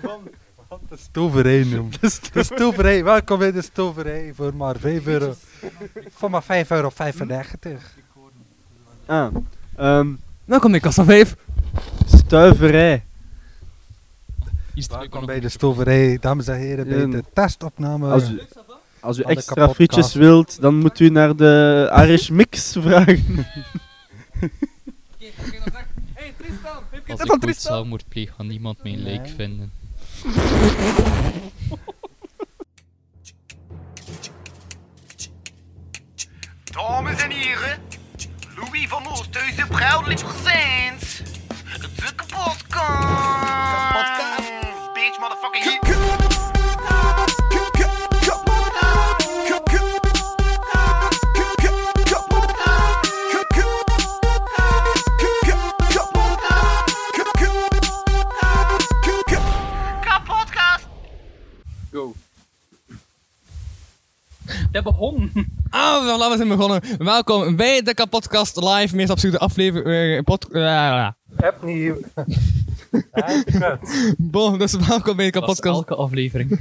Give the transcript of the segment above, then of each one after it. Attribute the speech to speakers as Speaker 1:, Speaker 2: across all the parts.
Speaker 1: van, van de stoverij noemt. De stoverij, welkom bij de stoverij voor maar 5 euro. Voor maar 5,95 euro.
Speaker 2: Ah, ehm,
Speaker 3: Dan Nou, kom ik kassa 5.
Speaker 2: stuiverij.
Speaker 1: Welkom bij de stoverij, dames en heren, bij
Speaker 2: Ehm,
Speaker 1: de testopname.
Speaker 2: Als u, als u
Speaker 1: Van de
Speaker 2: extra
Speaker 1: kapotkast.
Speaker 2: frietjes wilt, dan moet u naar de Irish Mix vragen.
Speaker 3: Hey Tristan, heb je het
Speaker 4: Als ik
Speaker 3: van
Speaker 4: ooit
Speaker 3: Tristan?
Speaker 4: zelfmoord pleeg, gaat niemand mijn
Speaker 1: Nee.
Speaker 4: lijk vinden.
Speaker 5: Dames en heren, Louis van Oosthuizen proudly presents de kapotkast. Podcast. Bitch, motherfucking hit. Kapotkast.
Speaker 3: Dat begon. Ah, voilà, we zijn begonnen. Welkom bij de kapotkast live, meest absurde aflevering. pod- eh,
Speaker 1: heb niet.
Speaker 3: bon, dus welkom bij de kapotkast.
Speaker 4: elke aflevering.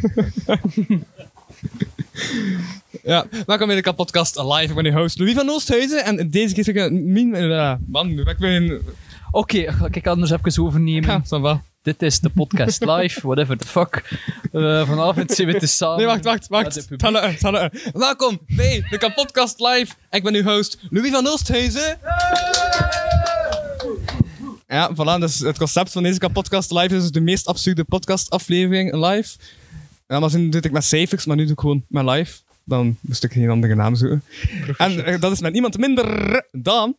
Speaker 3: Ja, welkom bij de kapotkast live. Ik ben uw host Louis van Oosthuizen en deze keer zit ik een min. eh, Man, nu ben ik weer een.
Speaker 4: Oké, ga ik anders even overnemen.
Speaker 3: Ja, ça va.
Speaker 4: Dit is de podcast live, whatever the fuck. Eh, vanavond zijn we te samen.
Speaker 3: Nee, wacht, wacht,
Speaker 4: Met het
Speaker 3: wacht.
Speaker 4: publiek.
Speaker 3: Talle, talle. Welkom bij de kapotkast live. Ik ben uw host Louis van Oosthuizen. Ja, voilà, dus het concept van deze kapotkast live is dus de meest absurde podcast aflevering live. Ja, maar toen deed ik met cijfers, maar nu doe ik gewoon met live. Dan moest ik geen andere naam zoeken. En eh, dat is met niemand minder dan...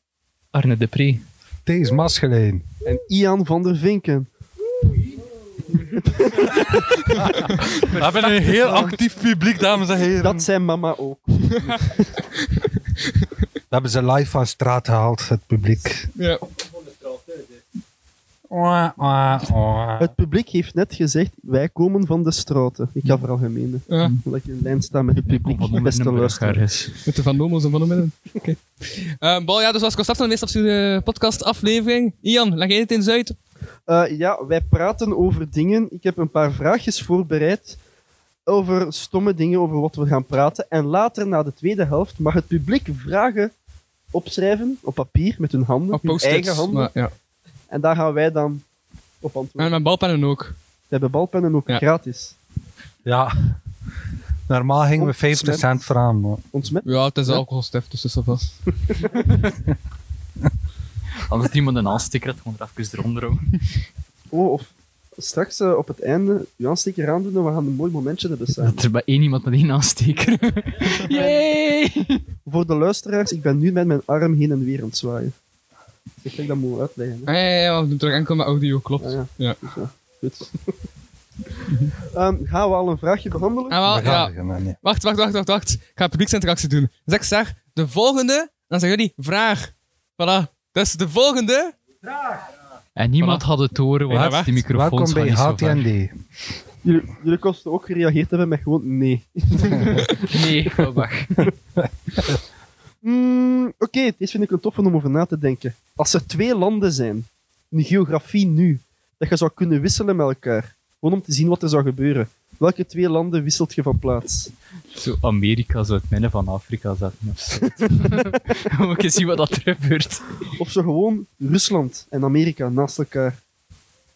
Speaker 4: Arne Depree.
Speaker 1: Deze masgeleen.
Speaker 2: En Ian van der Vinken.
Speaker 1: We hebben een heel actief publiek, dames en heren.
Speaker 2: Dat zijn mama ook.
Speaker 1: We hebben ze live van straat gehaald, het publiek.
Speaker 3: Ja.
Speaker 1: Wah, wah, wah.
Speaker 2: Het publiek heeft net gezegd, wij komen van de straten. Ik ga vooral gemeen.
Speaker 3: Ja.
Speaker 2: Omdat je in lijn staat met het publiek. Beste luisteren.
Speaker 3: Met de Van Nomos en Van Omidden. Oké. Eh, bon, ja, dus was het concept van de meest absurde podcast aflevering. Ian, leg jij het eens uit?
Speaker 2: Eh, ja, wij praten over dingen. Ik heb een paar vraagjes voorbereid over stomme dingen, over wat we gaan praten. En later, na de tweede helft, mag het publiek vragen opschrijven op papier met hun handen,
Speaker 3: Of
Speaker 2: hun
Speaker 3: post-its?
Speaker 2: eigen handen.
Speaker 3: Maar, ja.
Speaker 2: En daar gaan wij dan op
Speaker 3: En
Speaker 2: antwoorden.
Speaker 3: mijn balpennen ook.
Speaker 2: We hebben balpennen ook
Speaker 3: Ja.
Speaker 2: gratis.
Speaker 1: Ja. Normaal gingen we 50 cent vragen, maar...
Speaker 2: Ons met.
Speaker 3: Ja, het is
Speaker 2: Ja.
Speaker 3: alcoholstift, dus dat is alvast.
Speaker 4: Anders iemand een aanstikker had, gewoon er even eronder houden.
Speaker 2: Oh, of straks eh, op het einde uw aansteker aandoen en we gaan een mooi momentje hebben samen.
Speaker 4: Dat er bij één iemand met één aansteker. Yay!
Speaker 2: Voor de luisteraars, ik ben nu met mijn arm heen en weer aan het zwaaien. Ik denk dat moet uitleggen. hè.
Speaker 3: Ja, ja, ja, we doen terug enkel met audio, klopt.
Speaker 2: Ah, ja.
Speaker 3: ja.
Speaker 2: Goed. Ehm, gaan we al een vraagje
Speaker 4: Ah.
Speaker 2: behandelen?
Speaker 3: En Ah, wel,
Speaker 1: We gaan
Speaker 3: ja.
Speaker 1: er geen- nee.
Speaker 3: Wacht, wacht, wacht, wacht, wacht. Ik ga publieksinteractie doen. Dus ik zeg de volgende, dan zeggen jullie vraag. Voilà. Dus de volgende.
Speaker 4: En niemand
Speaker 3: Voilà.
Speaker 4: had het horen, want
Speaker 3: Ja,
Speaker 4: die
Speaker 3: wacht.
Speaker 4: die
Speaker 1: Welkom
Speaker 4: microfoons
Speaker 1: bij
Speaker 4: gaan niet zo ver.
Speaker 1: HTND.
Speaker 2: Jullie, jullie kosten ook gereageerd hebben met gewoon nee.
Speaker 4: Nee, ga weg.
Speaker 2: Mm, Oké, dit vind ik een toffe om over na te denken. Als er twee landen zijn, een geografie nu, dat je zou kunnen wisselen met elkaar, gewoon om te zien wat er zou gebeuren. Welke twee landen wisselt je van plaats?
Speaker 4: Zo Amerika zo het midden van Afrika zetten of zo. Moet je zien wat dat er gebeurt.
Speaker 2: Of zo gewoon Rusland en Amerika naast elkaar.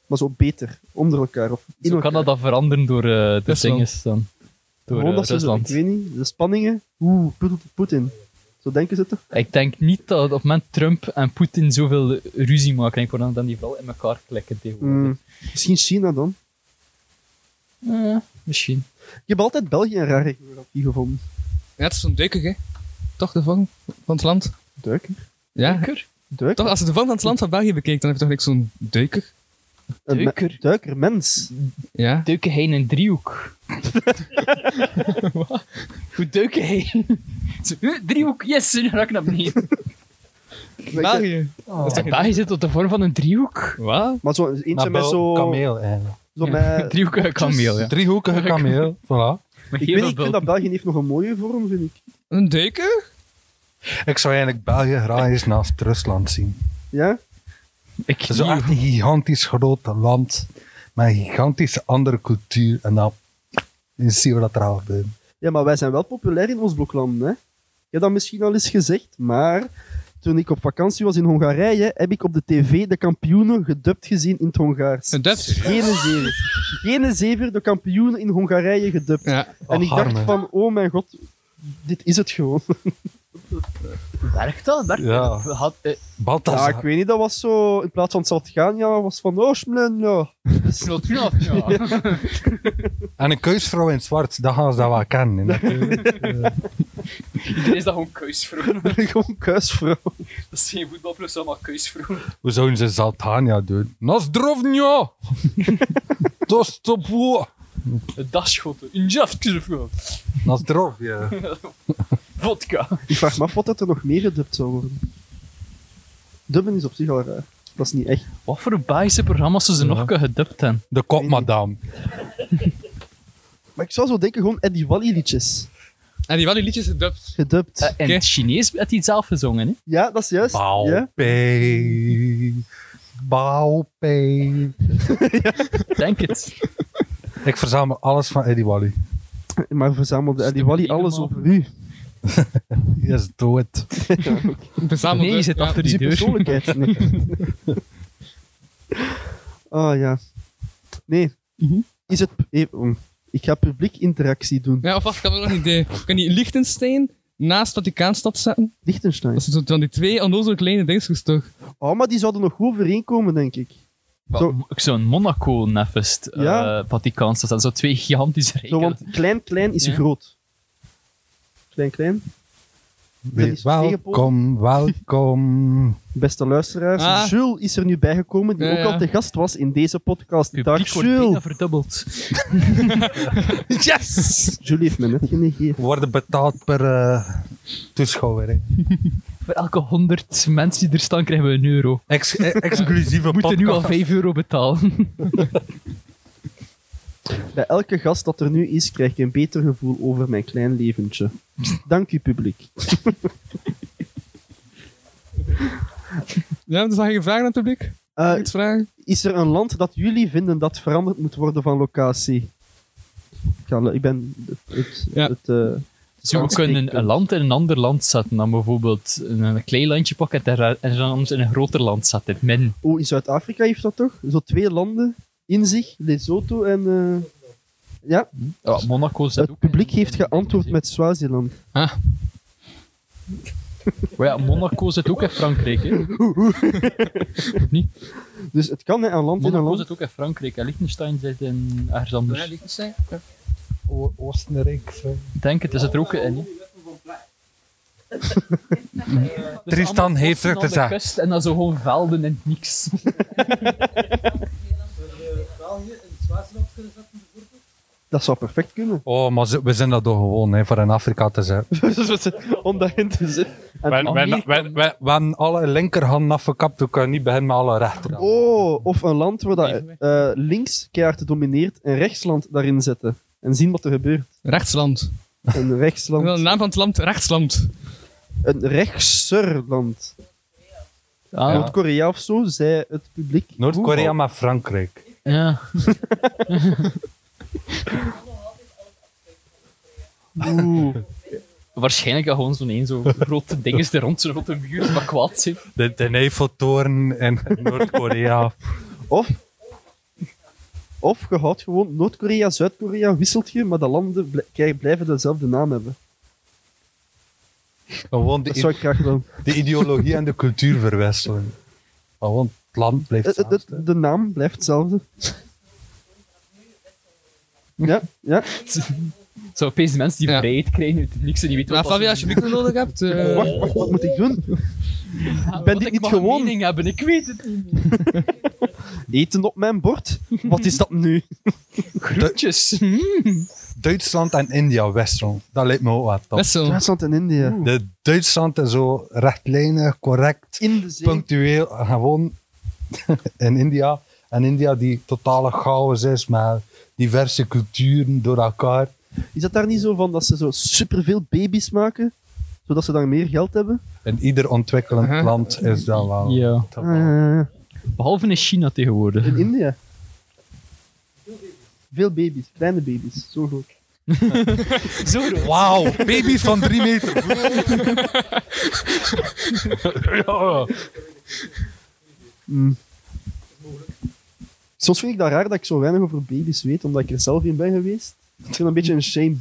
Speaker 2: Maar zo beter, onder elkaar of in
Speaker 4: Zo
Speaker 2: elkaar.
Speaker 4: kan dat dan veranderen door eh de
Speaker 3: Rusland.
Speaker 4: dinges dan. Door
Speaker 2: Gewoon
Speaker 4: eh,
Speaker 2: dat ze, zo- ik
Speaker 4: Rusland.
Speaker 2: weet niet, de spanningen. Oeh, Poet- Poetin. Zo denken ze toch?
Speaker 4: Ik denk niet dat op het moment Trump en Poetin zoveel ruzie maken. Ik hoor dan dat die wel in elkaar klikken tegenwoordig.
Speaker 2: Mm, Misschien China dan. Mm.
Speaker 4: Eh, misschien.
Speaker 2: Ik heb altijd België een rare geografie gevonden.
Speaker 3: Ja, het is zo'n duiker, hè? Toch de vang van het land?
Speaker 2: Duiker.
Speaker 3: Ja.
Speaker 4: Duiker?
Speaker 2: Duiker.
Speaker 3: Toch, als je de vang van het land van België bekijkt, dan heb je toch niks zo'n duiker?
Speaker 2: Een me-
Speaker 4: Duiker.
Speaker 2: duikermens.
Speaker 3: Ja.
Speaker 4: Duiken hij in een driehoek? Wat? Hoe duiken hij? Zo, eh, driehoek, yes, nu raak ik naar beneden.
Speaker 3: België.
Speaker 1: Oh.
Speaker 4: En daar zit tot de vorm van een driehoek.
Speaker 3: Wat?
Speaker 2: Maar zo, eentje met zo...
Speaker 1: Kameel, eigenlijk.
Speaker 2: zo met,
Speaker 4: Driehoekige kameel, eh, ja.
Speaker 1: Driehoekige kameel, voilà.
Speaker 2: ik, weet, niet, ik vind dat België heeft nog een mooie vorm, vind ik.
Speaker 3: Een duiker?
Speaker 1: Ik zou eigenlijk België graag eens naast Rusland zien.
Speaker 2: Ja?
Speaker 4: Ik
Speaker 1: Het is echt een gigantisch groot land met een gigantische andere cultuur. En dan dan zien we dat er al gebeurt.
Speaker 2: Ja, maar wij zijn wel populair in ons blokland, hè? Je hebt dat misschien al eens gezegd, maar toen ik op vakantie was in Hongarije, heb ik op de tv de kampioenen gedubt gezien in het Hongaars.
Speaker 3: Een dub, serieus?
Speaker 2: Gene zever. Gene zever, de kampioenen in Hongarije gedubt.
Speaker 3: Ja.
Speaker 2: en ik
Speaker 1: Och,
Speaker 2: dacht
Speaker 1: arme.
Speaker 2: van, oh mijn god, dit is het gewoon.
Speaker 6: Werkt dat? Werkt
Speaker 1: Ja.
Speaker 6: dat? Had, eh,
Speaker 2: Ja,
Speaker 1: Balthazar.
Speaker 2: ik weet niet, dat was zo, in plaats van Saltgania, was van, oh, schmlen, ja.
Speaker 6: Slot knap, ja.
Speaker 1: En een kuisvrouw in het zwart, dat gaan ze dat wel kennen. hè.
Speaker 6: Iedereen is dat gewoon keusvrouw.
Speaker 2: Gewoon kuisvrouw.
Speaker 6: Dat is geen voetbalploeg, dat is allemaal keusvrouw.
Speaker 1: We zouden ze Zaltania doen. Nasdrovnja! Dostopwo!
Speaker 6: Dagschoppen. Een jaftkeusvrouw.
Speaker 1: Nasdrovje.
Speaker 6: Vodka.
Speaker 2: Ik vraag me af wat dat er nog meer gedubt zou worden. Dubben is op zich al raar. Dat is niet echt.
Speaker 4: Wat voor baasje programma's ze nog kunnen gedubt hebben?
Speaker 1: De kopmadam.
Speaker 2: Maar ik zou zo denken, gewoon Eddie Wally liedjes.
Speaker 3: En die wel die liedjes gedubt.
Speaker 2: Gedubt.
Speaker 4: Eh, in
Speaker 3: Oké.
Speaker 4: het Chinees had hij het zelf gezongen, hè?
Speaker 2: Ja, dat is juist.
Speaker 1: Bao
Speaker 2: Ja.
Speaker 1: Pei. Bao Pei.
Speaker 4: Ik Denk het.
Speaker 1: Ik verzamel alles van Eddie Wally.
Speaker 2: Maar verzamelde Eddie Wally
Speaker 4: Stabiele
Speaker 2: alles
Speaker 4: man.
Speaker 2: over u.
Speaker 1: Yes, do it.
Speaker 3: Verzamelde.
Speaker 4: Nee, je zit
Speaker 3: ja.
Speaker 4: achter die
Speaker 2: Zijn
Speaker 4: deur.
Speaker 2: persoonlijkheid. Nee. oh ja. Nee.
Speaker 4: Mhm.
Speaker 2: Is het. eh, mm. Ik ga publiek interactie doen.
Speaker 3: Ja, of wacht, ik heb nog een idee. Kan die Liechtenstein naast Vaticaanstad zetten?
Speaker 2: Liechtenstein.
Speaker 3: Dat zijn zo van die twee onnozele kleine dingetjes toch?
Speaker 2: Oh, maar die zouden nog goed overeenkomen, denk ik. Zo.
Speaker 4: Zo. Ik zou een Monaco nefest, eh
Speaker 2: Ja.
Speaker 4: Vaticaans, dat zijn zo twee
Speaker 2: Zo,
Speaker 4: gigantische rijken.
Speaker 2: want klein, klein is
Speaker 4: Ja.
Speaker 2: groot. Klein, klein.
Speaker 1: Weer
Speaker 2: is
Speaker 1: Welkom, welkom.
Speaker 2: Beste luisteraars,
Speaker 3: Ah.
Speaker 2: Jules is er nu bijgekomen, die
Speaker 3: Ja,
Speaker 2: ook
Speaker 3: ja.
Speaker 2: al te gast was in deze podcast. Dag
Speaker 4: Publiek wordt bijna
Speaker 2: Jules.
Speaker 4: verdubbeld.
Speaker 3: Yes!
Speaker 2: Jules heeft me net genegeerd.
Speaker 1: We worden betaald per eh, toeschouwer. hè.
Speaker 4: Voor elke 100 mensen die er staan, krijgen we een euro.
Speaker 1: Ex- eh, exclusieve
Speaker 4: We moeten nu al
Speaker 1: podcast.
Speaker 4: 5 euro betalen.
Speaker 2: Bij elke gast dat er nu is, krijg ik een beter gevoel over mijn klein leventje. Dank u, publiek.
Speaker 3: Ja, dus dan ga je vragen aan het publiek?
Speaker 2: Eh,
Speaker 3: Iets vragen?
Speaker 2: is er een land dat jullie vinden dat veranderd moet worden van locatie? Ik, ga, ik ben het, het,
Speaker 3: Ja.
Speaker 2: het, eh,
Speaker 4: Zo, we kunnen een land in een ander land zetten. Dan bijvoorbeeld een, een klein landje pakken en daar- en dan in een groter land zetten. in het Midden.
Speaker 2: oh, in Zuid-Afrika heeft dat toch? Zo twee landen in zich, Lesotho en... eh, ja,
Speaker 4: Ja, Monaco zit
Speaker 2: het
Speaker 4: ook.
Speaker 2: publiek heeft geantwoord met Swaziland.
Speaker 4: Maar ja, Monaco zit ook in Frankrijk. Hè. Of niet?
Speaker 2: Dus het kan, hè, een land in een
Speaker 4: Monaco
Speaker 2: land.
Speaker 4: zit ook in Frankrijk. En Liechtenstein zit in ergens anders.
Speaker 3: Liechtenstein?
Speaker 1: O- Oostenrijk. zo.
Speaker 4: Ik denk het, is het er ook in. hè. Dus
Speaker 1: Tristan
Speaker 4: allemaal
Speaker 1: heeft terug
Speaker 4: bossen
Speaker 1: te
Speaker 4: aan de
Speaker 1: zeggen.
Speaker 4: kust En dan zo gewoon velden en niks.
Speaker 2: Dat zou perfect kunnen.
Speaker 1: Oh, maar ze- we zijn dat toch gewoon hè, voor in Afrika te zijn.
Speaker 2: Dus Om daarin te zitten.
Speaker 1: We
Speaker 4: Amerika-
Speaker 1: hebben alle linkerhand afgekapt, we kunnen niet beginnen met alle rechterhand.
Speaker 2: Oh, of een land waar dat, eh, links keihard domineert en rechtsland daarin zetten. En zien wat er gebeurt.
Speaker 3: Rechtsland.
Speaker 2: Een
Speaker 3: Ik wil De
Speaker 2: rechtsland.
Speaker 3: naam van het land, rechtsland.
Speaker 2: Een rechtserland.
Speaker 4: Ah, ja.
Speaker 2: Noord-Korea of zo, zei het publiek.
Speaker 1: Noord-Korea maar Frankrijk.
Speaker 4: Ja.
Speaker 2: Oeh.
Speaker 4: Waarschijnlijk dat gewoon zo'n een zo grote ding is er rond, zo'n grote muur, maar kwaad zit.
Speaker 1: De, de Eiffeltoren in Noord-Korea.
Speaker 2: Of, of je houdt gewoon Noord-Korea, Zuid-Korea, wisselt je, maar de landen bl- krijgen- blijven dezelfde naam hebben.
Speaker 1: Gewoon
Speaker 2: Dat
Speaker 1: de,
Speaker 2: zou ik graag willen.
Speaker 1: de ideologie en de cultuur verwisselen. Gewoon het land blijft
Speaker 2: Eh, eh,
Speaker 1: hetzelfde.
Speaker 2: De, de naam blijft hetzelfde. Ja, ja.
Speaker 4: Zo opeens de mensen die
Speaker 3: Ja.
Speaker 4: vrijheid krijgen uit het niks en die weten
Speaker 3: Maar
Speaker 4: wat
Speaker 3: Flavia, als je micro nodig hebt... eh,
Speaker 2: Wacht, wacht, wat moet ik doen?
Speaker 4: Ja,
Speaker 2: ben
Speaker 4: want
Speaker 2: dit
Speaker 4: ik
Speaker 2: niet
Speaker 4: mag een
Speaker 2: gewoon?
Speaker 4: mening hebben, ik weet het niet.
Speaker 2: Eten op mijn bord? Wat is dat nu?
Speaker 4: Groetjes. Mm.
Speaker 1: Duitsland en India, Westron. Dat lijkt me ook wat top.
Speaker 3: Wessel.
Speaker 2: Duitsland en India.
Speaker 1: De Duitsland is zo rechtlijnig, correct,
Speaker 2: In de zee.
Speaker 1: punctueel. Gewoon in India. En India die totale chaos is met diverse culturen door elkaar.
Speaker 2: Is dat daar niet zo van dat ze zo superveel baby's maken? Zodat ze dan meer geld hebben?
Speaker 1: In ieder ontwikkelend
Speaker 3: Aha.
Speaker 1: land is dat wel.
Speaker 4: Ja.
Speaker 1: het geval.
Speaker 2: Ah,
Speaker 4: Behalve in China tegenwoordig.
Speaker 2: in India. Veel baby's, kleine baby's, zo groot.
Speaker 4: Zo groot.
Speaker 1: Wauw, baby's van 3 meter.
Speaker 4: Ja.
Speaker 2: Mm. Soms vind ik dat raar dat ik zo weinig over baby's weet, omdat ik er zelf in ben geweest. Ik vind dat een beetje een shame.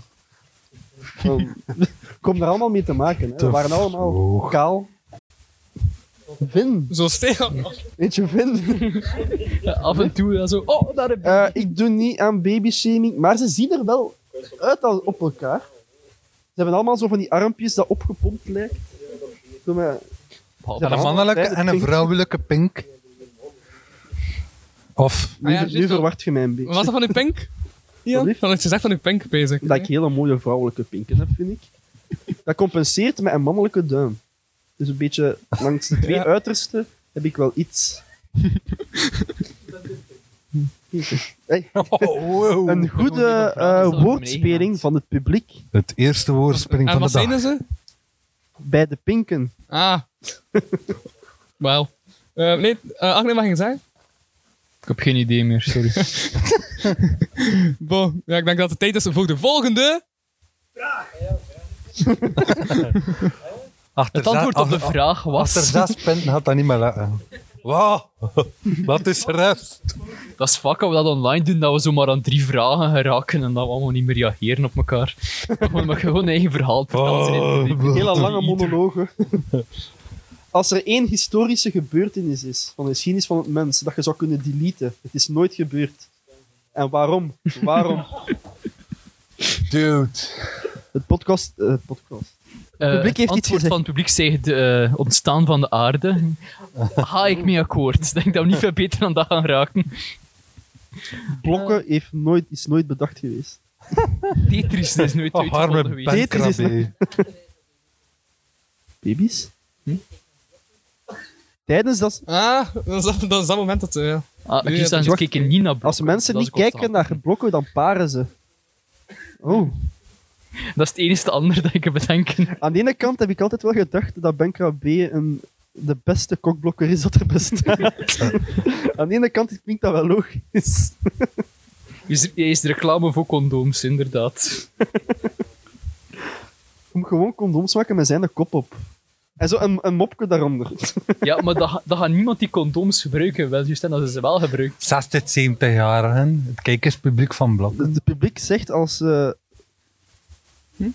Speaker 2: Van, kom daar allemaal mee te maken. Hè. We waren allemaal kaal. Vin.
Speaker 3: Zo stil.
Speaker 2: Weet je, Vin.
Speaker 4: Af en toe ja, zo. Oh, daar heb
Speaker 2: Eh, ik doe niet aan babyshaming, maar ze zien er wel uit als op elkaar. Ze hebben allemaal zo van die armpjes dat opgepompt lijkt. Doe maar-
Speaker 4: ik.
Speaker 1: Een mannelijke en een vrouwelijke pink. Of
Speaker 2: Nu,
Speaker 3: Ah ja,
Speaker 2: ver- nu
Speaker 3: juist,
Speaker 2: verwart je mij een beetje.
Speaker 3: Wat was dat van uw pink?
Speaker 2: Wat lief.
Speaker 3: Van het gezegd van uw pink bezig.
Speaker 2: Dat ik hele mooie vrouwelijke pinken heb, vind ik. Dat compenseert met een mannelijke duim. Dus een beetje langs de twee
Speaker 3: Ja.
Speaker 2: uitersten heb ik wel iets. Pinken. Hey,
Speaker 1: Oh,
Speaker 2: een goede eh, woordspeling van het publiek
Speaker 1: het eerste woordspeling
Speaker 3: En
Speaker 1: van
Speaker 3: wat
Speaker 1: de dag.
Speaker 3: zeiden ze?
Speaker 2: bij de pinken.
Speaker 3: Ah. Wel. Eh, nee, eh Agne mag je zeggen?
Speaker 4: Ik heb geen idee meer, sorry.
Speaker 3: Bo, ja, ik denk dat het tijd is voor de volgende.
Speaker 1: Achter
Speaker 4: Het antwoord
Speaker 1: za-
Speaker 4: op de
Speaker 1: ach-
Speaker 4: vraag
Speaker 1: Achter
Speaker 4: was...
Speaker 1: zes punten had dat niet meer letten. Wauw, wat is rust?
Speaker 4: Dat is vaak als we dat online doen, dat we zomaar aan drie vragen geraken en dat we allemaal niet meer reageren op elkaar. Gewoon, maar gewoon eigen verhaal vertellen. ze in het publiek.
Speaker 2: Hele Oh, lange monologen. Als er één historische gebeurtenis is van de geschiedenis van het mens dat je zou kunnen deleten, het is nooit gebeurd. En waarom? Waarom?
Speaker 1: Dude.
Speaker 2: Het podcast. eh, podcast.
Speaker 4: Eh,
Speaker 2: publiek heeft iets
Speaker 4: antwoord
Speaker 2: gezegd.
Speaker 4: van het publiek zegt eh ontstaan van de aarde. Ga ik mee akkoord. Ik denk dat we niet veel beter aan dat gaan raken.
Speaker 2: Blokken heeft nooit, is nooit bedacht geweest.
Speaker 4: Tetris is nooit
Speaker 1: Oh,
Speaker 4: uitgevonden
Speaker 1: arme
Speaker 4: geweest.
Speaker 1: bankrabbe.
Speaker 2: Baby's? Hm? Tijdens dat. ze-
Speaker 3: Ah, dat is dat, dat, is dat moment dat... eh, ja.
Speaker 4: Ah,
Speaker 3: Nee,
Speaker 4: ik
Speaker 3: dat
Speaker 4: staan
Speaker 3: is
Speaker 4: ze kijken niet naar
Speaker 2: Als
Speaker 4: blokken.
Speaker 2: mensen
Speaker 4: Dat
Speaker 2: niet
Speaker 4: is constant.
Speaker 2: kijken naar blokken, dan paren ze. Oh.
Speaker 4: Dat is het enige ander dat ik kan bedenken.
Speaker 2: Aan de ene kant heb ik altijd wel gedacht dat Benkra B een, de beste kokblokker is dat er bestaat. Aan de ene kant klinkt dat wel logisch.
Speaker 4: Is, er- is reclame voor condooms, inderdaad.
Speaker 2: Om gewoon condooms maken met zijn de kop op. En zo een, een mopje daaronder.
Speaker 4: Ja, maar dat, dat gaat niemand die condooms gebruiken. Wel, juist en dat ze ze wel gebruikt.
Speaker 1: 60, 70-jarigen, het kijkerspubliek van Blok.
Speaker 2: Het publiek zegt als... eh,
Speaker 4: Hm?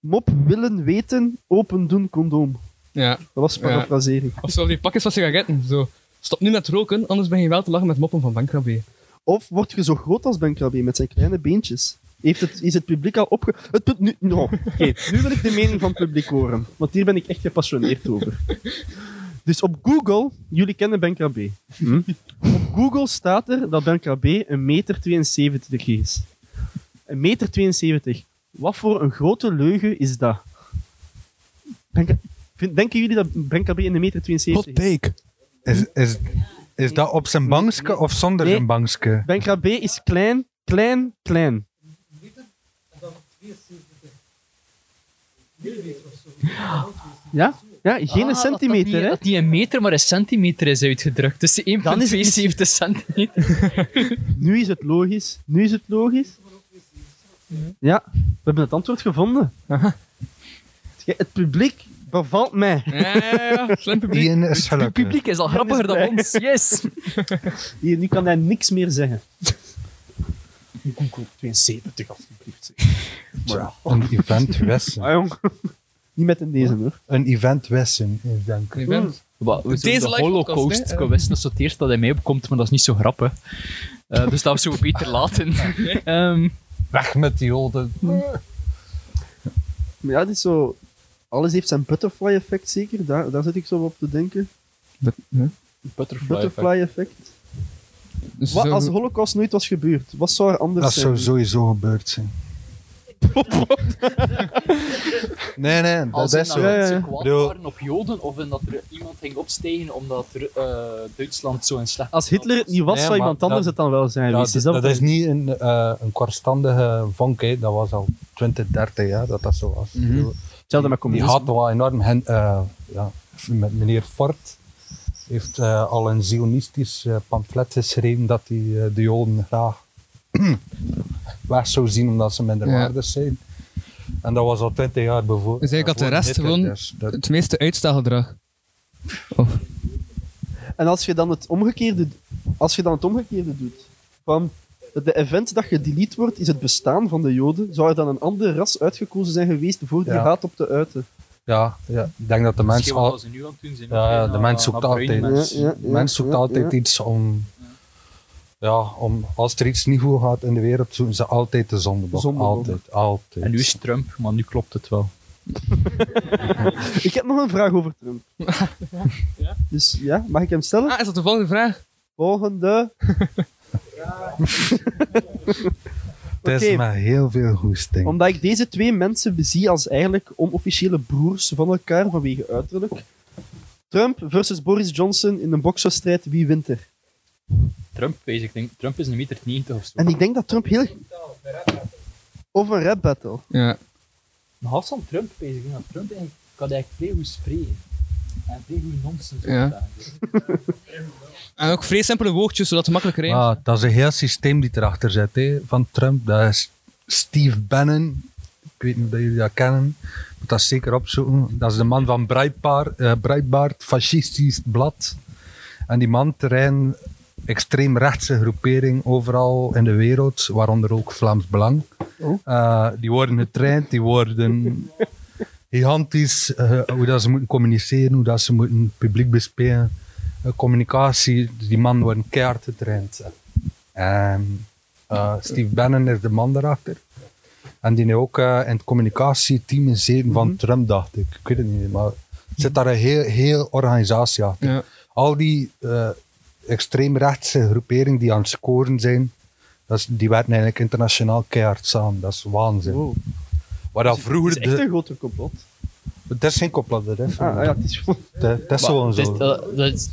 Speaker 2: Mop willen weten, open doen condoom.
Speaker 3: ja.
Speaker 2: Dat was parafrasering.
Speaker 3: Of zo, die pakjes van sigaretten. Zo. Stop nu met roken, anders ben je wel te lachen met moppen van bankrabbe.
Speaker 2: Of wordt je zo groot als Ben Krabbe met zijn kleine beentjes? Heeft het, is het publiek al opge... Het, pub- nu, no. Oké, nu wil ik de mening van het publiek horen. Want hier ben ik echt gepassioneerd over. Dus op Google... Jullie kennen Ben Krabbe. Hm? Op Google staat er dat Ben Krabbe een meter 72 is. Een meter 72. Wat voor een grote leugen is dat? Ben Kra- Vind- denken jullie dat Ben Krabbe een meter 72 is?
Speaker 3: take.
Speaker 1: Is, is, is dat op zijn bankske of zonder
Speaker 2: Nee.
Speaker 1: zijn bankske?
Speaker 2: Ben Krabbe is klein, klein, klein. Ja? Ja, geen een
Speaker 4: Ah, dat
Speaker 2: centimeter,
Speaker 4: dat
Speaker 2: hè?
Speaker 4: niet- Dat niet een meter, maar een centimeter is uitgedrukt. Dus
Speaker 2: Dan is het niet-
Speaker 4: 1,72 centimeter.
Speaker 2: Nu is het logisch. Nu is het logisch. Ja, we hebben het antwoord gevonden. Kijk, Het publiek bevalt mij.
Speaker 3: Ja, ja, ja, slim publiek.
Speaker 1: Die is
Speaker 4: Het
Speaker 1: gelukkig.
Speaker 4: publiek is al grappiger dan
Speaker 2: blij.
Speaker 4: ons. Yes!
Speaker 2: Hier, nu kan hij niks meer zeggen. Google 72, alsjeblieft.
Speaker 1: Een event wessen.
Speaker 2: Ah, jong. Niet met in deze, hoor.
Speaker 1: Een event wessen is dank.
Speaker 3: Ik ben-
Speaker 4: Wat, we
Speaker 3: Deze
Speaker 4: Deze de
Speaker 3: live podcast,
Speaker 4: holocaust.
Speaker 3: hè?
Speaker 4: Ik wist dat sorteert dat hij mij opkomt, maar dat is niet zo grappig. Eh, dus dat we zo beter laten. Ehm,
Speaker 1: Weg met die holden.
Speaker 2: Maar ja, het is zo... Alles heeft zijn butterfly effect, zeker. Daar, daar zit ik zo op te denken.
Speaker 4: butterfly.
Speaker 2: Butterfly effect. Wat
Speaker 3: Dus Zo-
Speaker 2: als de holocaust nooit was gebeurd? Wat zou er anders
Speaker 1: Dat
Speaker 2: zijn?
Speaker 1: zou sowieso gebeurd zijn. nee, nee, dat
Speaker 4: Als
Speaker 1: is
Speaker 4: ze
Speaker 1: zo.
Speaker 2: nou- Ja, ja, ja.
Speaker 4: kwaad
Speaker 1: Bedoel-
Speaker 4: waren op Joden, of in dat er iemand ging opstijgen omdat er, eh, Duitsland zo in slecht
Speaker 2: Als Hitler het niet was,
Speaker 1: Nee,
Speaker 2: zou
Speaker 1: maar
Speaker 2: iemand anders
Speaker 1: dat-
Speaker 2: het dan wel zijn.
Speaker 1: Ja,
Speaker 2: geweest.
Speaker 1: dat,
Speaker 2: is dat
Speaker 1: dat
Speaker 2: wat-
Speaker 1: is niet een, eh, een kortstandige vonk, hè. dat was al 20, 30 jaar dat dat zo
Speaker 3: Mhm.
Speaker 1: was.
Speaker 2: Hetzelfde met
Speaker 1: Die
Speaker 2: communisme.
Speaker 1: had wel enorm. Hen, eh, ja, met meneer Ford heeft eh, al een zionistisch eh, pamflet geschreven dat hij eh, de Joden graag weg zou zien omdat ze minder
Speaker 3: Ja.
Speaker 1: waardig zijn. En dat was al twintig jaar bevo-
Speaker 3: Dus eigenlijk had de
Speaker 1: voor
Speaker 3: rest
Speaker 1: Hitler,
Speaker 3: gewoon-
Speaker 1: dus dat-
Speaker 3: Het meeste uitstelgedrag. Of,
Speaker 2: En als je dan het omgekeerde, als je dan het omgekeerde doet, van de event dat gedelete wordt, is het bestaan van de Joden, zou er dan een ander ras uitgekozen zijn geweest voor die
Speaker 1: Ja.
Speaker 2: haat op te uiten?
Speaker 1: ja, ja, ik denk dat de mens, al,
Speaker 6: ze nu aan het doen zijn.
Speaker 1: Ja, ja, de
Speaker 4: nou,
Speaker 1: mens zoekt altijd.
Speaker 2: mens. Ja, ja,
Speaker 1: de mens zoekt
Speaker 2: ja,
Speaker 1: altijd
Speaker 2: ja.
Speaker 1: iets om, ja, om. Als er iets niet goed gaat in de wereld, zoeken ze altijd de zondebok.
Speaker 2: Zondebok.
Speaker 1: Altijd, altijd.
Speaker 4: En nu is Trump, maar nu klopt het wel.
Speaker 2: Ik heb nog een vraag over Trump.
Speaker 6: Ja?
Speaker 2: Dus ja, mag ik hem stellen?
Speaker 3: ah, is dat de volgende vraag?
Speaker 2: Volgende.
Speaker 1: het is
Speaker 2: Oké.
Speaker 1: maar heel veel goesting.
Speaker 2: Omdat ik deze twee mensen bezie als eigenlijk onofficiële broers van elkaar vanwege uiterlijk. Trump versus Boris Johnson in een bokswedstrijd, wie wint er?
Speaker 4: Trump, wees, ik denk, Trump is een meter 90 of zo.
Speaker 2: En ik denk dat Trump heel. Of een rap battle.
Speaker 3: Ja.
Speaker 6: Maar had van Trump bezig. Ik dat Trump eigenlijk, ik had eigenlijk vrij goed spreken. En vrij goed nonsens.
Speaker 3: Ja. En ook vrij simpele woordjes, zodat het makkelijk rijmt.
Speaker 1: Ah, dat is een heel systeem die erachter zit hè, van Trump. Dat is Steve Bannon. Ik weet niet of jullie dat kennen. Ik moet dat zeker opzoeken. Dat is de man van Breitbaart, eh, Breitbart, fascistisch blad. En die man terrein extreemrechtse groepering overal in de wereld, waaronder ook Vlaams Belang.
Speaker 2: Oh.
Speaker 1: Eh, die worden getraind, die worden gigantisch, eh, hoe dat ze moeten communiceren, hoe dat ze moeten het publiek bespelen. Eh, communicatie, die man wordt keihard getraind. En, eh, Steve Bannon is de man daarachter. En die nu ook eh, in het communicatieteam is zitten
Speaker 2: Mhm.
Speaker 1: van Trump, dacht ik. Ik weet het niet, maar er zit daar een heel, heel organisatie achter
Speaker 3: Ja.
Speaker 1: al die eh, extreemrechtse groeperingen die aan het scoren zijn, dat is, die werden eigenlijk internationaal keihard samen. Dat is waanzin.
Speaker 2: Wow.
Speaker 1: Waar dat vroeger...
Speaker 2: Oh. Dus Het is echt
Speaker 1: de-
Speaker 2: een grote complot.
Speaker 1: Het is geen complot, dat is
Speaker 2: Ah, ah ja, het is gewoon.
Speaker 1: Dat dat is gewoon
Speaker 4: Maar het
Speaker 1: zo.
Speaker 4: is- dat- dat is-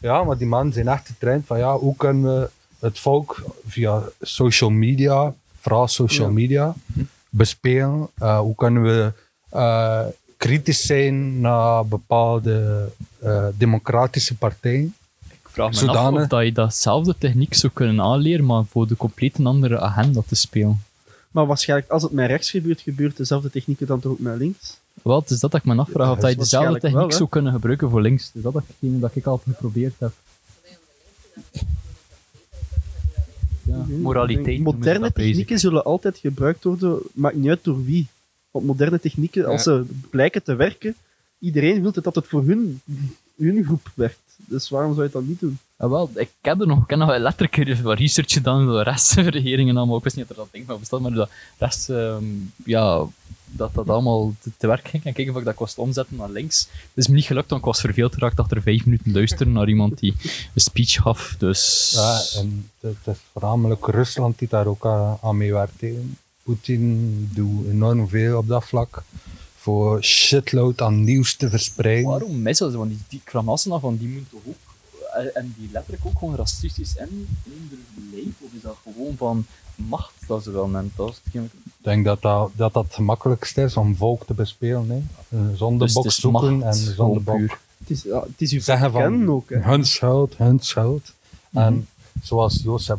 Speaker 1: Ja, maar die mannen zijn echt getraind van ja, hoe kunnen we het volk via social media, vooral social media,
Speaker 4: Mhm.
Speaker 1: bespelen? Eh, hoe kunnen we eh, kritisch zijn naar bepaalde eh, democratische partijen?
Speaker 4: ik vraag me
Speaker 1: Zodanig.
Speaker 4: af of dat je datzelfde techniek zou kunnen aanleren, maar voor de compleet een andere agenda te spelen.
Speaker 2: Maar waarschijnlijk, als het met rechts gebeurt, gebeurt dezelfde technieken dan toch ook met links?
Speaker 4: Wat is dat dat ik me afvraag? Of
Speaker 1: Ja,
Speaker 4: dat je
Speaker 2: dat is
Speaker 4: dezelfde
Speaker 2: waarschijnlijk
Speaker 4: techniek
Speaker 2: wel, hè.
Speaker 4: zou kunnen gebruiken voor links. Dus dat is hetgene dat ik al geprobeerd heb. Ja, moraliteit. noemen ze
Speaker 2: Moderne
Speaker 4: dat, basic.
Speaker 2: technieken zullen altijd gebruikt worden, maakt niet uit door wie. Want moderne technieken, als ze blijken te werken, iedereen wil het dat het voor hun, hun groep werkt. Dus waarom zou je dat niet doen?
Speaker 4: Ah, wel, ik ken er nog, ik ken nog wel letterlijk hier wat research gedaan door de restregeringen allemaal. Ik wist niet dat er dat ding van bestaat, maar dat rest, ehm, ja, dat dat allemaal te, te werk ging en kijken of ik dat kost omzetten naar links. Het is me niet gelukt, want ik was verveeld geraakt achter vijf minuten luisteren naar iemand die een speech gaf, dus...
Speaker 1: Ja, en het het is voornamelijk Rusland die daar ook aan, aan meewerkt. hè. Poetin doet enorm veel op dat vlak voor shitload aan nieuws te verspreiden.
Speaker 4: Waarom mis dat? Want die, die kramassen van die moeten toch ook, en- en die letterlijk ook gewoon racistisch en minder leef, of is dat gewoon van macht dat ze wel nemen? Dat is hetgeen-
Speaker 1: Ik denk dat dat, dat dat het makkelijkste is om volk te bespelen. Hè. Een
Speaker 4: dus
Speaker 1: Zondebok
Speaker 4: het is
Speaker 1: zoeken
Speaker 4: macht,
Speaker 1: en
Speaker 4: gewoon
Speaker 1: zondebok
Speaker 4: puur.
Speaker 2: Het is, ja, het is uw
Speaker 1: zeggen van
Speaker 2: kennen ook. Hè.
Speaker 1: hun schuld, hun schuld.
Speaker 4: Mhm.
Speaker 1: En zoals Jozef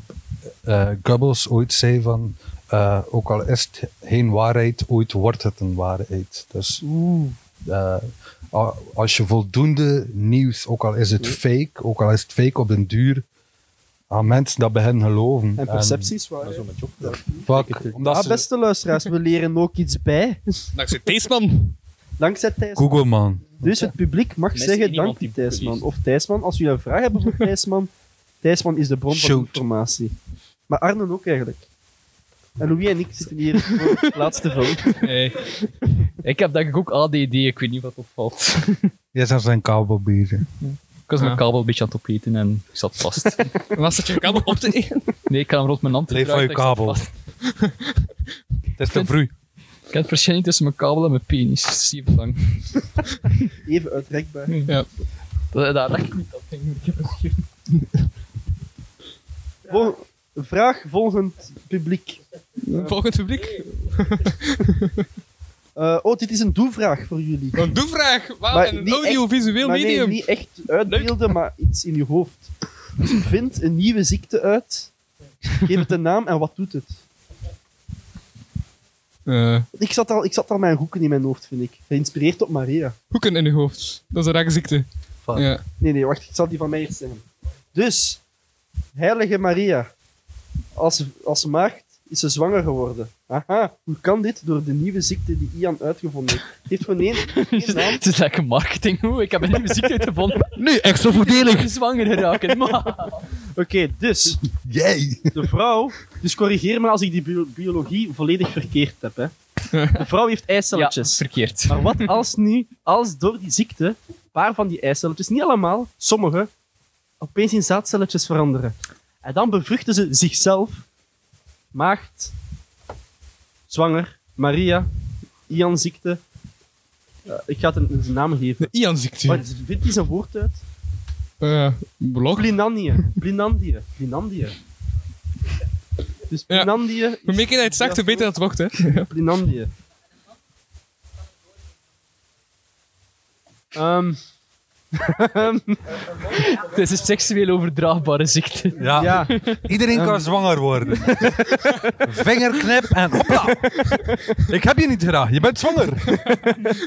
Speaker 1: eh, Goebbels ooit zei van, eh, ook al is het geen waarheid, ooit wordt het een waarheid. Dus eh, a- als je voldoende nieuws, ook al is het fake, ook al is het fake op den duur, aan mensen dat bij hen geloven.
Speaker 2: En percepties
Speaker 1: Ehm,
Speaker 2: waar.
Speaker 4: Zo met je op-
Speaker 1: Fuck, omdat
Speaker 2: Ah,
Speaker 1: ze-
Speaker 2: beste luisteraars, we leren ook iets bij.
Speaker 3: Dankzij Theesman.
Speaker 2: Dankzij Thijs.
Speaker 1: Google man.
Speaker 2: Dus het publiek mag
Speaker 4: Mensen
Speaker 2: zeggen
Speaker 4: die niemand
Speaker 2: dank die
Speaker 4: die
Speaker 2: Thijsman.
Speaker 4: boeken
Speaker 2: Of Thijsman, als jullie een vraag hebben voor Thijsman, Thijsman is de bron van
Speaker 1: Shoot.
Speaker 2: informatie. Maar Arnen ook eigenlijk. En Louis en ik zitten hier voor het laatste film.
Speaker 3: Hey.
Speaker 4: Ik heb denk ik ook ADD, ik weet niet wat opvalt.
Speaker 1: Jij zegt zijn kabelbieren.
Speaker 4: Ik was
Speaker 3: Ja.
Speaker 4: mijn kabel een beetje aan het opeten en ik zat vast.
Speaker 3: Was dat je kabel op te eten?
Speaker 4: Nee, ik had hem rond mijn hand
Speaker 1: Leef van je
Speaker 4: gedraaid, ik zat
Speaker 1: kabel.
Speaker 4: vast.
Speaker 1: Het is te vroeg.
Speaker 4: Ik heb het verschil niet tussen mijn kabel en mijn penis. Dat is even lang.
Speaker 2: Even uitrekbaar.
Speaker 3: Ja.
Speaker 4: Dat, dat rek ik niet, dat ding. Ik heb het hier.
Speaker 2: Vol- vraag volgend publiek.
Speaker 3: Volgend publiek.
Speaker 2: Eh, oh, dit is een doelvraag voor jullie.
Speaker 3: Een doelvraag. Wauw,
Speaker 2: Maar
Speaker 3: en een
Speaker 2: niet
Speaker 3: audiovisueel
Speaker 2: maar nee,
Speaker 3: medium.
Speaker 2: niet echt uitbeelden, maar iets in je hoofd. Dus vind een nieuwe ziekte uit Geef het een naam en wat doet het?
Speaker 3: Eh,
Speaker 2: Ik zat al, ik zat al mijn hoeken in mijn hoofd, vind ik. Geïnspireerd op Maria.
Speaker 3: hoeken in je hoofd. Dat is een rare ziekte.
Speaker 4: Fuck.
Speaker 3: Ja.
Speaker 2: Nee, nee, wacht. Ik zal die van mij eerst zeggen. Dus, heilige Maria. Als, als maagd is ze zwanger geworden. Aha, hoe kan dit door de nieuwe ziekte die Ian uitgevonden heeft? Het heeft gewoon één, één naam.
Speaker 4: Het is lekker marketing. hoe. ik heb een nieuwe ziekte gevonden.
Speaker 1: Nu, extra voordelig.
Speaker 4: Zwanger geraken. Maar.
Speaker 2: Oké, dus,
Speaker 1: Jij.
Speaker 2: de vrouw... Dus corrigeer me als ik die bio- biologie volledig verkeerd heb, hè. De vrouw heeft
Speaker 4: Ja,
Speaker 2: eicelletjes.
Speaker 4: verkeerd.
Speaker 2: Maar wat als nu, als door die ziekte, een paar van die eicelletjes, niet allemaal, sommige, opeens in zaadcelletjes veranderen. En dan bevruchten ze zichzelf, maagd, zwanger, Maria, Ian-ziekte. Eh, ik ga het een, een naam geven.
Speaker 3: De Ian-ziekte.
Speaker 2: Wat vindt die zijn woord uit?
Speaker 3: Eh blog.
Speaker 2: Plinandië. Plinandië. Plinandië. Dus
Speaker 3: Ja.
Speaker 2: Plinandië. is-
Speaker 3: Hoe meer keer dat je het zegt, hoe beter dat wordt, hè. Ja.
Speaker 2: Plinandië. Ehm,
Speaker 4: Het is een seksueel overdraagbare ziekte.
Speaker 1: Ja.
Speaker 2: ja.
Speaker 1: Iedereen kan zwanger worden. Vingerknip en hopla. Ik heb je niet graag, je bent zwanger.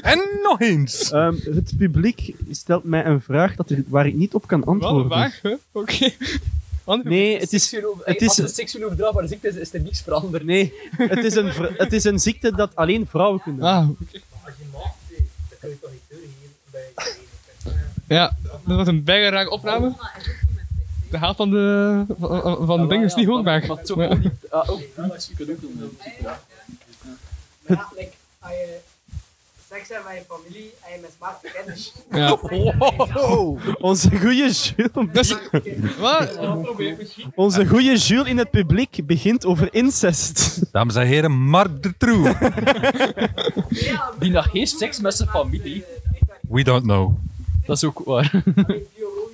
Speaker 1: en nog eens.
Speaker 2: Ehm, het publiek stelt mij een vraag dat er, waar ik niet op kan
Speaker 3: Wel
Speaker 2: antwoorden.
Speaker 3: een vraag, hè. Oké. Andere-
Speaker 2: Nee, het is, het is-
Speaker 6: Als het seksueel overdraagbare ziekte is, is er niks veranderd.
Speaker 2: nee het, is een, vr- het is een ziekte dat alleen vrouwen kunnen.
Speaker 3: Ah, oké. Ja, dat was een bijgerake opname. De helft van de, van, van de dingen is niet hoorbaar.
Speaker 6: Maar toch
Speaker 3: Ja.
Speaker 6: ook niet. Ah, ook niet. Je kunt ook doen. hè.
Speaker 7: Maar ja, like, als je seks hebt met je familie en je met smaakte kennis.
Speaker 3: Ja.
Speaker 2: Onze goede Jules,
Speaker 3: Ah. Dus, wat?
Speaker 2: onze goede Jules in het publiek begint over incest.
Speaker 1: Dames en heren, Mark de True.
Speaker 4: Die nog geen seks met zijn familie.
Speaker 1: We don't know.
Speaker 4: Dat is ook waar.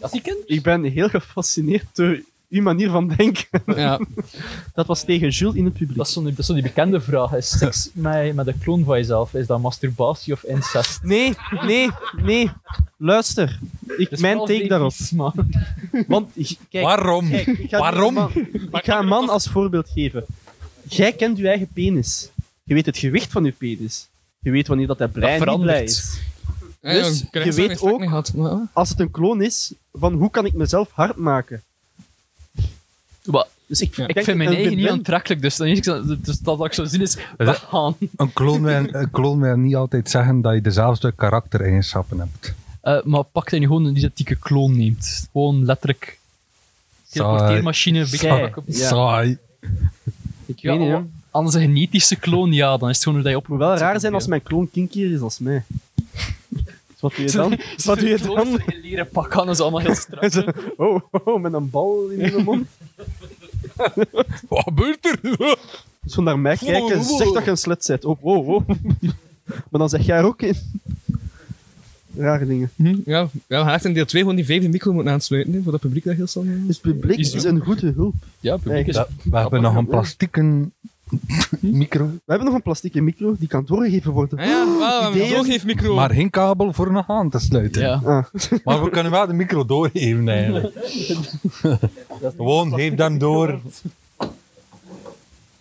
Speaker 4: Als je kind.
Speaker 2: Ik ben heel gefascineerd door uw manier van denken.
Speaker 3: Ja.
Speaker 2: Dat was tegen Jules in het
Speaker 4: Dat
Speaker 2: publiek.
Speaker 4: is zo'n dat is zo'n die bekende vraag. Is seks met, met een kloon van jezelf, is dat masturbatie of incest?
Speaker 2: Nee, nee, nee. Luister, ik,
Speaker 4: Dat is
Speaker 2: mijn
Speaker 4: wel
Speaker 2: take daarop.
Speaker 4: vies, man.
Speaker 2: Want j- kijk,
Speaker 1: Waarom?
Speaker 2: Kijk, ik ga
Speaker 1: Waarom?
Speaker 2: een man- ik ga een man als voorbeeld geven. Jij kent je eigen penis. Je weet het gewicht van je penis. Je weet wanneer dat hij blij en niet
Speaker 4: verandert.
Speaker 2: blij is.
Speaker 3: Ja, joh,
Speaker 2: Dus,
Speaker 3: ik heb
Speaker 2: je
Speaker 3: echt
Speaker 2: weet
Speaker 3: mijn smaak
Speaker 2: ook-
Speaker 3: niet gehad, maar-
Speaker 2: Als het een kloon is, van hoe kan ik mezelf hard maken?
Speaker 4: Maar
Speaker 2: Dus ik,
Speaker 3: Ja.
Speaker 2: denk
Speaker 4: ik vind
Speaker 2: dat
Speaker 4: mijn
Speaker 2: het
Speaker 4: eigen niet
Speaker 2: win-win-
Speaker 4: aantrekkelijk, dus, dan is ik zo- dus dat wat ik zo zien is.
Speaker 1: dat-
Speaker 4: weggaan.
Speaker 1: Een kloon wil, een kloon wil niet altijd zeggen dat je dezelfde karaktereigenschappen hebt.
Speaker 4: Eh, maar pak dan gewoon een die dat dikke kloon neemt. Gewoon letterlijk. Teleporteermachine, een beetje
Speaker 2: Saai.
Speaker 4: op-
Speaker 2: Ja.
Speaker 1: Saai.
Speaker 2: Ik
Speaker 4: Ja, oh.
Speaker 2: weet niet, hè.
Speaker 4: al- als een genetische kloon, ja, dan is het gewoon hoe dat je op.
Speaker 2: Het moet wel raar zijn als mijn kloon kinkier is als mij. Dus wat doe je dan? Dus wat doe je dan?
Speaker 4: Een leren pak aan, dat is allemaal heel strak.
Speaker 2: Zo, Oh, oh, oh, met een bal in mijn mond.
Speaker 1: Wat gebeurt er?
Speaker 2: Zo naar mij kijken, zeg dat je een slet bent. Oh, wow, wow. Maar dan zeg jij er ook in. Rare dingen.
Speaker 3: Hm, Ja, ja, we gaan echt in deel 2 gewoon die vijfde micro moeten aansluiten, hè, voor dat publiek dat heel snel...
Speaker 2: Dus publiek
Speaker 4: Is-
Speaker 2: is een goede hulp.
Speaker 4: Ja, publiek is.
Speaker 2: Ja.
Speaker 1: We hebben nog een plastieken micro,
Speaker 2: We hebben nog een plastieke micro die kan doorgegeven worden.
Speaker 3: Ja, Ah ja, wel,
Speaker 2: ideeën.
Speaker 3: een heeft micro.
Speaker 1: maar geen kabel voor nog aan te sluiten.
Speaker 4: Ja.
Speaker 2: Ah,
Speaker 1: Maar we kunnen wel de micro doorgeven eigenlijk. Gewoon geef hem door.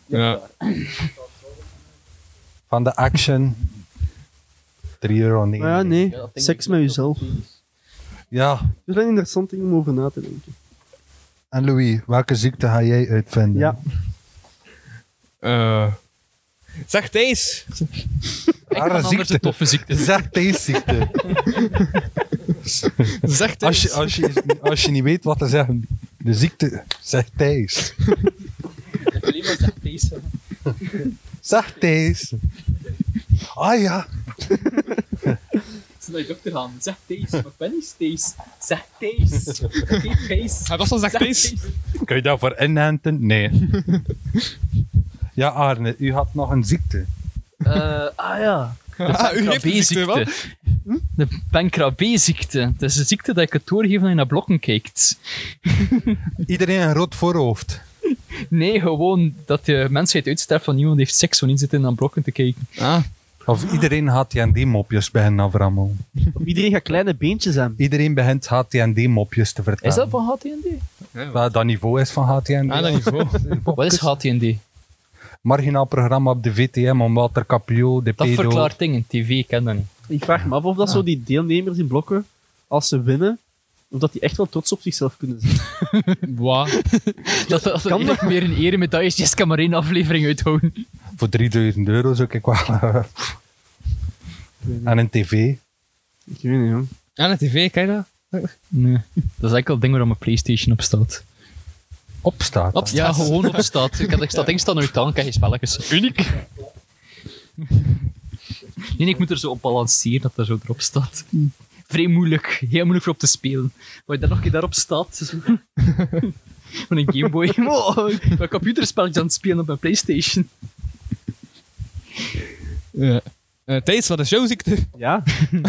Speaker 3: Ja.
Speaker 1: van de action. 3 euro
Speaker 2: maar ja, nee.
Speaker 4: dat denk
Speaker 2: Seks
Speaker 4: ik
Speaker 2: met
Speaker 4: ook.
Speaker 2: jezelf.
Speaker 1: Ja,
Speaker 2: Dat is wel een interessant ding om over na te denken.
Speaker 1: en Louis, welke ziekte ga jij uitvinden?
Speaker 2: Ja.
Speaker 3: Eh, zeg Thijs!
Speaker 1: Rare
Speaker 4: ziekte.
Speaker 1: ziekte.
Speaker 4: toffe ziekte.
Speaker 1: Zeg deze ziekte.
Speaker 3: Zeg Thijs!
Speaker 1: Als je, als, je, als je niet weet wat te zeggen, de ziekte, zeg Thijs. Zeg Thijs. Ah ja,
Speaker 6: Ze naar de dokter gaan. Zeg Thijs. Maar ik ben niet Thijs. Zeg Thijs. Geen Thijs.
Speaker 3: Hij was al zeg
Speaker 6: Zeg
Speaker 3: Thijs!
Speaker 6: Thijs.
Speaker 1: kun je daarvoor inhenten? Nee. Ja, Arne, u had nog een ziekte.
Speaker 4: Eh, ah ja.
Speaker 3: Ah, u heeft een ziekte, wel.
Speaker 4: Pancrabé-ziekte. De pancrabé-ziekte. Het is een ziekte dat je kunt doorgeven dat je naar blokken kijkt.
Speaker 1: Iedereen een rood voorhoofd.
Speaker 4: Nee, gewoon dat de mensheid uitsterft van niemand heeft seks wanneer zit in aan blokken te kijken.
Speaker 3: Ah,
Speaker 1: Of iedereen HTND-mopjes beginnen aframmelen.
Speaker 2: Of iedereen gaat kleine beentjes aan.
Speaker 1: Iedereen begint HTND-mopjes te vertellen.
Speaker 4: Is dat van HTND?
Speaker 1: Wat dat niveau is van HTND?
Speaker 3: Ah, dat niveau.
Speaker 4: Wat is HTND?
Speaker 1: Marginaal programma op de VTM om Walter Capio, de
Speaker 4: Dat
Speaker 1: pedo...
Speaker 4: verklaart dingen. TV, ik ken dat niet.
Speaker 2: Ik vraag me af of dat zo die deelnemers in blokken, als ze winnen, of dat die echt wel trots op zichzelf kunnen zijn.
Speaker 3: Wat?
Speaker 4: Dat dat
Speaker 2: Kan
Speaker 4: eigenlijk meer een ere met dat is, yes, ik kan maar één aflevering uithouden.
Speaker 1: Voor 3000 euro zou ik wel... en een tv.
Speaker 2: Ik weet niet, jong.
Speaker 3: Aan de tv, kijk dat?
Speaker 4: Nee. Dat is enkel het ding waar mijn PlayStation op staat.
Speaker 1: Opstaat.
Speaker 3: Op-
Speaker 1: Op.
Speaker 4: Ja, gewoon op staat. Ik had ik staat ding staan nooit aan, krijg je spelletjes. Uniek! Nee, ik moet er zo op balanceren dat er zo erop staat. Vrij moeilijk, heel moeilijk voor op te spelen. Maar je daar nog een keer daarop staat. zo. Van een Gameboy. Wow, ik ben computerspelletjes aan het spelen op mijn PlayStation.
Speaker 3: Ja. Eh Thijs, wat is jouw ziekte?
Speaker 2: Ja,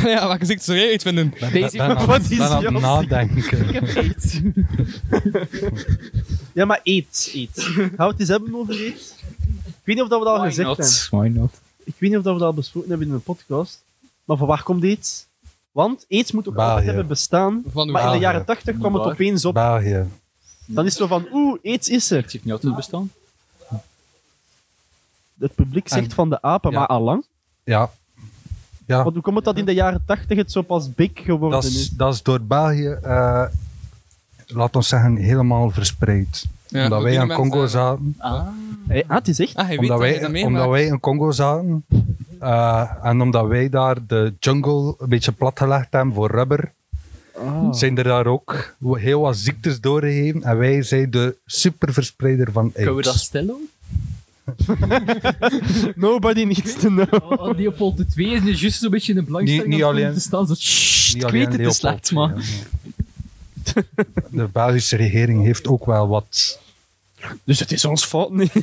Speaker 3: ja, welke ziekte zou jij uitvinden?
Speaker 4: Deze
Speaker 1: aan,
Speaker 2: Wat is
Speaker 1: ben aan het
Speaker 2: jouw
Speaker 1: nadenken.
Speaker 2: ja maar eet, eet. Gaan we het eens hebben over eet? Ik weet niet of dat we dat al gezegd hebben.
Speaker 4: Why not?
Speaker 2: Ik weet niet of dat we dat al besproken hebben in de podcast. Maar van waar komt eet? Want aids moet ook
Speaker 1: België.
Speaker 2: altijd hebben bestaan.
Speaker 3: Van de
Speaker 2: Maar in de
Speaker 1: België.
Speaker 2: jaren tachtig kwam het
Speaker 4: Waar?
Speaker 2: opeens op.
Speaker 1: België.
Speaker 2: Dan is het zo van, oeh, aids is er.
Speaker 4: Het heeft niet altijd bestaan.
Speaker 2: Het publiek zegt
Speaker 1: En-
Speaker 2: van de apen,
Speaker 1: Ja.
Speaker 2: maar allang.
Speaker 1: Ja. Ja.
Speaker 2: Want hoe komt het dat in de jaren tachtig het zo pas big geworden
Speaker 1: Dat is,
Speaker 2: is?
Speaker 1: dat is door België, eh laat ons zeggen, helemaal verspreid.
Speaker 3: Ja,
Speaker 1: omdat wij
Speaker 3: die
Speaker 1: in
Speaker 3: mensen-
Speaker 1: Congo zaten.
Speaker 4: Ah.
Speaker 2: Hey, ah, het is echt.
Speaker 3: Ah, hij weet
Speaker 1: Omdat
Speaker 3: dat
Speaker 1: wij,
Speaker 3: je dat
Speaker 1: omdat
Speaker 3: meemaakt.
Speaker 1: wij in Congo zaten. eh, en omdat wij daar de jungle een beetje platgelegd hebben voor rubber,
Speaker 2: Ah.
Speaker 1: zijn er daar ook heel wat ziektes doorgegeven. En wij zijn de superverspreider van
Speaker 4: Kunnen we dat
Speaker 1: AIDS.
Speaker 4: stellen?
Speaker 2: Nobody needs to know.
Speaker 4: Oh, Leopold II is nu juist zo'n beetje in de belangstelling
Speaker 1: Niet- niet
Speaker 4: aan het
Speaker 1: alleen-
Speaker 4: te staan. Zo, "Sssst, ik weet het, het is slecht, man.
Speaker 1: De Belgische regering heeft ook wel wat.
Speaker 2: Dus het is ons fout niet.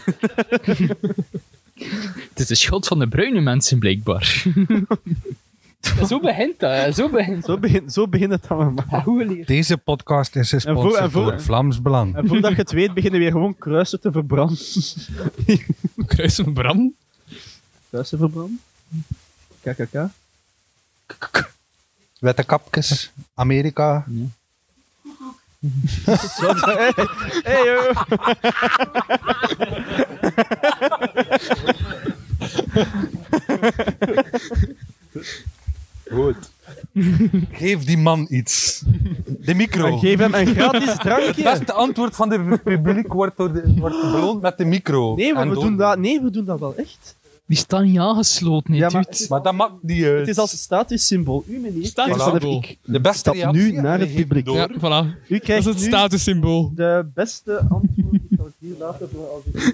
Speaker 4: Het is de schuld van de bruine mensen, blijkbaar.
Speaker 6: Zo begint dat, hè. zo begint
Speaker 2: Zo begint, zo begint het allemaal.
Speaker 6: Hoe leer
Speaker 1: Deze podcast is
Speaker 2: En voor- en
Speaker 1: gesponsord
Speaker 2: voor-
Speaker 1: door Vlaams Belang.
Speaker 2: En voordat je het weet, beginnen weer gewoon kruisen te verbranden.
Speaker 3: Kruis van Bram?
Speaker 2: Kruisen verbranden? KKK?
Speaker 1: Witte kapjes, Amerika.
Speaker 2: Hey, joh.
Speaker 1: Geef die man iets. De micro.
Speaker 2: En geef hem een gratis drankje.
Speaker 1: beste antwoord van het publiek wordt, door de, wordt beloond met de micro.
Speaker 2: Nee, maar
Speaker 1: En
Speaker 2: we
Speaker 1: door-
Speaker 2: doen dat, nee, we doen dat wel echt.
Speaker 4: Die staan niet aangesloten, hè,
Speaker 2: Ja, maar
Speaker 4: dude.
Speaker 2: het is,
Speaker 1: Maar dat maakt niet uit.
Speaker 2: het is als een statussymbool. U, meneer, kijk,
Speaker 3: Statussymbool.
Speaker 2: dat heb ik.
Speaker 1: de beste
Speaker 2: stap
Speaker 1: reactie.
Speaker 2: nu naar
Speaker 1: en
Speaker 2: het
Speaker 1: geef hem
Speaker 2: publiek.
Speaker 1: door.
Speaker 3: Ja, voilà.
Speaker 2: U
Speaker 3: Dat is
Speaker 2: krijgt
Speaker 3: het
Speaker 2: nu
Speaker 3: statussymbool.
Speaker 2: de beste antwoord. Ik zal het hier laten voor als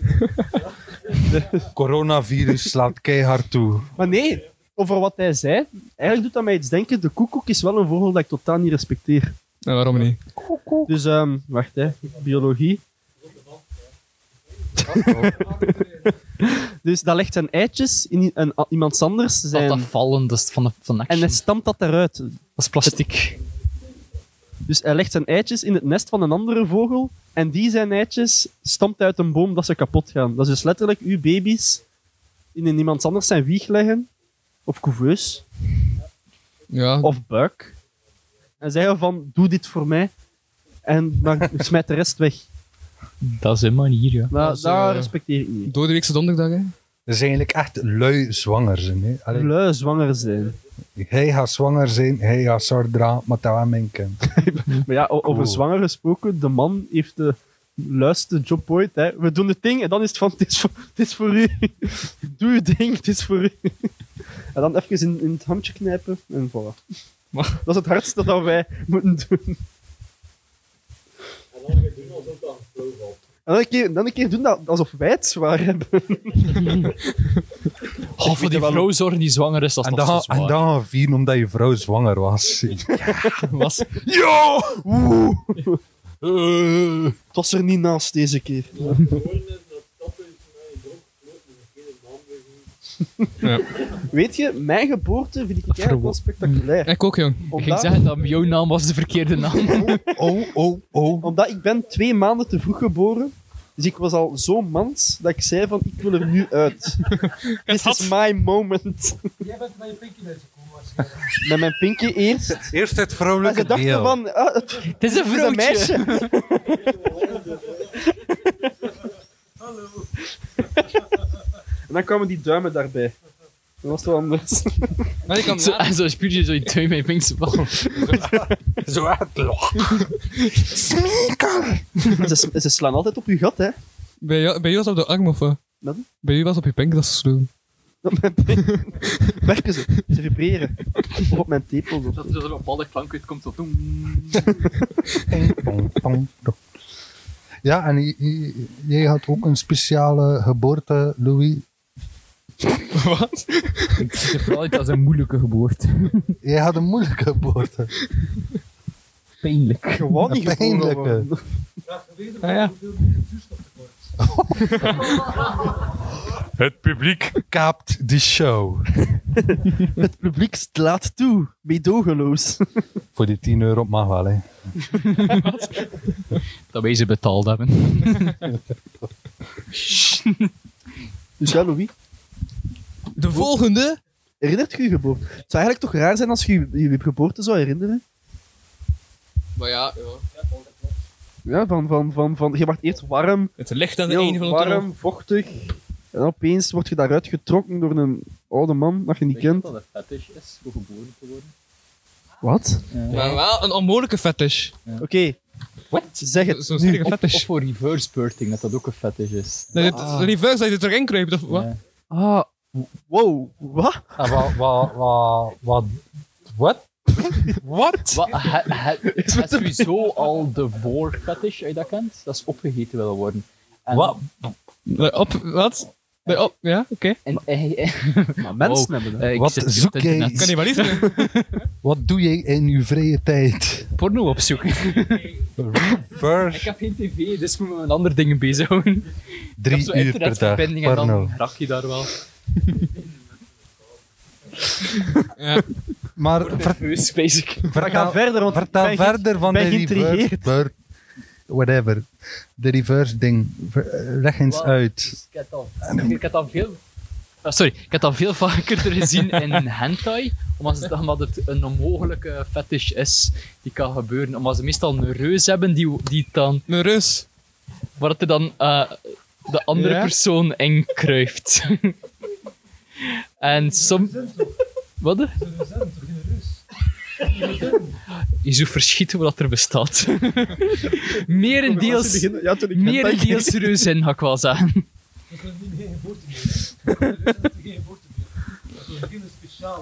Speaker 2: ik...
Speaker 1: Coronavirus slaat keihard toe.
Speaker 2: Maar nee, over wat hij zei, eigenlijk doet dat mij iets denken. De koekoek is wel een vogel dat ik totaal niet respecteer.
Speaker 3: Nou, waarom niet?
Speaker 2: Dus, ehm, wacht hè, biologie. dus dat legt zijn eitjes in i- een, a- iemands anders
Speaker 4: Dat dat
Speaker 2: zijn.
Speaker 4: vallen, dat is van, de, van
Speaker 2: En
Speaker 4: action.
Speaker 2: hij stampt dat eruit.
Speaker 4: dat is plastic.
Speaker 2: Dus hij legt zijn eitjes in het nest van een andere vogel. En die zijn eitjes stampt uit een boom dat ze kapot gaan. Dat is dus letterlijk uw baby's in een iemands anders zijn wieg leggen. Of couveus.
Speaker 3: Ja,
Speaker 2: of buik. En zei van, doe dit voor mij. En maar smijt de rest weg.
Speaker 4: Dat is een manier, ja.
Speaker 2: Maar
Speaker 3: Dat is,
Speaker 2: daar
Speaker 3: eh,
Speaker 2: respecteer ik niet.
Speaker 3: door de weekse donderdag, hè.
Speaker 1: Dat is eigenlijk echt lui zwanger zijn. Hè. Allee,
Speaker 2: Lui zwanger zijn.
Speaker 1: hij gaat zwanger zijn, hij gaat zorg dragen, maar dat was mijn kind.
Speaker 2: Maar ja, o- over
Speaker 1: Cool.
Speaker 2: zwanger gesproken, de man heeft de luiste job ooit. Hè. We doen het ding en dan is het van, het is voor, het is voor u. Doe je ding, het is voor u. En dan even in, in het handje knijpen en voilà.
Speaker 3: Maar-
Speaker 2: Dat is het hardste dat wij moeten doen. En dan een keer, dan een keer doen dat alsof wij het zwaar hebben.
Speaker 4: Oh, voor die vrouw zorgen die zwanger is, dat is
Speaker 1: En
Speaker 4: nog zo
Speaker 1: dan,
Speaker 4: zwaar.
Speaker 1: en dan gaan we vieren omdat je vrouw zwanger was.
Speaker 3: Was.
Speaker 2: Het was er niet naast deze keer. dus
Speaker 3: Ja. Mm.
Speaker 2: Weet je, mijn geboorte vind ik eigenlijk wel spectaculair.
Speaker 3: Ik ook, jong.
Speaker 4: Ik ging
Speaker 2: Omdat,
Speaker 4: zeggen dat jouw naam was de verkeerde naam.
Speaker 1: Oh, oh, oh.
Speaker 2: omdat ik ben twee maanden te vroeg geboren. Dus ik was al zo mans dat ik zei van, ik wil er nu uit. This
Speaker 3: had-
Speaker 2: is my moment.
Speaker 6: Jij bent met je pinkie uitgekomen waarschijnlijk.
Speaker 2: Met mijn pinkie eerst.
Speaker 1: Eerst het
Speaker 2: Maar ze
Speaker 1: vrouwelijke
Speaker 2: dachten
Speaker 1: deel.
Speaker 2: van, ah, het
Speaker 4: Het is een
Speaker 2: is een
Speaker 4: vrouwtje.
Speaker 2: meisje.
Speaker 6: Hallo.
Speaker 2: En dan kwamen die duimen daarbij. Dat was wel anders.
Speaker 3: Maar je kan
Speaker 4: Zo, en zo spuur je zo in twee mijn vinkse bal.
Speaker 1: Zo uitlog. Smeker!
Speaker 2: ze, ze slaan altijd op je gat, hè.
Speaker 3: Bij jou, bij jou was het op de arm of wat?
Speaker 2: Wat?
Speaker 3: Bij jou was het op je pink dat ze sloegen.
Speaker 2: Op mijn pink. Werken ze. Ze vibreren. Of op mijn tepels. of-
Speaker 4: Dat er zo'n balde klank uitkomt. Zo.
Speaker 1: Ja, en j- j- jij had ook een speciale geboorte, Louis.
Speaker 3: Wat?
Speaker 4: Ik zie het vooral uit als een moeilijke geboorte.
Speaker 1: Jij had een moeilijke geboorte.
Speaker 4: Pijnlijk.
Speaker 2: Gewoon niet
Speaker 1: Een
Speaker 2: gevoel
Speaker 1: pijnlijke.
Speaker 2: over.
Speaker 6: Graag
Speaker 1: eh,
Speaker 6: geweten
Speaker 3: Ah, ja.
Speaker 6: hoeveel minuten zuurstof tekort.
Speaker 1: Het publiek kaapt de show.
Speaker 2: Het publiek slaat toe. Meedogenloos.
Speaker 1: Voor die 10 euro mag wel, hè.
Speaker 4: Dat wij ze betaald hebben.
Speaker 2: Dus ja, Louis.
Speaker 3: De volgende?
Speaker 2: Herinnert je je geboorte? Het zou eigenlijk toch raar zijn als je je, je geboorte zou herinneren?
Speaker 3: Maar ja,
Speaker 2: Ja, van, van, van, van, je wordt eerst warm,
Speaker 3: Het ligt aan de
Speaker 2: heel
Speaker 3: ene van de
Speaker 2: warm, vochtig. En opeens word je daaruit getrokken door een oude man dat je niet
Speaker 6: Weet je
Speaker 2: kent.
Speaker 6: dat dat een fetish is voor geboren te worden?
Speaker 2: Wat?
Speaker 3: Maar wel een onmogelijke fetish.
Speaker 2: Oké,
Speaker 6: Wat?
Speaker 2: zeg het.
Speaker 3: Zo'n sterke
Speaker 6: Of,
Speaker 3: fetish.
Speaker 6: of voor reverse birthing, dat dat ook een fetish is.
Speaker 3: Dat je het- de reverse, dat je er terug in kruipt, of wat?
Speaker 6: Ja.
Speaker 2: Ah, wow, wat?
Speaker 1: Wat? Wat? Wat? Wat? Wat?
Speaker 6: Wat, he, he, is het sowieso al de voor fetish, als je dat kent? Dat is opgegeten willen worden. En,
Speaker 1: Wat?
Speaker 3: Nee, Op, wat? Nee, op, ja, oké.
Speaker 6: En, en- en-
Speaker 2: Maar mensen
Speaker 4: Oh,
Speaker 2: hebben dat.
Speaker 4: Eh, ik
Speaker 1: Wat
Speaker 4: zit hier
Speaker 1: zoek
Speaker 4: op het internet.
Speaker 1: jij?
Speaker 3: Kan niet maar liefde.
Speaker 1: Wat doe jij in je vrije tijd?
Speaker 4: porno opzoeken. Ik
Speaker 1: Reverse
Speaker 4: heb geen tv, dus moet me met andere dingen bezighouden. Ik heb
Speaker 1: drie
Speaker 4: zo
Speaker 1: uur per dag.
Speaker 4: internetverbinding en
Speaker 1: Porno.
Speaker 4: dan rak je daar wel.
Speaker 3: Ja.
Speaker 1: Maar ver-
Speaker 4: Nerveus, basic.
Speaker 2: We gaan
Speaker 1: vertel,
Speaker 2: verder, want
Speaker 1: vertel
Speaker 2: ik ben ge-
Speaker 1: verder van de
Speaker 2: ben
Speaker 1: reverse
Speaker 2: geïntrigeerd.
Speaker 1: bird. Whatever. De reverse ding. Ver- eh, Leg eens
Speaker 6: Wel,
Speaker 1: uit.
Speaker 6: dus ik heb al, ik heb al veel...
Speaker 4: Ah, sorry, ik heb dat veel vaker gezien in hentai, omdat, ze, omdat het een onmogelijke fetish is die kan gebeuren. Omdat ze meestal een reus hebben die, die dan,
Speaker 3: Een reus.
Speaker 4: waar het er dan eh, de andere
Speaker 3: Ja?
Speaker 4: persoon in kruipt. en som... Wat? hè? Je zou verschieten wat er bestaat.
Speaker 2: Als je
Speaker 4: Merendeels...
Speaker 2: begint- Ja, toen ik
Speaker 4: Merendeels reus in, ga ik wel zeggen.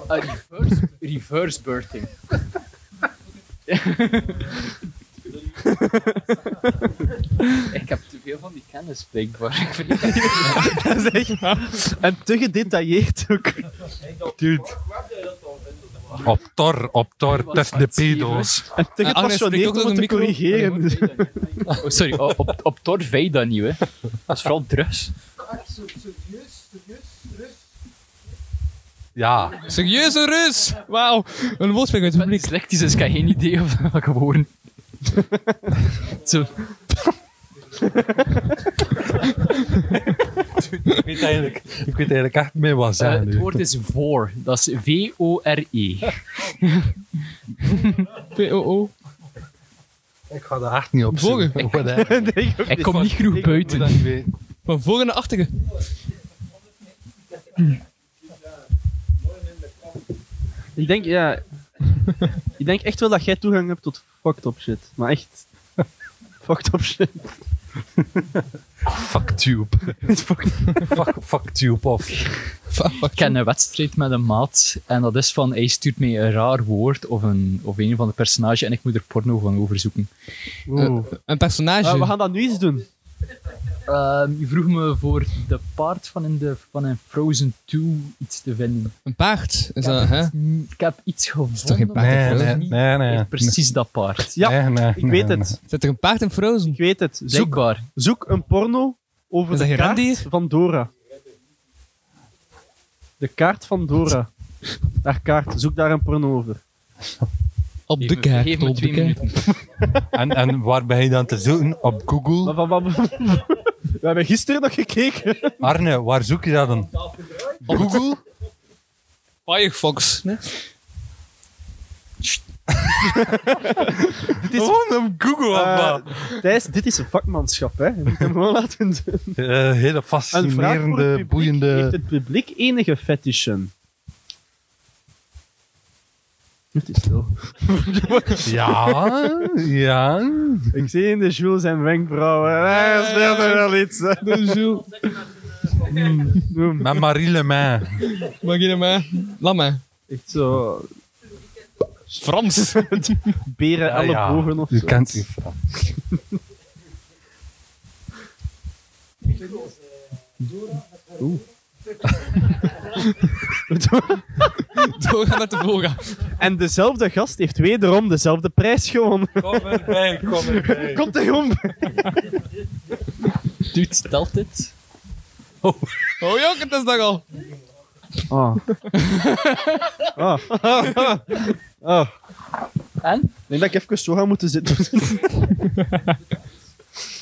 Speaker 4: Ah, reverse, reverse birthing.
Speaker 6: Ik heb te veel van die kennis, blijkbaar. Ik vind het
Speaker 2: Dat is echt En te gedetailleerd ook.
Speaker 1: Dude. Op tor, op tor,
Speaker 4: Wat
Speaker 1: test de pedo's.
Speaker 2: En te
Speaker 3: Eh, Agnes, spreek
Speaker 2: gepassioneerd
Speaker 3: ook door
Speaker 2: om het
Speaker 3: de
Speaker 2: te
Speaker 3: micro.
Speaker 2: corrigeren.
Speaker 4: Oh, sorry, o- op, op Tor weet dat niet, hè. Dat is vooral drugs.
Speaker 1: Ja.
Speaker 3: Serieus een reus? Wauw. Een woordspeling uit
Speaker 4: Ik
Speaker 3: het
Speaker 4: ben
Speaker 3: publiek.
Speaker 4: dyslectisch, dus ik heb geen idee of dat ik gewoon... Zo, eh,
Speaker 1: Ik weet eigenlijk, ik weet eigenlijk echt niet meer wat
Speaker 4: eh,
Speaker 1: zeggen
Speaker 4: het
Speaker 1: nu.
Speaker 4: woord is voor. Dat is V-O-R-E.
Speaker 3: P-O-O.
Speaker 1: Ik ga daar echt niet op
Speaker 3: Volgen.
Speaker 1: zoeken. Whatever.
Speaker 4: Ik kom niet genoeg
Speaker 1: Ik moet dat
Speaker 4: buiten.
Speaker 1: niet weten.
Speaker 3: Van voren naar achteren.
Speaker 2: Ik denk, ja... ik denk echt wel dat jij toegang hebt tot fucked up shit. Maar echt... Fucked up shit.
Speaker 1: Fucktube. Fuck, fucktube of
Speaker 3: Fuck, fuck.
Speaker 4: Ik ken een wedstrijd met een maat. En dat is van, hij stuurt mij een raar woord of een, of een van de personage en ik moet er porno van overzoeken.
Speaker 2: Oeh.
Speaker 3: Een personage.
Speaker 2: Ah, we gaan dat nu eens doen.
Speaker 4: Ehm, je vroeg me voor de paard van in, de, van in Frozen 2 iets te vinden.
Speaker 3: Een paard. Is dat, hè?
Speaker 4: Mm, Ik heb iets gevonden.
Speaker 3: toch geen paard?
Speaker 1: Nee,
Speaker 4: dat
Speaker 1: nee,
Speaker 4: is niet
Speaker 1: nee, nee.
Speaker 4: echt Precies dat paard.
Speaker 2: Ja,
Speaker 1: Nee, nee,
Speaker 2: Ik
Speaker 1: nee,
Speaker 2: weet
Speaker 1: nee.
Speaker 2: het.
Speaker 3: Zit er een paard in Frozen?
Speaker 2: Ik weet het. Zoek,
Speaker 4: Blijkbaar.
Speaker 2: zoek een porno over
Speaker 3: Is dat
Speaker 2: de
Speaker 3: geen
Speaker 2: kaart
Speaker 3: rendier?
Speaker 2: van Dora. De kaart van Dora. Haar kaart. Zoek daar een porno over.
Speaker 3: Op de
Speaker 4: Geef
Speaker 3: kaart.
Speaker 4: me
Speaker 3: Op de
Speaker 4: twee
Speaker 3: kaart.
Speaker 4: minuten.
Speaker 1: En, en waar ben je dan te zoeken? Op Google?
Speaker 2: Maar van wat... We hebben gisteren nog gekeken.
Speaker 1: Arne, waar zoek je dat dan?
Speaker 3: Google? Firefox. Nee?
Speaker 1: Dit is gewoon op Google.
Speaker 2: Eh, Thijs, dit is een vakmanschap, hè. Je moet hem gewoon laten doen.
Speaker 1: Eh, hele
Speaker 2: Een vraag voor het
Speaker 1: fascinerende,
Speaker 2: publiek. Heeft
Speaker 1: boeiende.
Speaker 2: het publiek enige fetishen? Het is stil.
Speaker 1: Ja, ja.
Speaker 2: Ik zie in de Jules zijn wenkbrauwen. Hij speelt er wel iets. hè. Noem.
Speaker 1: Met Marie Le Main.
Speaker 3: Mag je hem, hè? Laat mij.
Speaker 2: Echt zo...
Speaker 3: Frans.
Speaker 2: Beren,
Speaker 1: Ja, ja.
Speaker 2: ellebogen of
Speaker 1: U
Speaker 2: zo.
Speaker 1: kent die vrouw.
Speaker 3: Doorgaan met de boga.
Speaker 2: En dezelfde gast heeft wederom dezelfde prijs gewonnen.
Speaker 1: Kom erbij, kom erbij.
Speaker 2: Komt er om.
Speaker 4: Dude, stelt dit.
Speaker 3: Oh jok, het is dat al.
Speaker 2: Oh. Oh. Oh.
Speaker 4: En?
Speaker 2: Ik denk dat ik even zo ga moeten zitten.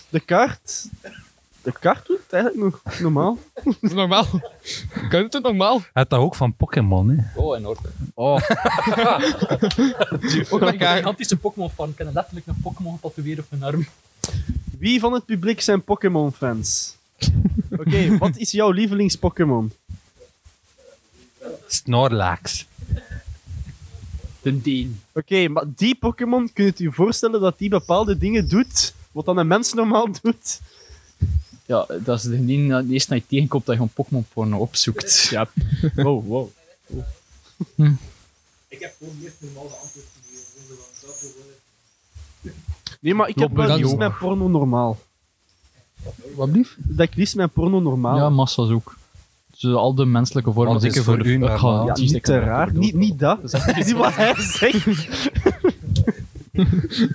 Speaker 2: De kaart... De kaart doet het eigenlijk nog normaal.
Speaker 3: Normaal. Kan het normaal?
Speaker 1: Hij had dat ook van Pokémon, hè?
Speaker 4: Oh, in orde.
Speaker 3: Ook
Speaker 6: Ik ben een
Speaker 3: elkaar.
Speaker 6: gigantische Pokémon-fan. Ik heb letterlijk een Pokémon getatoeëerd op mijn arm.
Speaker 2: Wie van het publiek zijn Pokémon-fans? Oké, wat is jouw lievelings-Pokémon?
Speaker 1: Snorlax.
Speaker 6: De Deen.
Speaker 2: Oké, maar die Pokémon, kunt u voorstellen dat die bepaalde dingen doet, wat dan een mens normaal doet?
Speaker 4: Ja, dat is de die dat eerst naar je tegenkomt dat je gewoon Pokémon porno opzoekt. Ja. Wow, wow.
Speaker 2: Nee, maar ik heb
Speaker 1: Klopt,
Speaker 2: wel
Speaker 1: dat
Speaker 2: liefst
Speaker 1: ook.
Speaker 2: mijn porno normaal.
Speaker 4: Wat blieft?
Speaker 2: Dat ik liefst mijn porno normaal.
Speaker 4: Ja, massa's ook. Dus al de menselijke vormen
Speaker 1: Als ik
Speaker 4: zijn
Speaker 1: er voor
Speaker 4: de-
Speaker 1: u
Speaker 4: Ik
Speaker 1: naar
Speaker 4: ga-
Speaker 1: maak.
Speaker 2: Ja,
Speaker 4: die is
Speaker 2: niet te
Speaker 4: lekker
Speaker 2: raar.
Speaker 4: bedoeld.
Speaker 2: Niet, niet dat. Dat is niet wat hij zegt.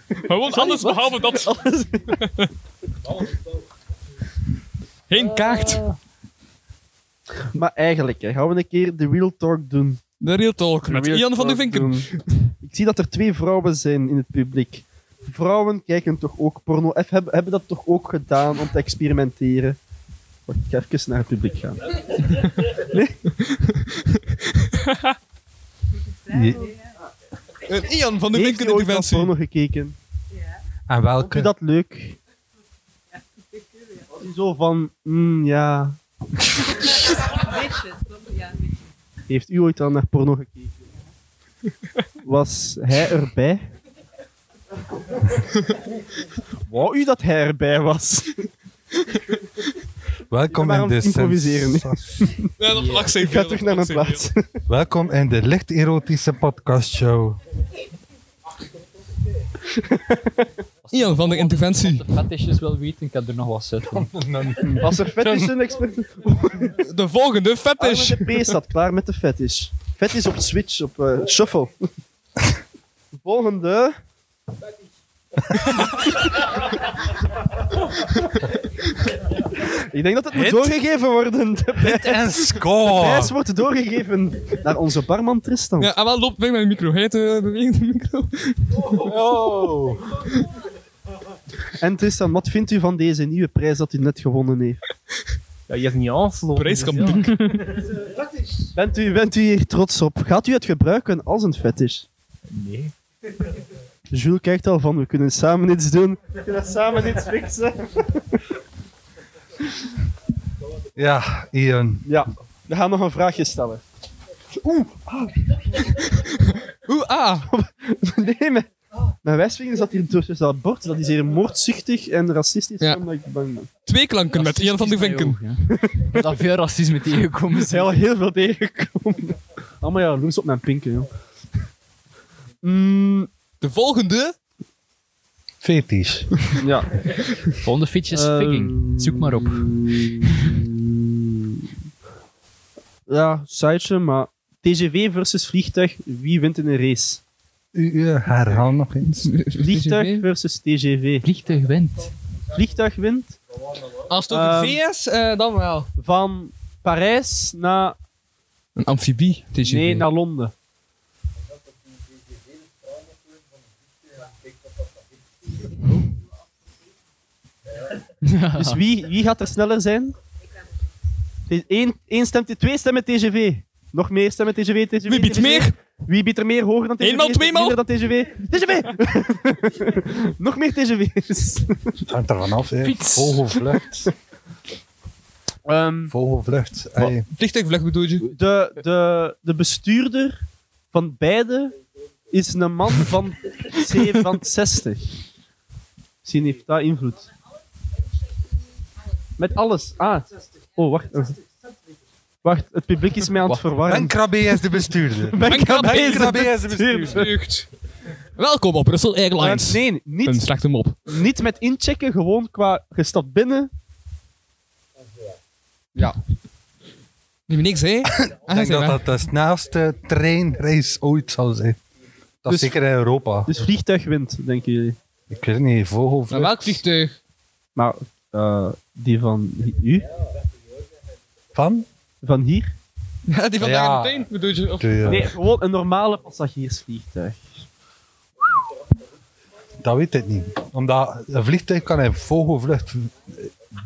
Speaker 3: Gewoon alles behalve dat.
Speaker 2: Alles.
Speaker 3: Geen kaart.
Speaker 2: Maar eigenlijk, hè, gaan we een keer de real talk doen.
Speaker 3: De Real Talk met
Speaker 2: Real
Speaker 3: Ian van de
Speaker 2: talk
Speaker 3: Vinken.
Speaker 2: doen. Ik zie dat er twee vrouwen zijn in het publiek. Vrouwen kijken toch ook porno. Eff, hebben, hebben dat toch ook gedaan om te experimenteren? Wacht, ik ga even naar het publiek gaan.
Speaker 1: Je-
Speaker 3: Eh, Ian van de
Speaker 2: Heeft
Speaker 3: Vinken
Speaker 2: u ooit naar
Speaker 3: interventie.
Speaker 2: porno gekeken?
Speaker 1: En
Speaker 2: Vond u
Speaker 1: welke?
Speaker 2: dat leuk? Was u zo van, mm, ja... Heeft u ooit al naar porno gekeken? Was hij erbij? Wou u dat hij erbij was?
Speaker 1: Welkom
Speaker 2: waarom
Speaker 1: in de
Speaker 2: improviseren?
Speaker 1: sens-
Speaker 3: Nee, dat lag
Speaker 2: Ik ga terug naar mijn plaats.
Speaker 1: Welkom in de licht erotische podcastshow.
Speaker 3: Ian van de interventie.
Speaker 4: De fetishes wil weten, ik heb er nog wat zitten.
Speaker 2: Als er vet is, een expert.
Speaker 3: De volgende fetish.
Speaker 2: Arme Ah, de P staat klaar met de fetish. Fetish op Switch, op eh, Shuffle. Volgende. Ik denk dat het moet doorgegeven worden. De
Speaker 1: Hit en
Speaker 2: prijs
Speaker 1: score!
Speaker 2: wordt doorgegeven naar onze barman Tristan.
Speaker 3: Ja, en wel loopt weg met de micro. Heet de bewegende micro.
Speaker 2: En Tristan, wat vindt u van deze nieuwe prijs dat u net gewonnen heeft?
Speaker 8: Ja, je hebt niet aansloten.
Speaker 3: Prijskampioen.
Speaker 2: Bent u, bent u hier trots op? Gaat u het gebruiken als een fetish?
Speaker 8: Nee.
Speaker 2: Jules kijkt al van, we kunnen samen iets doen. We kunnen samen iets fixen.
Speaker 1: Ja, Ian.
Speaker 2: Ja, we gaan nog een vraagje stellen.
Speaker 3: Oeh, ah.
Speaker 2: Nee, mijn, mijn wijsvinger zat hier tussen dat bord. Dat is hier moordzuchtig en racistisch,
Speaker 3: Ja.
Speaker 2: omdat ik bang ben.
Speaker 3: Twee klanken met Ian van de
Speaker 1: nou,
Speaker 3: Vinken.
Speaker 4: Ik heb daar veel racisme tegengekomen.
Speaker 2: Er zijn al heel veel tegengekomen. Allemaal jaloers op mijn pinken, joh. Mm,
Speaker 3: De volgende.
Speaker 1: Fetish.
Speaker 2: ja.
Speaker 4: Volgende fiets is figging. Zoek maar op.
Speaker 2: Ehm, Ja, siteje, maar... TGV versus vliegtuig, wie wint in een race?
Speaker 1: U eh, herhaal nog eens.
Speaker 2: Vliegtuig versus TGV.
Speaker 4: Vliegtuig wint.
Speaker 2: Vliegtuig wint
Speaker 3: Als het over
Speaker 2: Ehm.
Speaker 3: VS, eh, dan wel.
Speaker 2: van Parijs naar...
Speaker 3: Een amfibie. TGV.
Speaker 2: Nee, naar Londen. Dus wie, wie gaat er sneller zijn? Eén, één stemt, twee stemmen TGV. Nog meer stemmen TGV, TGV.
Speaker 3: Wie biedt
Speaker 2: TGV.
Speaker 3: meer?
Speaker 2: Wie biedt er meer hoger dan TGV?
Speaker 3: Eenmaal, tweemaal?
Speaker 2: Minder dan TGV? TGV! Nog meer TGV's.
Speaker 1: Het hangt ervan af, hè.
Speaker 4: Fiets.
Speaker 1: Vogelvlucht.
Speaker 2: Ehm,
Speaker 1: Vogelvlucht. Hey.
Speaker 3: Vliegtuigvlucht bedoel je?
Speaker 2: de, de, de bestuurder van beide is een man van 67. Misschien heeft dat invloed. Met alles. Ah. Oh, wacht. Eh, Wacht, het publiek is mij aan het
Speaker 1: Wacht.
Speaker 2: verwarren.
Speaker 1: Ben Krabbe is de bestuurder.
Speaker 2: Ben Krabbe
Speaker 1: Ben
Speaker 2: is de
Speaker 1: Krabbe is de bestuurder.
Speaker 3: Vlucht. Welkom op Brussel Airlines.
Speaker 2: Eh, nee,
Speaker 3: Een
Speaker 2: niet,
Speaker 3: slechte mop.
Speaker 2: niet met inchecken, gewoon qua gestapt binnen.
Speaker 3: Die me niks, hè? Ah,
Speaker 1: Ik denk dat dat de snelste treinreis ooit zal zijn. Dat
Speaker 2: Dus-
Speaker 1: is zeker in Europa.
Speaker 2: Dus vliegtuig wint, denken jullie.
Speaker 1: Ik weet niet,
Speaker 3: Maar
Speaker 1: vogelvlucht.
Speaker 3: welk vliegtuig?
Speaker 2: Maar eh, die van u,
Speaker 1: Van?
Speaker 2: van hier?
Speaker 3: Ja, die van
Speaker 1: Ja.
Speaker 3: daar meteen bedoel je? Of...
Speaker 1: De-
Speaker 2: Nee, gewoon een normale passagiersvliegtuig.
Speaker 1: Dat weet ik niet. Omdat een vliegtuig kan in vogelvlucht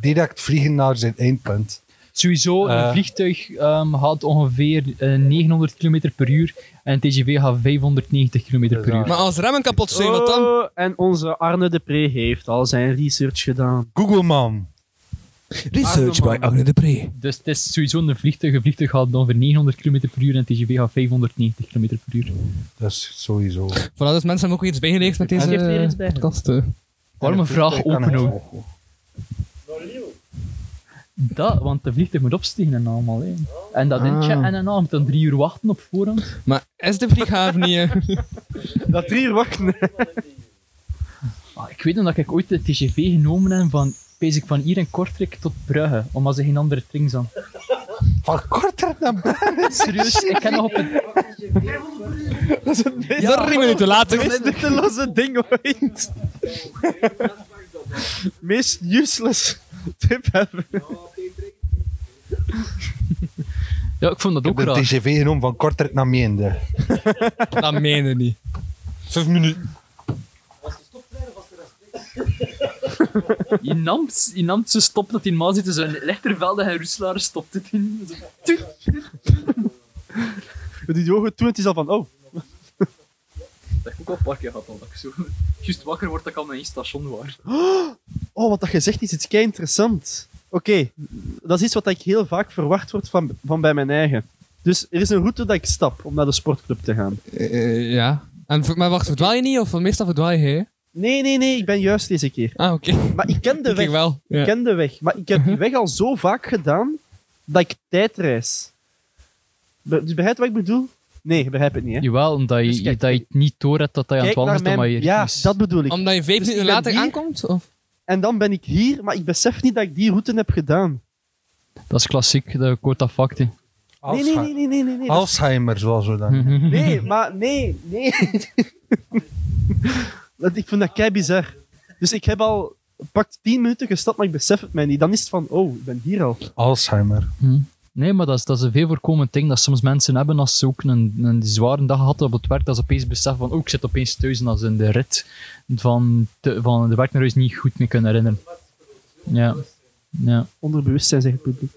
Speaker 1: direct vliegen naar zijn eindpunt.
Speaker 4: Sowieso, een
Speaker 1: Eh.
Speaker 4: vliegtuig ehm gaat ongeveer eh, 900 km per uur en een TGV gaat 590 km per
Speaker 1: Ja.
Speaker 4: uur.
Speaker 3: Maar als remmen kapot zijn, wat dan?
Speaker 2: Oh, en onze Arne de Pre heeft al zijn research gedaan.
Speaker 1: Google man.
Speaker 3: Research by Arne de Pre.
Speaker 4: Dus het is sowieso een vliegtuig. Een vliegtuig gaat ongeveer 900 km per uur en een TGV gaat 590 km per uur.
Speaker 1: Dat is sowieso.
Speaker 3: Voilà, dus mensen hebben ook weer iets bijgeleerd met deze
Speaker 2: heeft weer iets bij.
Speaker 3: podcast. eh.
Speaker 4: Waarom een vraag
Speaker 1: Kan
Speaker 4: open
Speaker 1: het
Speaker 4: ook?
Speaker 1: vogel.
Speaker 4: Dat, want de vliegtuig moet opstegen en allemaal. Hè. En dat inchecken en dan moet dan drie uur wachten op voorhand.
Speaker 3: Maar is de vlieghaven niet... eh,
Speaker 2: Dat drie uur wachten.
Speaker 4: Ah, ik weet nog dat ik ooit de TGV genomen heb van, pees ik van hier in Kortrijk tot Brugge, omdat ze geen andere trings hadden.
Speaker 1: Van korter dan
Speaker 4: Serieus, ik heb nog op een...
Speaker 3: Is dat drie minuten later?
Speaker 2: Is dit een losse ding ooit? Meest useless tip hebben.
Speaker 4: Ja, ik vond dat ook
Speaker 1: de
Speaker 4: raar.
Speaker 1: TGV genomen van korter naar meende.
Speaker 3: Dat meen je niet.
Speaker 1: Vijf minuten.
Speaker 4: Je nam, je nam ze stopt dat in maal zitten, zo'n lechtervelde en Roeselaar stopt het in. Zo, tuut.
Speaker 2: Die jongen toen het is al van, oh,
Speaker 4: Dat heb ik ook al een paar keer gehad, al, dat ik zo... Juist wakker word dat ik al mijn station waar.
Speaker 2: oh wat dat gezegd is, het is kei interessant. Oké, dat is iets wat ik heel vaak verwacht word van, van bij mijn eigen. Dus er is een route dat ik stap om naar de sportclub te gaan.
Speaker 3: Eh, eh, ja. En, v- maar wacht, verdwaal je niet? Of meestal verdwaal je, hè?
Speaker 2: Nee, nee, nee, ik ben juist deze keer.
Speaker 3: Ah, oké.
Speaker 2: Maar ik ken de
Speaker 3: Ik
Speaker 2: weg.
Speaker 3: denk wel.
Speaker 2: Ik
Speaker 3: Ja.
Speaker 2: ken de weg, maar ik heb
Speaker 4: Mhm.
Speaker 2: die weg al zo vaak gedaan dat ik tijdreis. Be- dus begrijp je wat ik bedoel? Nee, je begrijpt het niet, hè?
Speaker 4: Jawel, omdat je,
Speaker 2: Dus kijk,
Speaker 4: dat je het niet door hebt dat hij aan het
Speaker 2: Kijk
Speaker 4: wandelen
Speaker 2: naar
Speaker 4: is, dan maar
Speaker 2: mijn-
Speaker 4: je
Speaker 2: Ja,
Speaker 4: kiest.
Speaker 2: dat bedoel ik.
Speaker 3: Omdat je vijf
Speaker 2: Dus ik
Speaker 3: minuten
Speaker 2: ben
Speaker 3: later
Speaker 2: hier-
Speaker 3: aankomt? Of?
Speaker 2: En dan ben ik hier, maar ik besef niet dat ik die route heb gedaan.
Speaker 4: dat is klassiek, dat ik hoor dat fact, hè.
Speaker 2: Nee, nee, nee, nee, nee, nee. nee. dat-
Speaker 1: Alzheimer, zoals we dan.
Speaker 4: Mhm,
Speaker 2: Nee, maar nee, nee. Want ik vind dat kei bizar. Dus ik heb al pakt 10 minuten gestapt, maar ik besef het mij niet. Dan is het van, oh, ik ben hier al.
Speaker 1: Alzheimer.
Speaker 4: Nee, maar dat is, dat is een veel voorkomend ding dat soms mensen hebben als ze ook een, een zware dag hadden op het werk, dat ze opeens beseffen van, oh, ik zit opeens thuis en dat ze in de rit van, te- van de werk naar huis niet goed meer kunnen herinneren. Ja. Ja.
Speaker 2: Onder bewustzijn, zeg ik. publiek.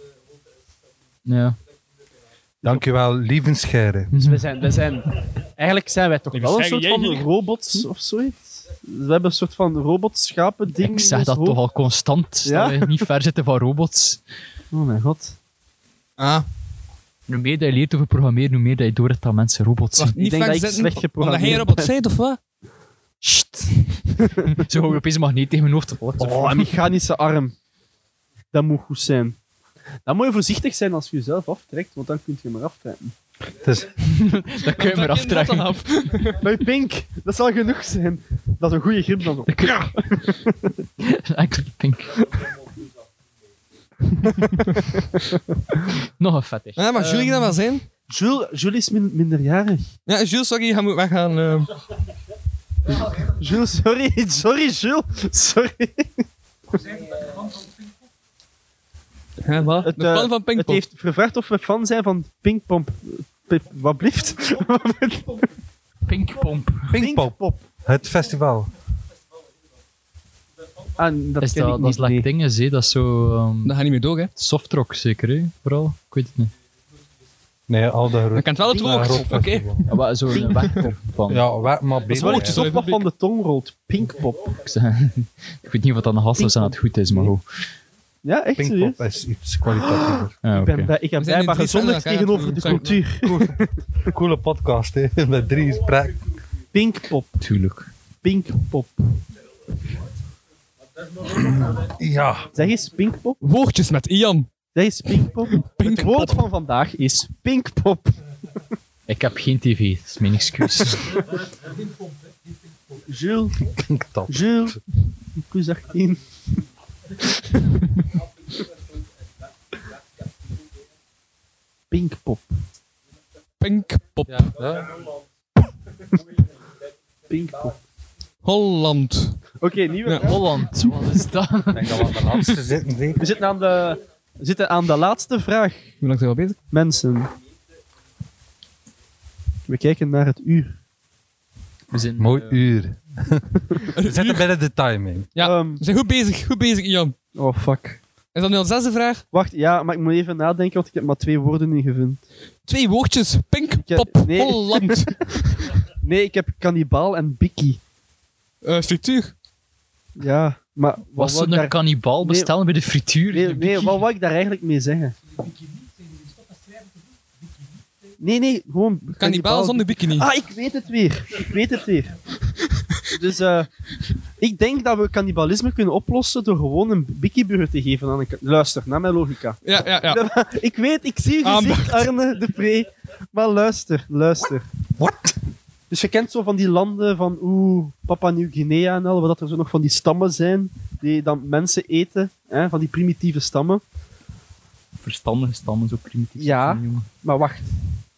Speaker 4: Ja. Mhm.
Speaker 1: Dankjewel, lievenscheire.
Speaker 2: Dus we zijn, we zijn, eigenlijk zijn wij toch wel een soort van robots of zoiets. We hebben een soort van robotschapen ding.
Speaker 4: Ik zeg
Speaker 2: in
Speaker 4: dat
Speaker 2: ons
Speaker 4: toch
Speaker 2: hoofd.
Speaker 4: al constant,
Speaker 2: dus Ja?
Speaker 4: dat we niet ver zitten van robots.
Speaker 2: Oh mijn god.
Speaker 3: Ah,
Speaker 4: Hoe meer dat je leert over programmeren, hoe meer dat je door hebt dat mensen robots zijn.
Speaker 3: wacht, niet
Speaker 2: denk
Speaker 3: ver
Speaker 2: dat ik slecht
Speaker 3: zitten. Omdat
Speaker 2: geprogrammeerd
Speaker 3: jij een robot bent, of wat?
Speaker 4: Sst. Zo hou je opeens een magneet tegen mijn hoofd. Wat de
Speaker 2: Oh, een mechanische arm. Dat moet goed zijn. Dan moet je voorzichtig zijn als je jezelf aftrekt, want dan kun je maar aftrekken.
Speaker 1: Het is
Speaker 4: f- Dat kun je maar aftrekken.
Speaker 2: Maar pink, dat zal genoeg zijn. Dat is een goede grip dan.
Speaker 4: Dat kun je- Enkel pink. Nog een vet, hè.
Speaker 3: Ja,
Speaker 2: Eh,
Speaker 3: maar Julie dat wel zijn?
Speaker 2: Jules, Jules is min- minderjarig.
Speaker 3: Ja, Jules, sorry, hij moet weggaan. eh.
Speaker 2: Jules, sorry. Sorry, Jules. Sorry.
Speaker 3: Hè, wat?
Speaker 2: Het,
Speaker 3: Het,
Speaker 2: eh,
Speaker 3: plan van
Speaker 2: Het
Speaker 3: Pinkpop.
Speaker 2: heeft gevraagd of we fan zijn van Pinkpomp. Pip- Wat blieft?
Speaker 4: Pinkpomp.
Speaker 1: Pinkpop.
Speaker 2: Pinkpop.
Speaker 1: Het festival.
Speaker 2: En dat
Speaker 4: is
Speaker 2: ken
Speaker 4: dat,
Speaker 2: ik
Speaker 4: dat is
Speaker 2: niet, nee.
Speaker 4: like dinges, hè. dat is zo ehm,
Speaker 3: Dat gaat niet meer door, hè.
Speaker 4: softrock zeker, hè? vooral. Ik weet het niet.
Speaker 1: Nee, al dat
Speaker 3: Je kent wel het woord. Oké.
Speaker 4: Ja, maar Zo'n wegpop van.
Speaker 1: Ja, wa- maar
Speaker 2: Dat is wel
Speaker 1: beter.
Speaker 2: iets
Speaker 1: hè.
Speaker 3: zo-
Speaker 2: stof wat van de tong rolt. Pinkpop.
Speaker 4: Ik zeg- ik weet niet wat dat nog altijd aan het goed is, maar goed.
Speaker 2: Ja, echt serieus?
Speaker 1: Pinkpop is iets kwalitatiever.
Speaker 4: Ah,
Speaker 2: Ik
Speaker 4: oké.
Speaker 2: ben bij- Ik heb
Speaker 3: We
Speaker 2: blijkbaar
Speaker 3: zijn in drie
Speaker 2: gezondheid
Speaker 3: cellen aan elkaar
Speaker 2: tegenover de
Speaker 3: aan het
Speaker 2: cultuur.
Speaker 1: Coole podcast, hè. Met drie is praat.
Speaker 2: Pinkpop.
Speaker 4: Tuurlijk.
Speaker 2: Pinkpop.
Speaker 1: Ja.
Speaker 2: Zeg eens pinkpop.
Speaker 3: Woordjes met Ian.
Speaker 2: Zeg eens pinkpop. Het
Speaker 3: Pinkpop.
Speaker 2: woord van vandaag is pinkpop.
Speaker 4: Ik heb geen tv, dat is mijn excuus.
Speaker 2: Jules,
Speaker 1: Pinktop.
Speaker 2: Jules. Plus 18. Pinkpop.
Speaker 3: Pinkpop.
Speaker 2: Pinkpop.
Speaker 3: Holland.
Speaker 2: Oké, nieuwe
Speaker 3: Ja.
Speaker 2: vraag.
Speaker 4: Holland, wat is dat?
Speaker 1: Ik denk dat we aan de laatste zitten, zeker.
Speaker 2: We zitten aan de, we zitten aan de laatste vraag,
Speaker 3: Hoe lang zijn we al bezig?
Speaker 2: mensen. We kijken naar het uur.
Speaker 4: We zijn,
Speaker 1: Mooi
Speaker 4: eh,
Speaker 1: uur. We zitten binnen de timing.
Speaker 3: Ja.
Speaker 2: Ehm,
Speaker 3: We zijn goed bezig. Goed bezig, Ian.
Speaker 2: oh, fuck.
Speaker 3: Is dat nu al de zesde vraag?
Speaker 2: Wacht, ja, maar ik moet even nadenken, want ik heb maar twee woorden ingevonden.
Speaker 3: Twee woordjes. Pinkpop.
Speaker 2: Ik heb- nee.
Speaker 3: Holland.
Speaker 2: Nee, ik heb kannibaal en bikkie.
Speaker 3: Eh, structuur.
Speaker 2: Ja, maar wat
Speaker 4: Was
Speaker 2: wou
Speaker 4: zo'n
Speaker 2: ik daar...
Speaker 4: kannibaal
Speaker 2: Nee.
Speaker 4: bestellen bij de frituur?
Speaker 2: Nee, nee, wat wou ik daar eigenlijk mee zeggen? Nee, nee, gewoon...
Speaker 3: Kannibaal zonder bikini.
Speaker 2: Ah, ik weet het weer. Ik weet het weer. Dus eh, ik denk dat we cannibalisme kunnen oplossen door gewoon een bikkieburger te geven aan een... ka- Luister, naar mijn logica.
Speaker 3: Ja, ja, ja.
Speaker 2: Ik weet, ik zie je gezicht, Arne de Pre. Maar luister, luister.
Speaker 1: What?
Speaker 2: Dus je kent zo van die landen van oeh, Papua Nieuw-Guinea en al, wat dat er zo nog van die stammen zijn, die dan mensen eten, hè, van die primitieve stammen.
Speaker 4: Verstandige stammen, zo primitief.
Speaker 2: Ja.
Speaker 4: zijn, jongen.
Speaker 2: Maar wacht.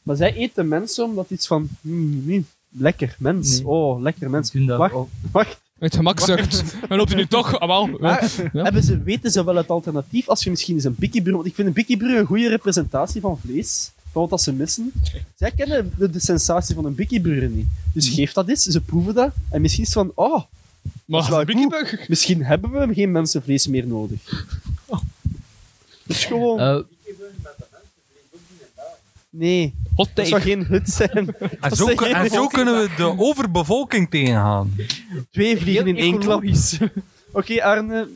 Speaker 2: Maar zij eten mensen omdat iets van, hmm, hmm, lekker mens,
Speaker 4: Nee.
Speaker 2: oh, lekker mens.
Speaker 4: Doen dat.
Speaker 2: Wacht,
Speaker 4: Oh,
Speaker 2: wacht.
Speaker 3: Uit gemakzucht. Maar loopt hij nu toch? Ah, wel.
Speaker 2: Maar
Speaker 3: Ja.
Speaker 2: Hebben ze, weten ze wel het alternatief als je misschien eens een bikkieburger... Want ik vind een bikkieburger een goede representatie van vlees, van wat dat ze missen. Zij kennen de, de sensatie van een bikkieburger niet. Dus geef dat eens, ze proeven dat. En misschien is het van, oh,
Speaker 3: Maar
Speaker 2: is wel
Speaker 3: een bikiebug.
Speaker 2: Misschien hebben we geen mensenvlees meer nodig. Dat is gewoon...
Speaker 4: eh,
Speaker 2: nee,
Speaker 3: Hot
Speaker 2: dat zou
Speaker 3: take.
Speaker 2: geen hut zijn.
Speaker 1: En zo,
Speaker 2: zeg
Speaker 1: kun-
Speaker 2: je
Speaker 1: en zo
Speaker 2: helemaal
Speaker 1: kunnen we de overbevolking tegengaan.
Speaker 2: Twee vliegen in één klap. Oké, Arne,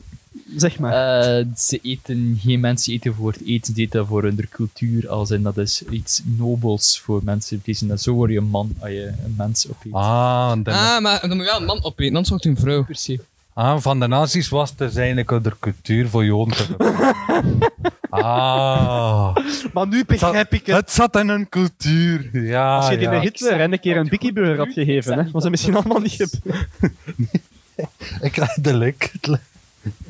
Speaker 2: zeg maar.
Speaker 4: Eh, ze eten, geen mensen eten voor het eten, ze eten voor hun cultuur, als in dat is iets nobels voor mensen. Die zien dat zo word je een man als je een mens opeet.
Speaker 1: Ah, de,
Speaker 3: Ah, maar dan moet je wel een man opeten, anders wordt hij een vrouw.
Speaker 1: ah, van de nazi's was het dus eigenlijk de cultuur voor Joden te bepalen. Ah,
Speaker 2: maar nu
Speaker 1: het zat,
Speaker 2: begrijp ik het.
Speaker 1: het zat in hun cultuur. Ja,
Speaker 2: Als je die
Speaker 1: Ah, ja.
Speaker 2: een Hitler en een keer een bikkieburger had gegeven, hè, was dat misschien allemaal niet gebeurd.
Speaker 1: Ik krijg de lek.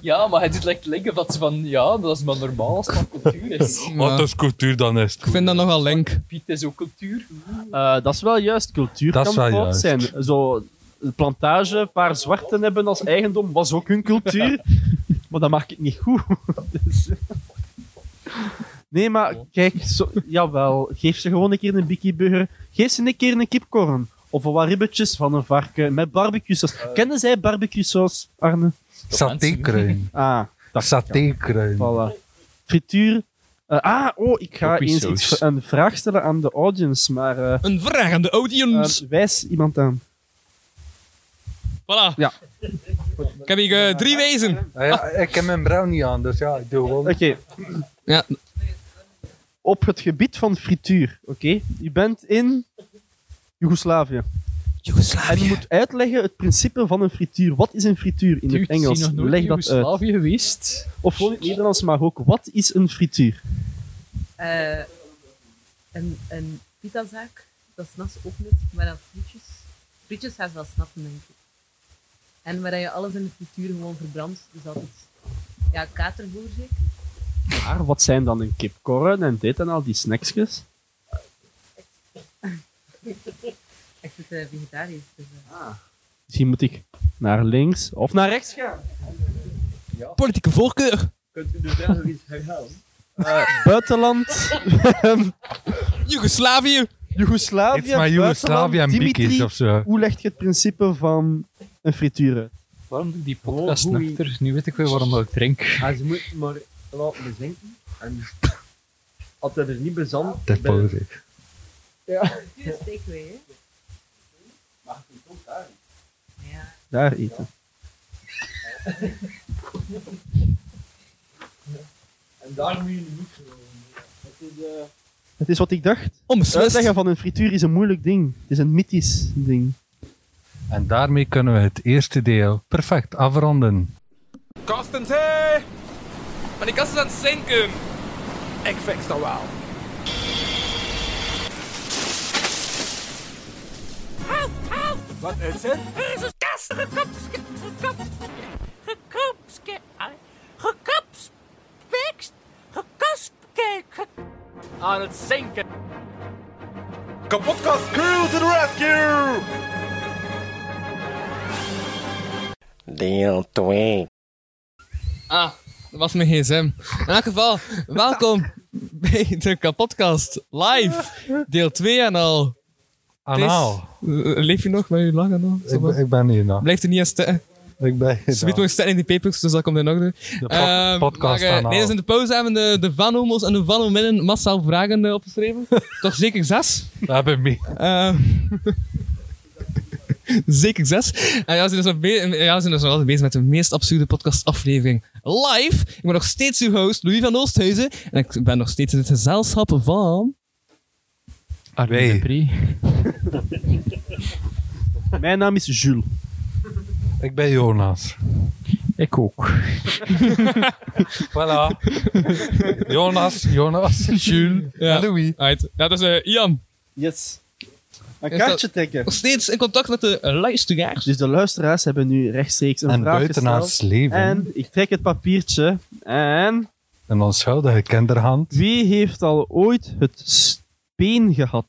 Speaker 4: Ja, maar het doet lijkt linken dat ze van, ja, dat is maar normaal als dat cultuur is.
Speaker 3: Maar
Speaker 1: Wat is cultuur dan is? het
Speaker 3: Ik vind dat nogal link.
Speaker 4: Piet is ook cultuur.
Speaker 2: Eh, dat is wel juist, cultuur
Speaker 1: Dat is
Speaker 2: kan
Speaker 1: wel
Speaker 2: fout
Speaker 1: juist.
Speaker 2: zijn. Zo, een plantage, een paar zwarten hebben als eigendom, was ook hun cultuur. maar dat maakt het niet goed. Dus- Nee, maar kijk, zo, jawel, geef ze gewoon een keer een bikkieburger. Geef ze een keer een kipkorn. Of wat ribbetjes van een varken met barbecue saus.
Speaker 1: Eh.
Speaker 2: Kennen zij barbecue saus, Arne?
Speaker 1: goed. Satékruin.
Speaker 2: Ah, dat
Speaker 1: Satékruin.
Speaker 2: Voilà. Frituur. Eh, ah, oh, ik ga
Speaker 4: Poppy
Speaker 2: eens
Speaker 4: saus.
Speaker 2: iets, een vraag stellen aan de audience, maar eh,
Speaker 3: Een vraag aan de audience.
Speaker 2: eh, wijs iemand aan.
Speaker 3: Eh, voilà.
Speaker 2: ja.
Speaker 3: Ik heb hier eh, drie wezen.
Speaker 1: Ah ja, ik heb mijn bril niet aan, dus ja, ik doe
Speaker 2: Oké.
Speaker 1: gewoon.
Speaker 3: Ja.
Speaker 2: Op het gebied van frituur, oké? Je bent in Joegoslavië. En je
Speaker 3: Joegoslavië.
Speaker 2: moet uitleggen het principe van een frituur. Wat is een frituur in
Speaker 4: Dude,
Speaker 2: het Engels?
Speaker 4: zie nog nooit
Speaker 2: Leg
Speaker 4: in
Speaker 2: dat uit.
Speaker 4: Joegoslavië geweest.
Speaker 2: Of gewoon in het Nederlands, maar ook. Wat is een frituur?
Speaker 9: Eh, een, een pitazaak, dat is nas ook niet, maar dan frietjes. Frietjes gaat wel snappen, denk ik. En waar je alles in de frituur gewoon verbrandt, dus altijd... Ja, katervoer zeker.
Speaker 2: Maar wat zijn dan een kipkorren en dit en al die snacksjes?
Speaker 9: Ik zit eh, vegetarisch, dus... eh.
Speaker 2: Misschien moet ik naar links of naar rechts gaan.
Speaker 3: Politieke voorkeur.
Speaker 2: Buitenland.
Speaker 3: Joegoslavië.
Speaker 1: Het
Speaker 2: Joegoslavië.
Speaker 1: is maar Joegoslavië en
Speaker 2: buitenland.
Speaker 1: Bikies
Speaker 2: Dimitri,
Speaker 1: of zo.
Speaker 2: Hoe leg je het principe van een frituur uit?
Speaker 4: Waarom doe ik die
Speaker 10: Gewoon
Speaker 4: podcast
Speaker 10: goed, wie-
Speaker 4: nuchter? dus Nu weet ik weer waarom dat ik drink.
Speaker 10: En ze moeten maar laten bezinken. En als dat er niet bezand
Speaker 1: Dat
Speaker 10: bij-
Speaker 1: pauze.
Speaker 10: Ja.
Speaker 9: Stuur een takeaway, hè.
Speaker 6: Mag ik het ook daar?
Speaker 9: Ja.
Speaker 2: Daar eten.
Speaker 6: En daar moet je nu niet geloven. Het is, eh,
Speaker 2: Het is wat ik dacht.
Speaker 3: Onbeslist.
Speaker 2: Uitleggen van een frituur is een moeilijk ding. Het is een mythisch ding.
Speaker 1: En daarmee kunnen we het eerste deel perfect afronden.
Speaker 11: Carsten, hey! Maar die kast is aan het zinken. Ik fix dat wel. Wat is het?
Speaker 5: is een kast gekopske, gekopske, gekopske, gekopspekst, gekopske,
Speaker 6: Aan het zinken.
Speaker 11: Kapotkast crew to the rescue!
Speaker 12: Deel 2.
Speaker 3: Ah, dat was mijn gsm. In elk geval, welkom bij de kapotkast live, deel 2 en al.
Speaker 1: Anaal.
Speaker 3: Thijs, eh, Leef je nog? Ben je lang anaal?
Speaker 1: Ik, ben- ik ben hier nog.
Speaker 3: Blijft er niet aan zitten.
Speaker 1: Ik ben hier
Speaker 3: Ze moet nog zitten in die papers, dus dat komt in orde.
Speaker 1: De pod-
Speaker 3: Ehm,
Speaker 1: podcast
Speaker 3: maar, eh,
Speaker 1: anaal.
Speaker 3: Nee, dus in de pauze hebben de, de van homo's en de van hominnen massaal vragen eh, opgeschreven. Toch zeker zes?
Speaker 1: Dat heb ik mee.
Speaker 3: Eh, Zeker zes. En ja, we zijn dus nog, be- ja, we zijn dus nog altijd bezig met de meest absurde podcastaflevering live. Ik ben nog steeds uw host, Louis van Oosthuizen. En ik ben nog steeds in het gezelschap van...
Speaker 4: Arne
Speaker 2: Mijn naam is Jules.
Speaker 1: Ik ben Jonas.
Speaker 4: Ik ook.
Speaker 1: voilà. Jonas, Jonas, Jules en Louis.
Speaker 3: Right. Ja, dat is eh, Ian.
Speaker 2: Yes. Een
Speaker 3: Is
Speaker 2: kaartje
Speaker 3: dat-
Speaker 2: trekken.
Speaker 3: Nog steeds in contact met de eh, luisteraars.
Speaker 2: Dus de luisteraars hebben nu rechtstreeks een
Speaker 1: En
Speaker 2: vraag
Speaker 1: buitenaars
Speaker 2: gesteld.
Speaker 1: leven.
Speaker 2: En ik trek het papiertje. En
Speaker 1: Een onschuldige kinderhand.
Speaker 2: wie heeft al ooit het speen gehad?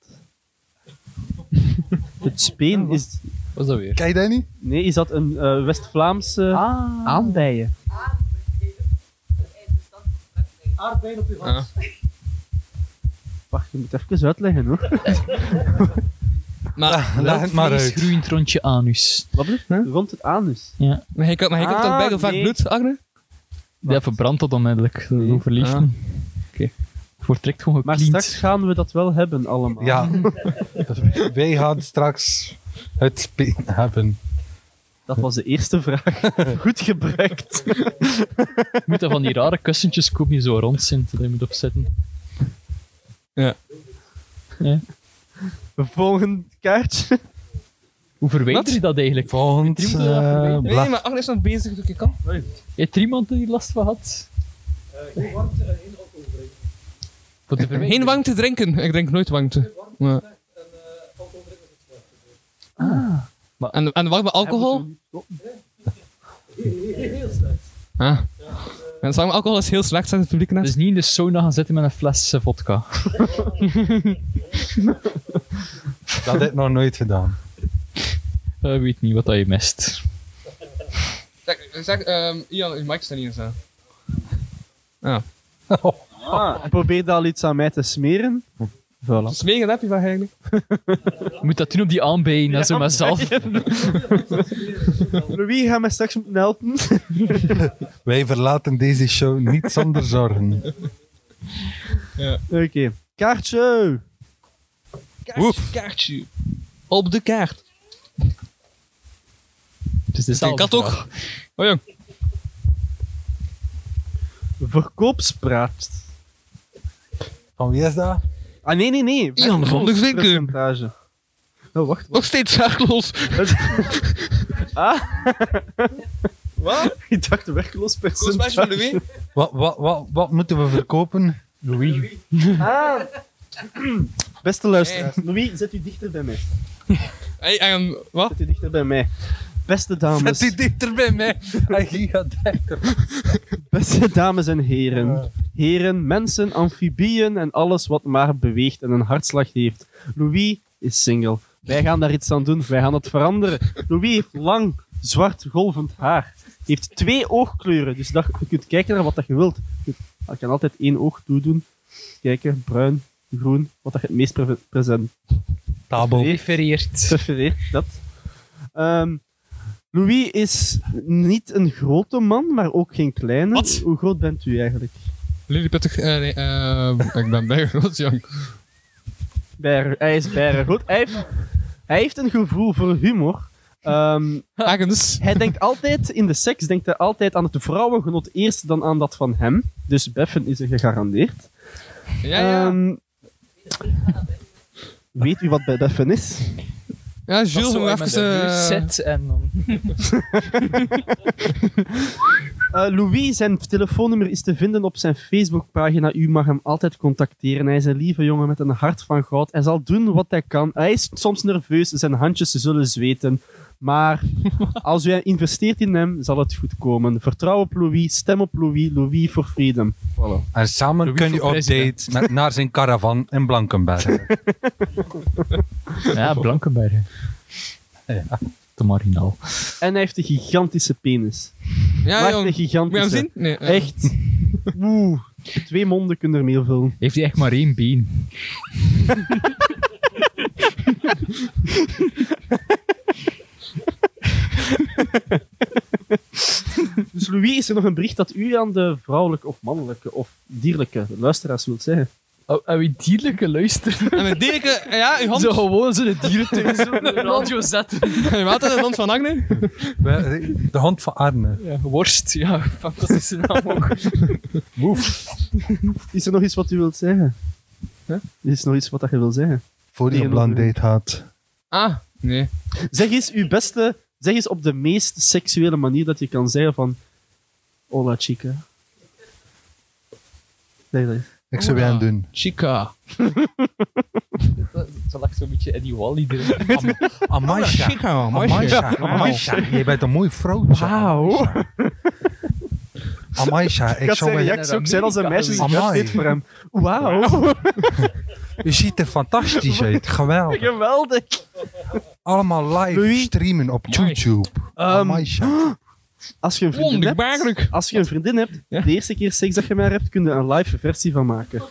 Speaker 2: het speen is...
Speaker 4: Wat is dat weer?
Speaker 1: Kijk dat niet?
Speaker 2: Nee, is dat een eh, West-Vlaamse...
Speaker 4: Ah.
Speaker 2: Aandijen.
Speaker 5: Aardbeien op je
Speaker 4: Ah.
Speaker 5: hand.
Speaker 2: Wacht, je moet even uitleggen hoor.
Speaker 3: Maar,
Speaker 1: Leg het maar uit.
Speaker 4: groeiend rondje anus.
Speaker 2: Wat is het? Rond het anus.
Speaker 4: Ja.
Speaker 3: Maar jij kan- maar jij kan toch
Speaker 2: Ah,
Speaker 3: bij vaak
Speaker 2: nee.
Speaker 3: bloed, Agne?
Speaker 4: Die verbrandt dat onmiddellijk. Dat overleeft
Speaker 3: Ah.
Speaker 4: niet. Wordt direct gewoon
Speaker 2: Maar
Speaker 4: gecleaned.
Speaker 2: straks gaan we dat wel hebben allemaal.
Speaker 1: Ja. Wij gaan straks het speen hebben.
Speaker 2: Dat was de eerste vraag. Goed gebruikt.
Speaker 4: Moet dat van die rare kussentjes kopen die zo rond zijn, dat je moet opzetten.
Speaker 3: Ja.
Speaker 4: Ja.
Speaker 2: Volgend kaartje.
Speaker 4: Hoe verwijder
Speaker 3: Wat?
Speaker 4: je dat eigenlijk?
Speaker 1: Volgend
Speaker 4: Heeft er iemand,
Speaker 1: eh,
Speaker 3: Nee,
Speaker 1: blad.
Speaker 3: maar Agne is nog bezig, doe ik kan.
Speaker 4: heeft er iemand die last van had?
Speaker 6: Hoe warmt er een eh, alcohol drinken?
Speaker 4: Voor de verwijder-
Speaker 3: Eh, Geen warmte drinken. Ik drink nooit warmte. Ja.
Speaker 1: Ah.
Speaker 3: En, en warme alcohol?
Speaker 6: Heel slecht.
Speaker 3: Ah. En warme alcohol is heel slecht, zegt het publiek net.
Speaker 4: Dus niet in de sauna gaan zitten met een fles eh, vodka.
Speaker 1: Dat heb ik nog nooit gedaan.
Speaker 4: Ik weet niet wat dat Eh, je mist.
Speaker 3: Zeg, zeg ehm, Ian, je mic staat niet eens aan.
Speaker 2: Ah, probeerde al iets aan mij te smeren. Voilà.
Speaker 3: Smegen heb je van eigenlijk?
Speaker 4: Je moet dat doen op die aanbijen, en zo maar zelf.
Speaker 2: Louis, gaan mij straks moeten helpen?
Speaker 1: Wij verlaten deze show niet zonder zorgen.
Speaker 2: Oké. Kaartje.
Speaker 3: Kaartje, kaartje. Op de kaart.
Speaker 4: Dus dit is
Speaker 3: Ik had ook. Oh jong.
Speaker 2: Verkoopspraat.
Speaker 1: Van wie is dat?
Speaker 2: Ah, nee, nee, nee.
Speaker 3: Ian van der Zinken.
Speaker 2: Percentage. Oh, wacht.
Speaker 3: Nog steeds zaakloos. Wat?
Speaker 2: Ik dacht werkloos
Speaker 3: Volgens mij is
Speaker 2: percentage.
Speaker 3: Louis.
Speaker 1: Wat, wat, wat, wat moeten we verkopen?
Speaker 4: Louis.
Speaker 2: Ah. Beste luisteraars. Louis, zet u dichter bij mij.
Speaker 3: Hey, ehm, wat?
Speaker 2: Zet u dichter bij mij. Beste
Speaker 1: Zet
Speaker 2: dames.
Speaker 1: die dichter bij mij. Hij gaat dichter.
Speaker 2: Beste dames en heren. Heren, mensen, amfibieën en alles wat maar beweegt en een hartslag heeft. Louis is single. Wij gaan daar iets aan doen. Wij gaan het veranderen. Louis heeft lang, zwart, golvend haar. Heeft twee oogkleuren. Dus dat, je kunt kijken naar wat dat je wilt. Je je kan altijd één oog toedoen. Kijken, bruin, groen, wat dat je het meest pre- present
Speaker 1: Tabel.
Speaker 4: Prefereert.
Speaker 2: prefereert. Dat. Ehm, Louis is niet een grote man, maar ook geen kleine. Hoe groot bent u eigenlijk?
Speaker 3: Lilliputtig, eh, nee, eh, ik ben bij groot, jong.
Speaker 2: Beier- hij is bijna goed. Hij heeft, hij heeft een gevoel voor humor. Ehm, Hij denkt altijd in de seks, denkt hij altijd aan het vrouwengenot eerst dan aan dat van hem. Dus beffen is er gegarandeerd.
Speaker 3: Ja, ja.
Speaker 2: Ehm, weet u wat bij beffen is?
Speaker 3: Ja,
Speaker 6: Dat
Speaker 3: Jules,
Speaker 6: zo
Speaker 3: hoe
Speaker 6: in
Speaker 3: even...
Speaker 6: mijn
Speaker 3: eh,
Speaker 6: deur zit en dan...
Speaker 2: Eh, Louis, zijn telefoonnummer is te vinden op zijn Facebookpagina. U mag hem altijd contacteren. Hij is een lieve jongen met een hart van goud. Hij zal doen wat hij kan. Hij is soms nerveus, zijn handjes zullen zweten. Maar als u investeert in hem, zal het goed komen. Vertrouw op Louis, stem op Louis, Louis for Freedom. Voilà.
Speaker 1: En samen
Speaker 2: Louis
Speaker 1: kun je
Speaker 2: voor
Speaker 1: op
Speaker 2: president.
Speaker 1: date met- naar zijn caravan in Blankenberg.
Speaker 4: Ja, Blankenberg.
Speaker 3: Eh, ah.
Speaker 2: Ja, te marginaal. En hij heeft een gigantische penis.
Speaker 3: Ja,
Speaker 2: Maar echt
Speaker 3: jong.
Speaker 2: een gigantische.
Speaker 3: Moet je hem zien? Nee, eh, ja.
Speaker 2: Echt. Oeh, twee monden kunnen ermee vullen.
Speaker 4: Heeft hij echt maar één been?
Speaker 2: dus Louis, is er nog een bericht dat u aan de vrouwelijke of mannelijke of dierlijke luisteraars wilt zeggen?
Speaker 4: Oh, en wie dierlijke luistert?
Speaker 3: En met dierlijke... Ja, uw hand...
Speaker 4: Zo gewoon zo'n dierentuin, zo'n radio zetten.
Speaker 3: Wat is de hand van Agne?
Speaker 1: Wij- De hand van Arne.
Speaker 4: Ja, worst, ja, fantastische naam ook.
Speaker 1: Woef.
Speaker 2: Is er nog iets wat u wilt zeggen? Is er nog iets wat dat je wilt zeggen?
Speaker 1: Voor je op
Speaker 2: Tegenover
Speaker 1: land
Speaker 2: u.
Speaker 1: date gaat.
Speaker 3: Ah, nee.
Speaker 2: Zeg eens uw beste, zeg eens op de meest seksuele manier dat je kan zeggen van Hola chica. Nee, nee.
Speaker 1: Ik zou willen doen.
Speaker 3: Chica.
Speaker 4: Zal ik zo'n beetje Eddie Wally erin?
Speaker 1: Amaisha.
Speaker 4: Oh, chica, Amaisha.
Speaker 1: Amaisha.
Speaker 4: Wauw.
Speaker 1: Amaisha. Je bent een mooi vrouwtje. Wauw. Amaisha. Ah, Ik
Speaker 2: Ik
Speaker 1: zou
Speaker 2: zou
Speaker 1: willen-
Speaker 2: reactie ook zijn als een meisje zegt, "Ja,
Speaker 1: Amai.
Speaker 2: dit voor hem. Wauw.
Speaker 1: Je ziet er fantastisch uit. Geweldig.
Speaker 2: Geweldig.
Speaker 1: Allemaal live streamen op YouTube.
Speaker 2: Ehm, als je een vriendin
Speaker 3: hebt,
Speaker 2: als je een vriendin hebt de eerste keer seks dat je maar hebt, kun je een live versie van maken.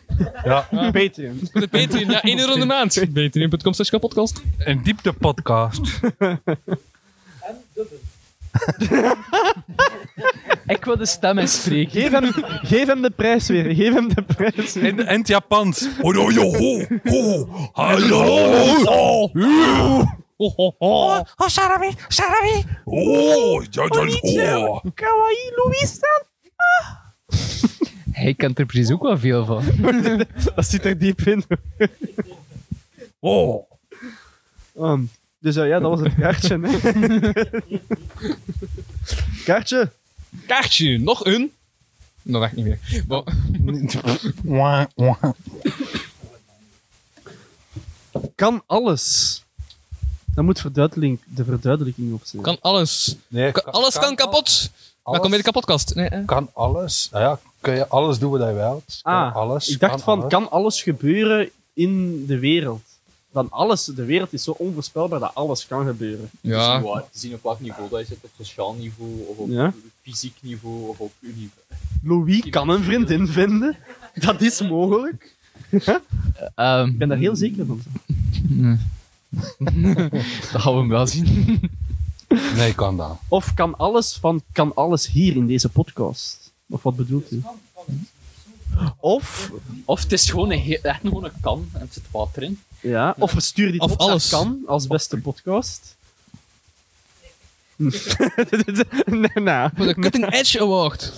Speaker 1: Ja.
Speaker 2: Patreon.
Speaker 3: Voor de Patreon, ja, 1 euro in de maand. Patreon.com slash kapotkast.
Speaker 1: Een diepte podcast.
Speaker 4: Ik wil de stem inspreken.
Speaker 2: Geef hem, geef hem de prijs weer. Geef hem de prijs weer.
Speaker 1: In, in het Japans. Hallo, yo, ho, ho, hallo, ho, ho,
Speaker 3: ho, ho, ho.
Speaker 5: Oh, Sarami, Sarami.
Speaker 1: Oh, ja, ja, ho.
Speaker 5: Kawaii Louis-san.
Speaker 4: Hij kent er precies ook wel veel van.
Speaker 2: dat zit er diep in.
Speaker 1: oh.
Speaker 2: Ehm, dus eh, ja, dat was het kaartje. hè. kaartje.
Speaker 3: Kaartje, nog een. Nog echt niet meer. Bo-
Speaker 1: Wah, wah.
Speaker 2: Kan alles. Daar moet verduidelijking, de verduidelijking op zijn.
Speaker 3: Kan alles. Ka- alles kan, kapot. Maar kom bij de kapotkast. Nee, eh.
Speaker 1: Kan alles. Nou ja, kun je alles doen wat je wilt. Kan
Speaker 2: Ah,
Speaker 1: alles.
Speaker 2: ik dacht
Speaker 1: kan
Speaker 2: van,
Speaker 1: alles.
Speaker 2: kan alles gebeuren in de wereld? Dan alles, de wereld is zo onvoorspelbaar dat alles kan gebeuren.
Speaker 4: Het is niet waar. Te zien op welk niveau dat je zit, op sociaal niveau, of op
Speaker 2: Ja.
Speaker 4: fysiek niveau, of op univeau.
Speaker 2: Louis kan een vriendin vinden. Dat is mogelijk.
Speaker 4: Ehm,
Speaker 2: Ik ben daar heel zeker van.
Speaker 4: dat gaan we hem wel zien.
Speaker 1: Nee, kan dat.
Speaker 2: Of kan alles van kan alles hier in deze podcast? Of wat bedoelt u? Of,
Speaker 4: of het is gewoon een, heel- echt gewoon een kan en het zit water in.
Speaker 2: Ja, of we sturen dit
Speaker 4: Of
Speaker 2: op naar
Speaker 4: alles.
Speaker 2: kan als beste podcast. Hm. nee, nou.
Speaker 3: Voor de Cutting Edge Award.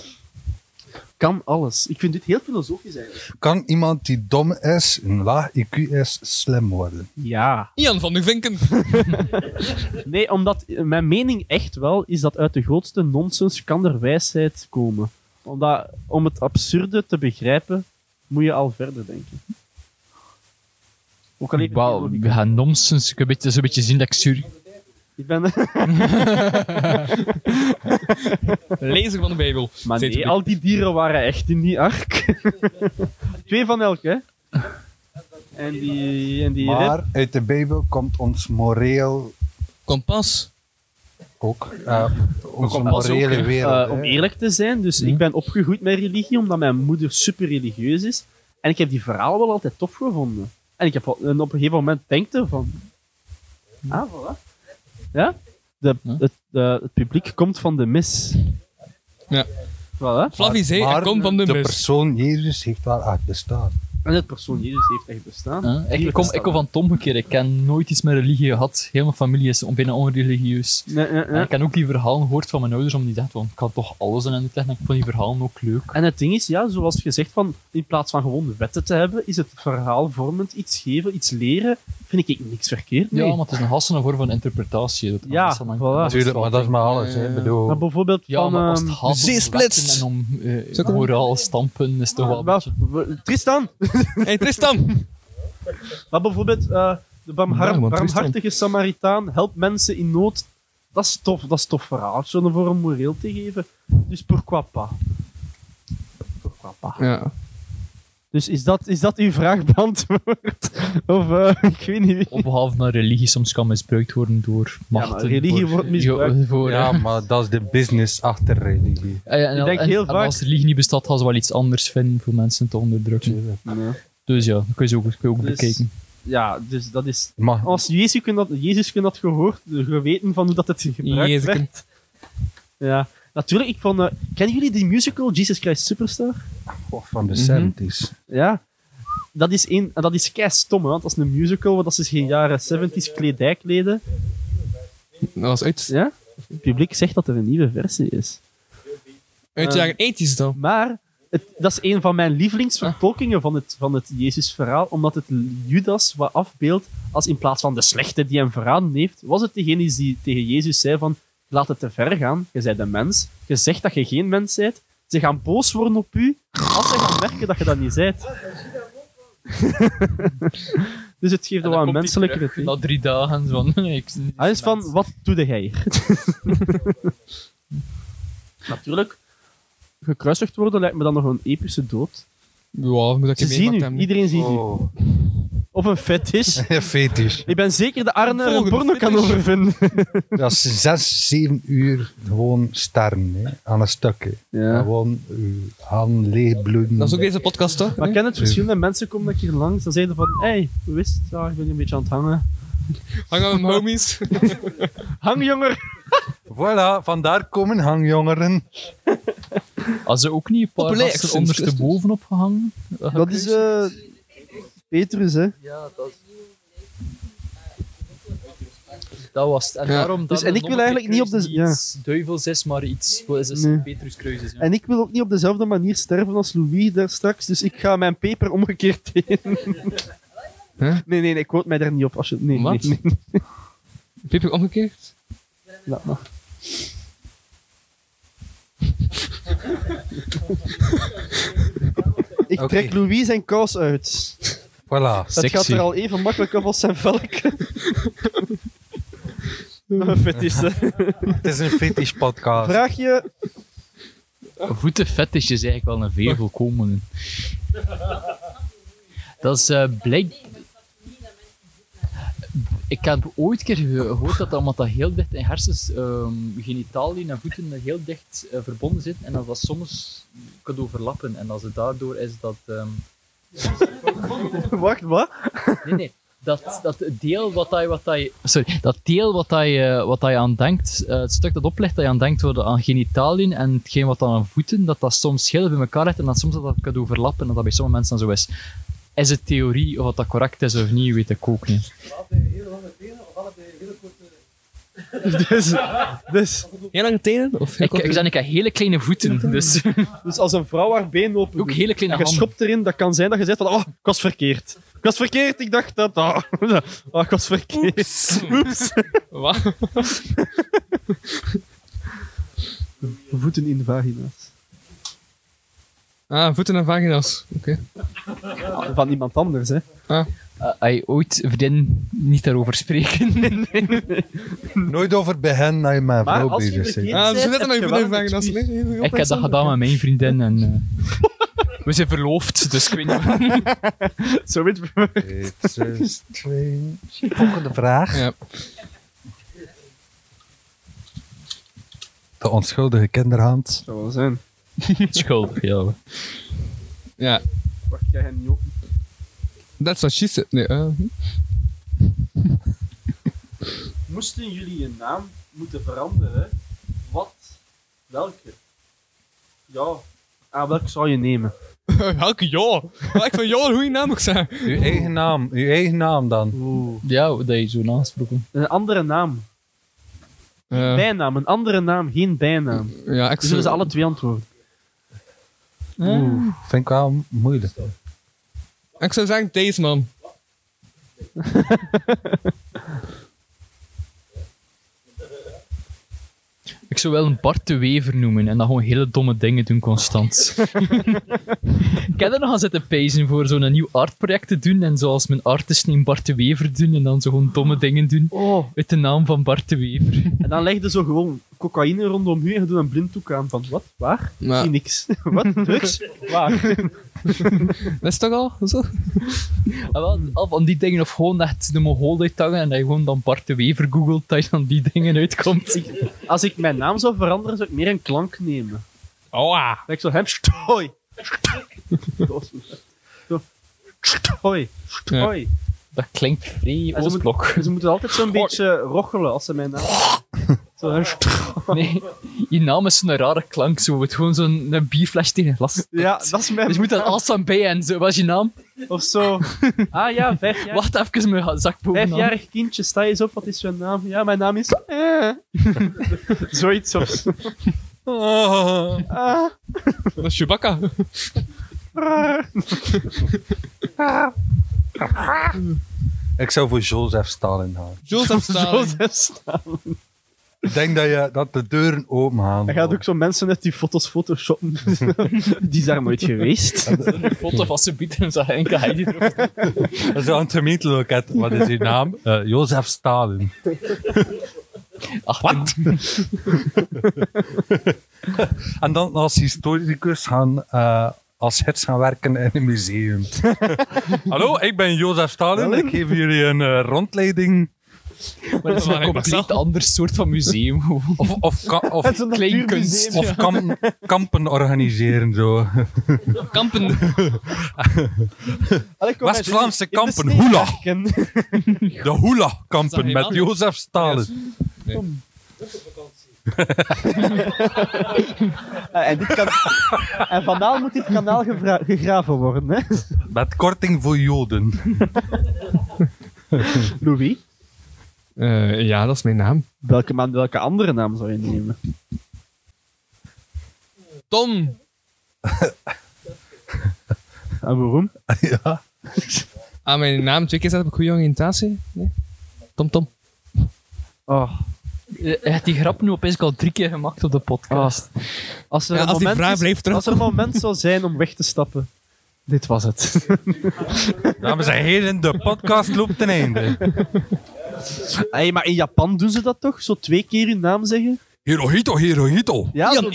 Speaker 2: Kan alles. Ik vind dit heel filosofisch eigenlijk.
Speaker 1: Kan iemand die dom is, een laag IQ is, slim worden?
Speaker 2: Ja.
Speaker 3: Ian van de Vinken.
Speaker 2: Nee, omdat eh, mijn mening echt wel is dat uit de grootste nonsens kan er wijsheid komen. Omdat, om het absurde te begrijpen, moet je al verder denken. Ook al heeft het geen
Speaker 4: Wauw,
Speaker 2: logica.
Speaker 4: ja, nonsens. Ik heb een beetje, zo'n beetje zien dat ik zuur...
Speaker 2: Ik ben...
Speaker 3: Lezer van de Bijbel.
Speaker 2: Maar
Speaker 3: Zet
Speaker 2: nee,
Speaker 3: het
Speaker 2: al die dieren waren echt in die ark. Twee van elk, hè? En die... En die
Speaker 1: Maar uit de Bijbel komt ons moreel...
Speaker 3: Kompas.
Speaker 1: Ook. eh, onze
Speaker 2: Kompas ook,
Speaker 1: morele
Speaker 2: hè.
Speaker 1: wereld.
Speaker 2: Eh, om
Speaker 1: hè.
Speaker 2: eerlijk te zijn, dus ik ben opgegroeid met religie, omdat mijn moeder super religieus is. En ik heb die verhalen wel altijd tof gevonden. En ik heb wel- en op een gegeven moment denkte van... Ah, voilà. Ja? De, het de- het publiek komt van de mis.
Speaker 3: Ja.
Speaker 2: Voilà.
Speaker 3: Flavie zei, hij komt van de
Speaker 1: de
Speaker 2: dus-
Speaker 3: mis.
Speaker 1: persoon Jezus heeft wel echt bestaan.
Speaker 2: En het persoon Jezus heeft echt bestaan.
Speaker 4: Huh? Ik, ik kom, ik kom van het omgekeerde. Ik heb nooit iets met religie gehad. Heel mijn familie is bijna onreligieus.
Speaker 2: nee, nee.
Speaker 4: En ik heb ook die verhalen gehoord van mijn ouders, om die dachten, want ik had toch alles in en ik vond die verhalen ook leuk.
Speaker 2: En het ding is, ja, zoals gezegd, van, in plaats van gewoon wetten te hebben, is het verhaalvormend iets geven, iets leren, vind ik niks verkeerd mee.
Speaker 4: Ja, want het is een hassene vorm van interpretatie. Dat
Speaker 2: Ja,
Speaker 4: alles dan-
Speaker 2: voilà.
Speaker 4: dan-
Speaker 2: Tuurlijk, maar dat is
Speaker 1: maar alles, hè. Ik bedoel-
Speaker 2: Maar bijvoorbeeld
Speaker 4: ja,
Speaker 2: van,
Speaker 4: maar als het
Speaker 2: ehm,
Speaker 4: gaat om
Speaker 2: zeesplits.
Speaker 4: wetten En om eh, moraal stampen is toch wel... een beetje-
Speaker 2: Tristan!
Speaker 3: hey, Tristan!
Speaker 2: maar bijvoorbeeld, eh, de barmhar-
Speaker 3: Ja, man, Tristan.
Speaker 2: barmhartige Samaritaan helpt mensen in nood. Dat is tof, dat is tof verhaaltje om voor een moreel te geven. Dus pourquoi pas? Pourquoi pas?
Speaker 3: Ja.
Speaker 2: Dus is dat, is dat uw vraag beantwoord? of eh, ik weet niet.
Speaker 4: Op behalve dat religie soms kan misbruikt worden door
Speaker 2: maar
Speaker 4: machten.
Speaker 2: religie
Speaker 4: voor-
Speaker 2: wordt misbruikt.
Speaker 4: voor-
Speaker 1: ja,
Speaker 4: eh,
Speaker 1: maar dat is de business achter religie.
Speaker 4: Ja, ja, en,
Speaker 2: Ik denk
Speaker 4: en-
Speaker 2: heel
Speaker 4: en
Speaker 2: vaak-
Speaker 4: als religie niet bestaat, gaan ze wel iets anders vinden voor mensen te onderdrukken. Dus ja, dat kun je zo- kun je ook
Speaker 2: Dus-
Speaker 4: bekijken.
Speaker 2: Ja, dus dat is.
Speaker 1: Maar-
Speaker 2: Als Jezus kun dat, Jezus kun dat gehoord, geweten van hoe dat het gebruikt
Speaker 3: Jezus kun.
Speaker 2: werd. Ja, natuurlijk. Ik vond, eh, kennen jullie die musical Jesus Christ Superstar?
Speaker 1: Of oh, van de
Speaker 2: Mhm.
Speaker 1: 70s.
Speaker 2: Ja. Dat is, een, en dat is kei stom, hè, want dat is een musical, want dat is geen jaren 70s kledij kleden.
Speaker 3: Dat was uit.
Speaker 2: Ja? Het publiek zegt dat er een nieuwe versie is.
Speaker 3: Uit de
Speaker 2: Eh,
Speaker 3: jaren 80s dan.
Speaker 2: Maar het, dat is een van mijn lievelingsvertolkingen van het, van het Jezus-verhaal, omdat het Judas wat afbeeldt als in plaats van de slechte die hem verraden heeft, was het degene die tegen Jezus zei van laat het te ver gaan, je bent een mens, je zegt dat je geen mens bent, ze gaan boos worden op u als ze gaan merken dat je dat niet bent. dus het geeft wel een menselijke
Speaker 4: terug
Speaker 2: kritiek.
Speaker 4: Na drie dagen, zo van... nee, ik-
Speaker 2: Hij is van, wat doe jij hier? Natuurlijk, gekruisigd worden lijkt me dan nog een epische dood.
Speaker 3: Ja, moet dat
Speaker 2: Ze
Speaker 3: je
Speaker 2: zien
Speaker 3: meemaakt
Speaker 2: u,
Speaker 3: hebben.
Speaker 2: iedereen ziet
Speaker 1: u.
Speaker 3: Oh.
Speaker 2: Of een fetish.
Speaker 1: Ja, fetish.
Speaker 2: Ik ben zeker de Arne er een
Speaker 3: Volgende
Speaker 2: porno kan
Speaker 3: fetish.
Speaker 2: overvinden.
Speaker 1: Dat is zes, zeven uur gewoon starren hè, aan een stuk. Hè. Gewoon uw handen leegbloeden.
Speaker 3: Dat is ook deze podcast, toch?
Speaker 2: Maar ik ken het verschillende mensen komen dat hier langs en zeiden van, hey, hoe is het? Ja, ik ben hier een beetje aan het hangen.
Speaker 3: Hang aan, homies.
Speaker 2: Hang, jonger!
Speaker 1: Voilà, vandaar komen hangjongeren.
Speaker 4: Als ze ook niet een paar
Speaker 3: Populair
Speaker 4: gasten
Speaker 3: sinds
Speaker 4: ondersteboven opgehangen?
Speaker 2: Dat is eh, Petrus, hè.
Speaker 4: Dat was het. En
Speaker 2: Ja.
Speaker 4: daarom
Speaker 2: Dus-
Speaker 4: dat
Speaker 2: en ik
Speaker 4: een
Speaker 2: wil eigenlijk niet op de-
Speaker 4: kruis niet
Speaker 2: ja.
Speaker 4: iets duivels is, maar iets... Wat is het?
Speaker 2: Nee.
Speaker 4: Petrus Kruis is, ja.
Speaker 2: En ik wil ook niet op dezelfde manier sterven als Louis daar straks, dus ik ga mijn peper omgekeerd in. Nee, nee, nee, ik quote mij daar niet op. Als je... nee,
Speaker 3: Wat?
Speaker 2: nee, nee.
Speaker 3: Pip ik omgekeerd?
Speaker 2: Laat maar. Ik
Speaker 1: Oké.
Speaker 2: trek Louis zijn kous uit.
Speaker 1: Voilà,
Speaker 2: Dat gaat er al even makkelijk op als zijn velk. Een fetish, hè.
Speaker 1: Het is een fetish podcast.
Speaker 2: Vraag je...
Speaker 4: Voetenfetish is eigenlijk wel een veel voorkomende. Dat is eh blijk... Ik heb ooit een keer gehoord dat dat, omdat dat heel dicht in hersens, ehm genitaliën en voeten heel dicht eh, verbonden zitten en dat dat soms kan overlappen en als het daardoor is dat... ehm,
Speaker 2: Wacht, wat?
Speaker 4: Nee, nee. Dat, dat deel wat hij, wat hij, sorry, dat deel wat hij, eh, wat hij aan denkt, eh, het stuk dat oplegt dat hij aan denkt worden aan genitaliën en hetgeen wat dan aan voeten, dat dat soms heel bij elkaar ligt en dat soms dat dat kan overlappen en dat dat bij sommige mensen dan zo is. Is het theorie of dat correct is of niet, weet ik ook niet.
Speaker 2: Dus, dus,
Speaker 3: Heel lange tenen? Of heel
Speaker 4: Ik,
Speaker 3: korte-
Speaker 4: ik, zeg, ik heb hele kleine voeten, dus...
Speaker 2: dus als een vrouw haar been open
Speaker 4: Ook hele kleine
Speaker 2: en je
Speaker 4: handen.
Speaker 2: schopt erin, dat kan zijn dat je zegt van, oh, ik was verkeerd. Ik was verkeerd, ik dacht dat... ah, ah, ik was verkeerd. Oeps.
Speaker 3: Wat?
Speaker 2: Voeten in vagina's.
Speaker 3: Ah, voeten en vagina's. Oké.
Speaker 2: Van iemand anders, hè.
Speaker 4: Eh, hij ooit vriendin niet daarover spreken.
Speaker 1: Nooit over bij hen dat je met een
Speaker 2: Maar
Speaker 1: vrouw
Speaker 2: als je
Speaker 1: bezig bent.
Speaker 2: verkeerd
Speaker 3: Ah, zo
Speaker 2: bent,
Speaker 3: zit er
Speaker 2: heb je
Speaker 3: nou je
Speaker 2: wel
Speaker 3: voeten en
Speaker 2: een
Speaker 3: vagina's.
Speaker 2: excuus.
Speaker 3: Nee, heel
Speaker 4: ik heb dat
Speaker 3: interessant.
Speaker 4: gedaan met mijn vriendin en... eh, we zijn verloofd, dus ik weet niet...
Speaker 2: Zo weet je.
Speaker 1: It's a strange... Volgende vraag.
Speaker 3: Ja.
Speaker 1: De onschuldige kinderhand.
Speaker 2: zou wel zijn.
Speaker 4: Schuldig, ja.
Speaker 3: Ja,
Speaker 2: Wacht, jij hem niet op.
Speaker 3: that's what she said. Nee, eh, hm.
Speaker 2: Moesten jullie je naam
Speaker 10: moeten veranderen, wat? Welke? Ja.
Speaker 2: Aan welke zou je nemen?
Speaker 3: Welke ja? Ik van ja, hoe je naam ook zijn.
Speaker 1: Uw eigen naam, uw eigen naam dan.
Speaker 4: Ja, dat je zo'n aanspraak
Speaker 2: Een andere naam. Geen bijnaam, een andere naam, geen bijnaam.
Speaker 3: Ja, ik
Speaker 2: dus zullen ze
Speaker 3: zou-
Speaker 2: alle twee antwoorden.
Speaker 1: Oeh, vind ik wel moeilijk.
Speaker 3: Ik zou zeggen deze man.
Speaker 4: Ik zou wel een Bart de Wever noemen en dan gewoon hele domme dingen doen constant. ik heb er nog aan zitten pezen voor zo'n nieuw artproject te doen en zoals mijn artist in Bart de Wever doen en dan zo gewoon domme dingen doen uit de naam van Bart de Wever.
Speaker 2: En dan legden ze gewoon cocaïne rondom u en je doet een blinddoek aan van wat? Waar?
Speaker 3: Ja.
Speaker 2: Zie niks. wat? Drugs? Waar?
Speaker 3: Dat is toch al? Zo?
Speaker 4: En Ah, wel, al van die dingen of gewoon echt de Mongool uithangen en dat je gewoon dan Bart de Wever googelt dat je dan die dingen uitkomt.
Speaker 2: Als ik mijn naam zou veranderen, zou ik meer een klank nemen.
Speaker 3: Oh, ah.
Speaker 2: Dat ik zo hem stooi. Stooi. Stooi.
Speaker 4: Dat klinkt vrij
Speaker 2: En ze,
Speaker 4: Oostblok.
Speaker 2: moeten, ze moeten altijd zo'n beetje rochelen als ze mijn naam. Zo, hè.
Speaker 4: Nee, je naam is een rare klank zo. Het gewoon zo'n een bierfles tegen een glas.
Speaker 2: Ja, dat is mijn
Speaker 4: Dus je moet dan alstaan bij en zo. Wat is je naam?
Speaker 2: Of zo. Ah ja, vijf jaar.
Speaker 4: Wacht even, mijn zak bovenaan.
Speaker 2: Vijfjarig kindje, sta je eens op, wat is je naam? Ja, mijn naam is. Eh. Zoiets of. Ah.
Speaker 3: Dat is Chewbacca.
Speaker 2: Ah. Ah.
Speaker 1: Ik zou voor Joseph Stalin gaan.
Speaker 3: Joseph Stalin.
Speaker 2: Joseph Stalin.
Speaker 1: Ik denk dat, je, dat de deuren open gaan.
Speaker 2: Hij gaat ook zo mensen uit die foto's photoshoppen. die is daar nooit geweest.
Speaker 4: Een foto van zijn bieten en zijn enkel hij die erop.
Speaker 1: Zo aan het gemeenteloket. Wat is uw naam? Eh Jozef Stalin. Wat? en dan als historicus gaan, eh, als hits gaan werken in een museum. Hallo, ik ben Jozef Stalin. Ik geef jullie een eh, rondleiding.
Speaker 4: Maar het is een compleet ander soort van museum.
Speaker 1: Of, of, ka- of
Speaker 4: Het is een natuurmuseum,
Speaker 1: Of
Speaker 4: ja.
Speaker 1: kam- kampen organiseren, zo.
Speaker 3: Kampen.
Speaker 4: Eh,
Speaker 1: West-Vlaamse kampen, hoela. De
Speaker 3: Zag
Speaker 1: hoela-kampen
Speaker 3: je
Speaker 1: met
Speaker 3: dat?
Speaker 1: Jozef Stalin.
Speaker 2: Ah, en, dit kan... en vandaar moet dit kanaal gevra- gegraven worden. Hè?
Speaker 1: Met korting voor Joden.
Speaker 2: Louis?
Speaker 3: Eh, ja, dat is mijn naam.
Speaker 2: Welke, man, welke andere naam zou je nemen?
Speaker 3: Tom.
Speaker 2: En waarom?
Speaker 1: ja.
Speaker 3: Aan Ah, mijn naam twee keer zetten op een goede oriëntatie. Nee. Tom Tom.
Speaker 2: Oh.
Speaker 4: Je hebt die grap nu opeens al drie keer gemaakt op de podcast.
Speaker 2: Als er, een moment is- als er een moment zou zijn om weg te stappen. Dit was het.
Speaker 1: Dames en heren, de podcast loopt ten einde.
Speaker 2: Hey, maar in Japan doen ze dat toch? Zo twee keer hun naam zeggen?
Speaker 1: Hirohito, Hirohito.
Speaker 2: Ja, zo,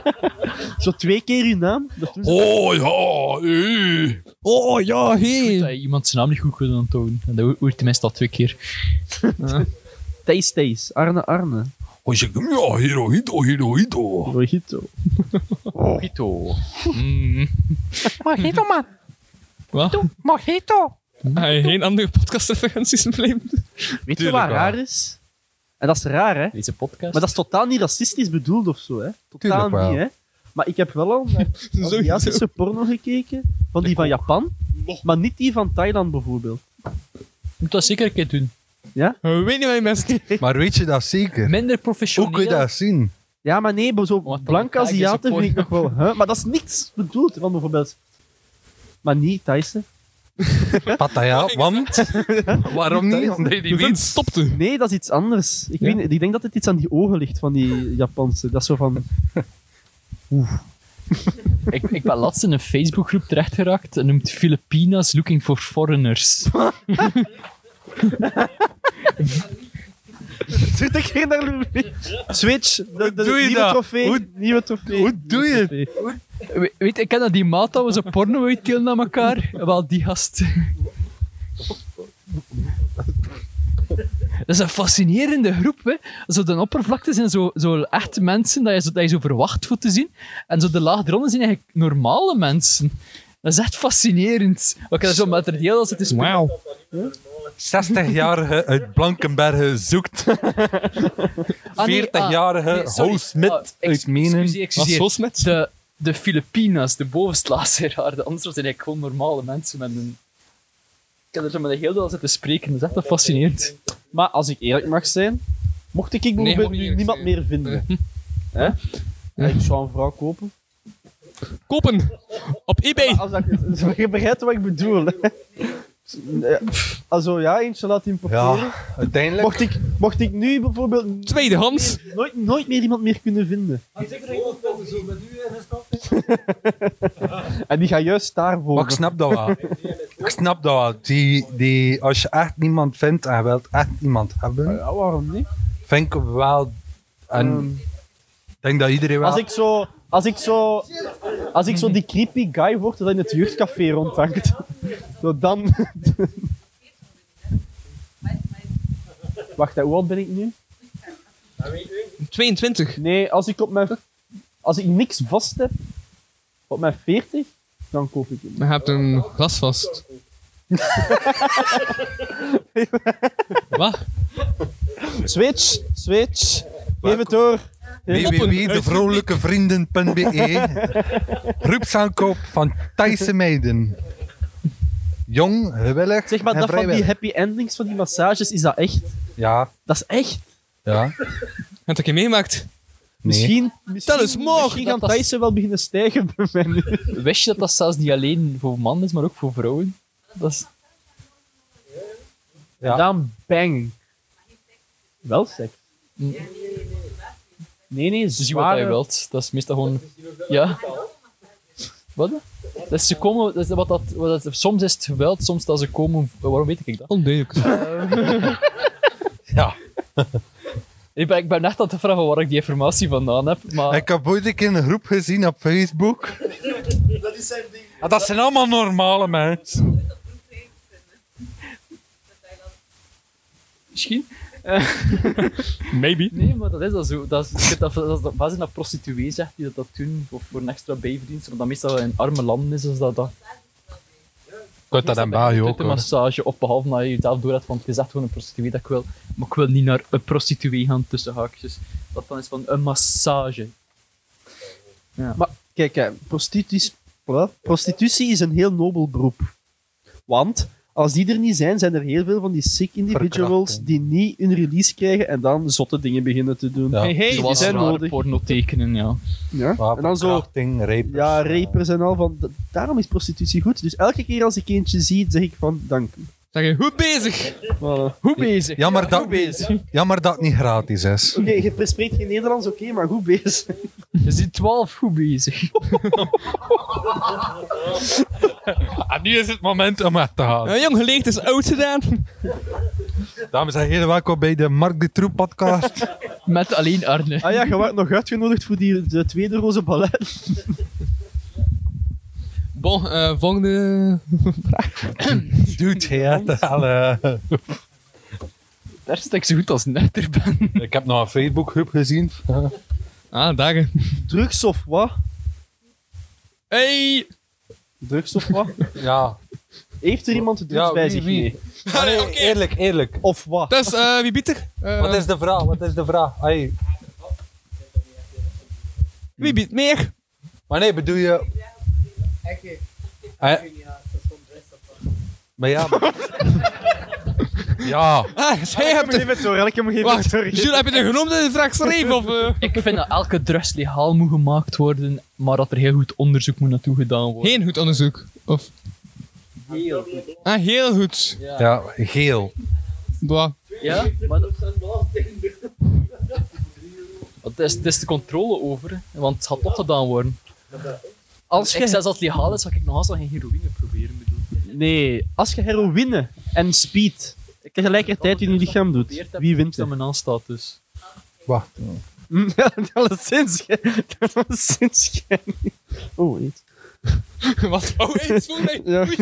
Speaker 2: zo twee keer hun naam? Dat doen ze.
Speaker 1: ja, eh.
Speaker 3: Oh ja, hé.
Speaker 4: Dat je iemand zijn naam niet goed kunt tonen. En dat ho- hoort tenminste al twee keer.
Speaker 2: Thijs Thijs, Arne Arne.
Speaker 1: ja, oh, Hirohito, Hirohito.
Speaker 2: Mojito.
Speaker 4: Mojito. Mm.
Speaker 5: Mojito, man.
Speaker 4: Wat?
Speaker 5: Mojito.
Speaker 3: Ga Ah, je geen andere podcastreferenties blijven?
Speaker 2: Weet je
Speaker 3: Tuurlijk
Speaker 2: wat
Speaker 3: wel.
Speaker 2: raar is? En dat is raar, hè?
Speaker 4: Deze podcast.
Speaker 2: Maar dat is totaal niet racistisch bedoeld of zo, hè? Totaal
Speaker 4: Tuurlijk wel.
Speaker 2: niet, hè? Maar ik heb wel al naar Aziatische porno gekeken. Van
Speaker 4: Oh.
Speaker 2: die van Japan. Maar niet die van Thailand bijvoorbeeld.
Speaker 4: Moet dat zeker een keer doen.
Speaker 2: Ja?
Speaker 3: We weten wij mensen.
Speaker 1: Maar weet je dat zeker?
Speaker 4: Minder professioneel.
Speaker 1: Hoe kun je dat zien?
Speaker 2: Ja, maar nee, zo blank
Speaker 4: Thai is
Speaker 2: Aziaten
Speaker 4: Oh, een
Speaker 2: vind ik nog wel. Hè? Maar dat is niks bedoeld van bijvoorbeeld. Maar niet Thaise.
Speaker 1: Pattaya, want? Waarom niet? Omdat je die weet.
Speaker 3: stopte.
Speaker 2: Nee, dat is iets anders. Ik, weet, niet, ik denk dat het iets aan die ogen ligt van die Japanse. Dat is zo van.
Speaker 4: Ik, ik ben laatst in een Facebookgroep terechtgeraakt en noemt Filipinas looking for foreigners.
Speaker 2: Zit ik hier naar Louis? Switch, de, de,
Speaker 1: doe je
Speaker 2: nieuwe
Speaker 1: dat?
Speaker 2: trofee.
Speaker 1: Hoe-
Speaker 2: nieuwe trofee. Hoe
Speaker 1: doe je het?
Speaker 4: We- weet, ik ken dat die maat dat we zo porno uitdelen naar elkaar. Wel, die gast. Dat is een fascinerende groep, hè. Zo de oppervlakte zijn zo, zo echt mensen dat je, zo, dat je zo verwacht voor te zien. En zo de laag eronder zijn eigenlijk normale mensen. Dat is echt fascinerend. Oké, dat is zo met het heel als het is.
Speaker 3: Wauw.
Speaker 1: 60-jarige uit eh, Blankenberge zoekt. ah, 40-jarige Holsmith
Speaker 4: Ah,
Speaker 1: uit Menen.
Speaker 4: Holsmith? De, de Filipina's, de bovenste laceraar. De anderen zijn eigenlijk gewoon normale mensen met een... Ik heb er zo met een heel deel zitten spreken. Dat is echt wel fascinerend.
Speaker 2: Maar als ik eerlijk mag zijn, mocht ik bijvoorbeeld
Speaker 4: mocht
Speaker 2: nu
Speaker 4: niet eerlijk Eh.
Speaker 2: niemand meer vinden, hè? Ja, ik zou een vrouw kopen.
Speaker 3: Kopen! Op eBay!
Speaker 2: Als dat, je begrijpt wat ik bedoel. hè. Nee, Also ja, eentje laat importeren.
Speaker 1: Ja, uiteindelijk.
Speaker 2: Mocht ik, mocht ik nu bijvoorbeeld.
Speaker 3: Tweedehands!
Speaker 2: Nooit, nooit, nooit meer iemand meer kunnen vinden.
Speaker 10: Ah, zo met u en
Speaker 2: En die gaat juist daarvoor.
Speaker 1: Maar Oh, ik snap dat wel. ik snap dat wel. Die, die, als je echt niemand vindt en je wilt echt iemand hebben.
Speaker 4: nou-
Speaker 2: Ja, waarom niet?
Speaker 1: Vind ik wel. En Ehm, ik denk dat iedereen wel.
Speaker 2: Als ik zo. Als ik zo, als ik zo die creepy guy word dat in het jeugdcafé rondhangt, zo dan... Wacht, hè, hoe oud ben ik nu?
Speaker 3: 22.
Speaker 2: Nee, als ik op mijn... Als ik niks vast heb, op mijn 40, dan koop ik hem.
Speaker 3: Maar je hebt een glas vast. Wat?
Speaker 2: Switch, switch. Geef het door.
Speaker 1: www.devrolijkevrienden.be Groepsaankoop van Thaise meiden. Jong, gewillig
Speaker 2: Zeg maar,
Speaker 1: en
Speaker 2: dat van die
Speaker 1: vrijwillig.
Speaker 2: happy endings van die massages, is dat echt?
Speaker 1: Ja.
Speaker 2: Dat is echt?
Speaker 1: Ja.
Speaker 3: Heb ik je meegemaakt?
Speaker 2: Misschien, misschien,
Speaker 3: Tel eens morgen.
Speaker 2: misschien gaan
Speaker 4: Dat was-
Speaker 2: Thaisen wel beginnen stijgen bij mij nu.
Speaker 4: Wist je dat dat zelfs niet alleen voor mannen is, maar ook voor vrouwen? Dat is...
Speaker 1: Ja.
Speaker 2: Dan bang. Wel seks. Nee, nee,
Speaker 4: Dus je wat
Speaker 2: zware...
Speaker 4: je wilt. Dat is meestal gewoon... Ja. Wat? Dat is, ze komen, dat is wat dat, wat dat, soms is het geweld, soms dat ze komen... Waarom weet ik dat?
Speaker 3: Ondeugd.
Speaker 1: ja.
Speaker 4: Ik ben, ik ben echt aan het vragen waar ik die informatie vandaan heb, maar...
Speaker 1: Ik heb ooit een keer een groep gezien op Facebook.
Speaker 10: Dat is zijn ding.
Speaker 1: Ah, dat zijn allemaal normale mensen.
Speaker 4: Misschien. Eh,
Speaker 3: Maybe.
Speaker 4: Nee, maar dat is dat zo. Dat is, ik heb dat, dat, is dat, dat, dat prostituee zegt die dat, dat doen, of voor een extra bijverdienst, omdat dat meestal in arme landen is, is dat dat...
Speaker 1: Kunt dat in België Ah, ook,
Speaker 4: een
Speaker 1: hoor.
Speaker 4: massage, of behalve dat je jezelf door hebt van, het is echt gewoon een prostituee dat ik wil, maar ik wil niet naar een prostituee gaan, tussen haakjes. Dat dan is van, een massage.
Speaker 2: Maar kijk, hè, prostituties- voilà, prostitutie is een heel nobel beroep. Want als die er niet zijn, zijn er heel veel van die sick individuals die niet hun release krijgen en dan zotte dingen beginnen te doen.
Speaker 4: Ja.
Speaker 2: Hey, hey, die
Speaker 4: Zoals
Speaker 2: zijn
Speaker 4: rare
Speaker 2: nodig.
Speaker 4: porno tekenen, ja.
Speaker 2: Ja. En dan zo, ja, rapers en al. Van, d- daarom is prostitutie goed. Dus elke keer als ik eentje zie, zeg ik van dank u.
Speaker 3: Zeg je, goed bezig!
Speaker 4: Hoe bezig?
Speaker 1: Jammer dat, jammer dat het niet gratis is.
Speaker 2: Oké, je spreekt geen Nederlands, oké, maar goed bezig.
Speaker 4: Je ziet 12 goed bezig.
Speaker 1: En nu is het moment om weg te gaan.
Speaker 3: Een Eh, jong geleefd is oud gedaan.
Speaker 1: Dames en heren, welkom bij de Mark de Troep podcast.
Speaker 4: Met alleen Arne.
Speaker 2: Ah ja, je werd nog uitgenodigd voor die de tweede roze ballet.
Speaker 3: Bon, eh, volgende vraag.
Speaker 1: Dude, hij had het al, eh.
Speaker 4: Daar zit ik zo goed als netter ben.
Speaker 1: Ik heb nog een Facebookgroep gezien.
Speaker 3: Ah, dagen.
Speaker 2: Drugs of wat?
Speaker 3: Hey!
Speaker 2: Drugs of wat?
Speaker 1: Ja.
Speaker 2: Heeft er iemand drugs
Speaker 1: Ja,
Speaker 2: bij
Speaker 1: wie,
Speaker 2: zich
Speaker 1: wie?
Speaker 2: mee?
Speaker 1: Ah, nee, Eerlijk, eerlijk.
Speaker 2: Of wat?
Speaker 3: Dus, eh, wie biedt er? Eh,
Speaker 1: Wat is de vraag? Wat is de vraag? Hey.
Speaker 3: Wie biedt meer?
Speaker 1: Maar nee, bedoel je... Eh, maar ja... ja.
Speaker 3: Ah, jij hebt er...
Speaker 2: het door, elke keer geef
Speaker 3: Wacht, Jules, heb je er genoemd in de vraag schreef? Of, eh?
Speaker 4: Ik vind dat elke drugs legaal moet gemaakt worden, maar dat er heel goed onderzoek moet naartoe gedaan worden.
Speaker 3: Geen goed onderzoek. Of... Ah, heel goed.
Speaker 1: Ja, geel.
Speaker 3: Boah.
Speaker 4: Ja? Maar dat... Want er is, er is de controle over, hè, want het gaat opgedaan worden. Als ik
Speaker 2: je-
Speaker 4: zelfs als het legaal is, ga ik nog altijd geen heroïne proberen bedoelen.
Speaker 2: Nee, als je heroïne en speed tegelijkertijd in je lichaam doet, wie wint
Speaker 4: Dat
Speaker 2: er?
Speaker 4: mijn aanstaat dus.
Speaker 1: Wacht.
Speaker 4: Hm,
Speaker 2: Ja, Alleszins, ge- alleszins. ge- Oh, eet.
Speaker 3: Wat? Oh, hey, het is voor mij.
Speaker 2: Ja.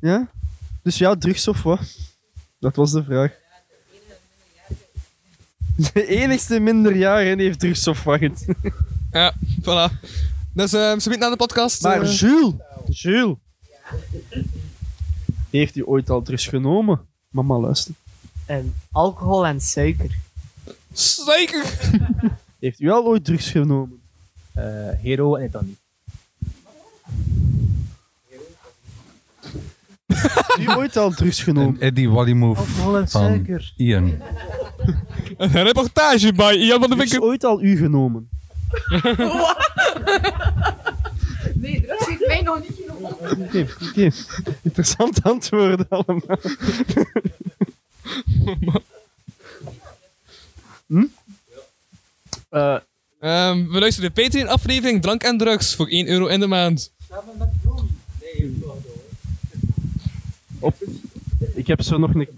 Speaker 2: Ja? Dus ja, drugs of wat? Dat was de vraag. De enigste minderjarige heeft drugs of wat?
Speaker 3: Ja, voilà. Dus ehm ze weet naar de podcast.
Speaker 2: Maar
Speaker 3: eh.
Speaker 2: Jules, Jules, heeft hij ooit al drugs genomen? Mama, luister.
Speaker 13: Ehm, alcohol en suiker.
Speaker 3: Suiker!
Speaker 2: Heeft u al ooit drugs genomen?
Speaker 8: hero en dan niet.
Speaker 2: Wie ooit al drugs genomen?
Speaker 1: Eddie Wallimove
Speaker 2: Alcohol en
Speaker 1: van
Speaker 2: suiker.
Speaker 1: Ian.
Speaker 3: Een reportage bij Ian van de Winkel.
Speaker 2: ooit al u genomen?
Speaker 13: Nee, drugs heeft mij nog niet genomen.
Speaker 2: Oké, oké. Interessante antwoorden allemaal.
Speaker 3: Ehm, we luisteren de Patreon-aflevering Drank en Drugs voor 1 euro in de maand.
Speaker 2: Op. Ik heb zo nog niks.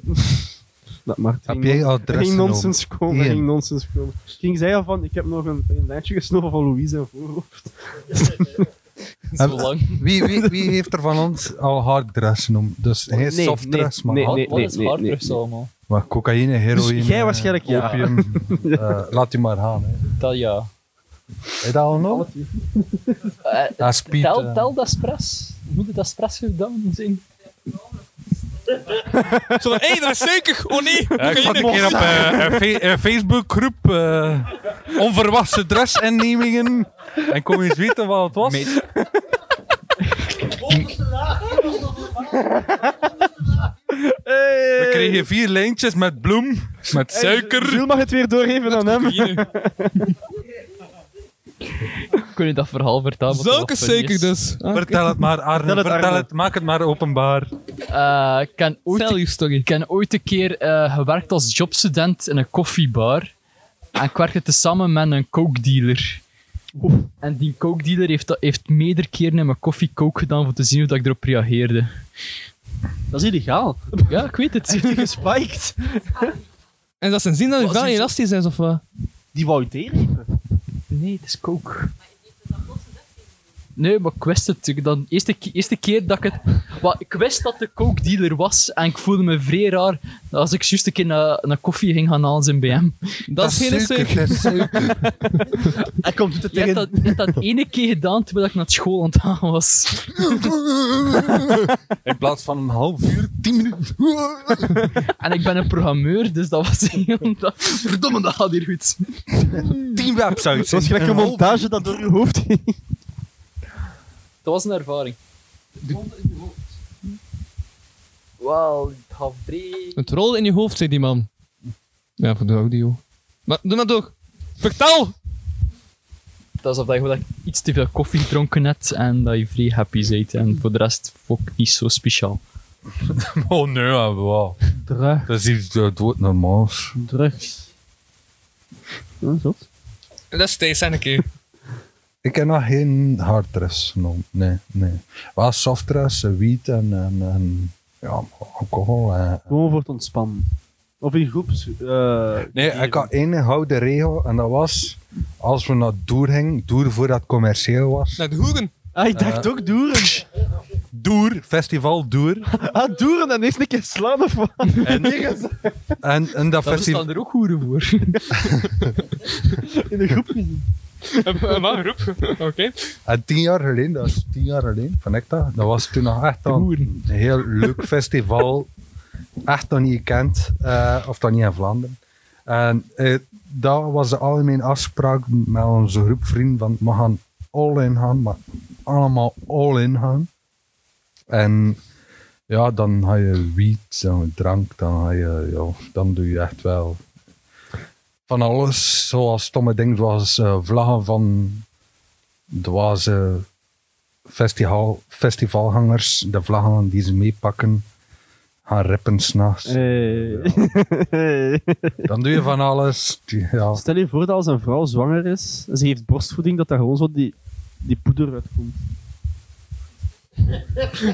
Speaker 2: Dat mag. Heb
Speaker 1: jij adres
Speaker 2: Ging
Speaker 1: genomen?
Speaker 2: nonsens komen,
Speaker 1: Ian.
Speaker 2: ging nonsens komen. Ging zij al van, ik heb nog een, een lijntje gesnoven van Louise en voorhoofd.
Speaker 1: Heb- Wie, wie, wie heeft er van ons al harddress genoemd? Dus hij is
Speaker 2: Nee,
Speaker 1: softdress,
Speaker 2: nee,
Speaker 1: maar
Speaker 2: nee,
Speaker 1: hard-
Speaker 2: nee, Wat is nee, nee, harddress nee.
Speaker 1: allemaal? Maar cocaïne, heroïne,
Speaker 2: Dus jij waarschijnlijk ja.
Speaker 1: opium. eh, laat u maar gaan. Hè.
Speaker 6: Dat ja.
Speaker 1: Heb je dat al nog? Dat is Piet,
Speaker 6: tel,
Speaker 1: eh.
Speaker 6: tel dat spres. Moet het dat spres gedaan zijn?
Speaker 3: Zo van, hey, dat is suiker! Oh nee!
Speaker 1: Ja, ik zat een keer op eh, een, fe- een Facebookgroep eh onverwachte dressaannemingen. En kom eens weten wat het was. We kregen vier lijntjes met bloem, met suiker.
Speaker 2: Jules mag het weer doorgeven aan hem.
Speaker 4: Kun je dat verhaal vertellen? wat
Speaker 3: Zulke
Speaker 4: dat voor
Speaker 3: suiker
Speaker 4: is?
Speaker 3: dus. Ah,
Speaker 1: Vertel het maar, Arne. Vertel
Speaker 4: Vertel
Speaker 1: het,
Speaker 4: het, Arne.
Speaker 1: maak het maar openbaar.
Speaker 4: Eh, ik ken ooit, ik ken ooit een keer eh, gewerkt als jobstudent in een koffiebar. En ik werkte tezamen met een coke dealer. En die coke dealer heeft, dat- heeft meerdere keren in mijn koffie coke gedaan om te zien hoe dat ik erop reageerde.
Speaker 2: Dat is illegaal.
Speaker 4: Ja, ik weet het.
Speaker 2: Heeft hij gespiked?
Speaker 3: En dat zijn zin dat je wel elastisch is of wat?
Speaker 2: Die wou je tegengeven.
Speaker 4: Nee, het is coke. Nee, maar ik wist het. Ik- Dan, eerste, ke- eerste keer dat ik het... Wel, ik wist dat de coke dealer was en ik voelde me vrij raar als ik juist een keer naar, naar koffie ging gaan halen in BM.
Speaker 3: Dat is geen suiker.
Speaker 2: Hij komt het
Speaker 4: Je hebt dat, je hebt dat ene keer gedaan terwijl ik naar school aan het gaan was.
Speaker 1: In plaats van een half uur, tien minuten.
Speaker 4: En ik ben een programmeur, dus dat was heel... Dat, verdomme, dat gaat hier goed.
Speaker 1: Tien websites.
Speaker 2: Het was gelijk een montage dat door je hoofd ging.
Speaker 4: Dat was een ervaring.
Speaker 6: Wel, half drie.
Speaker 3: Het rol in je hoofd, zei die man. Ja, voor de audio. Maar doe maar door. Vertel!
Speaker 4: Dat is of dat je gewoon iets te veel koffie gedronken hebt en dat je vrij happy bent. En voor de rest vond ik niet zo speciaal.
Speaker 1: Oh nee, maar wow.
Speaker 2: Drugs.
Speaker 1: Dat is iets eh, doodnormaals.
Speaker 2: Drugs.
Speaker 3: Dat is Thijs en een keer.
Speaker 1: Ik heb nog geen harddress genomen. Nee, nee. Wel softdress, eh, wiet en, en, en ja, alcohol. eh.
Speaker 2: Gewoon voor het ontspannen. Of in groeps. eh,
Speaker 1: Nee, ik had één gouden regel en dat was: als we naar Doer gingen, Doer voordat het commercieel was.
Speaker 3: Naar de hoeren.
Speaker 2: Ah, ik dacht
Speaker 1: Eh.
Speaker 2: ook Doeren.
Speaker 1: Doer, festival Doer.
Speaker 2: Ah, Doeren en eerst een keer slaan of wat?
Speaker 1: En, en, en dat
Speaker 4: Daar
Speaker 1: festival.
Speaker 4: bestaan er ook hoeren voor.
Speaker 2: In de groep gezien.
Speaker 3: Wat roep? Oké.
Speaker 1: En Ah, tien jaar geleden, dat is tien jaar geleden, van ik dat, dat was toen nog echt al een heel leuk festival. Echt nog niet gekend, eh, of dan niet in Vlaanderen. En eh, dat was de algemene afspraak met onze groep vrienden, van we gaan all-in gaan, maar allemaal all-in gaan. En ja, dan ga je wiet, dan drank, dan ga je, ja, dan doe je echt wel van alles, zoals stomme dingen, zoals eh, vlaggen van dwaze festival, festivalhangers, de vlaggen die ze meepakken, gaan rippen s'nachts. Dan doe je van alles. Die- Ja.
Speaker 2: Stel je voor dat als een vrouw zwanger is en ze heeft borstvoeding, dat daar gewoon zo die, die poeder uitkomt.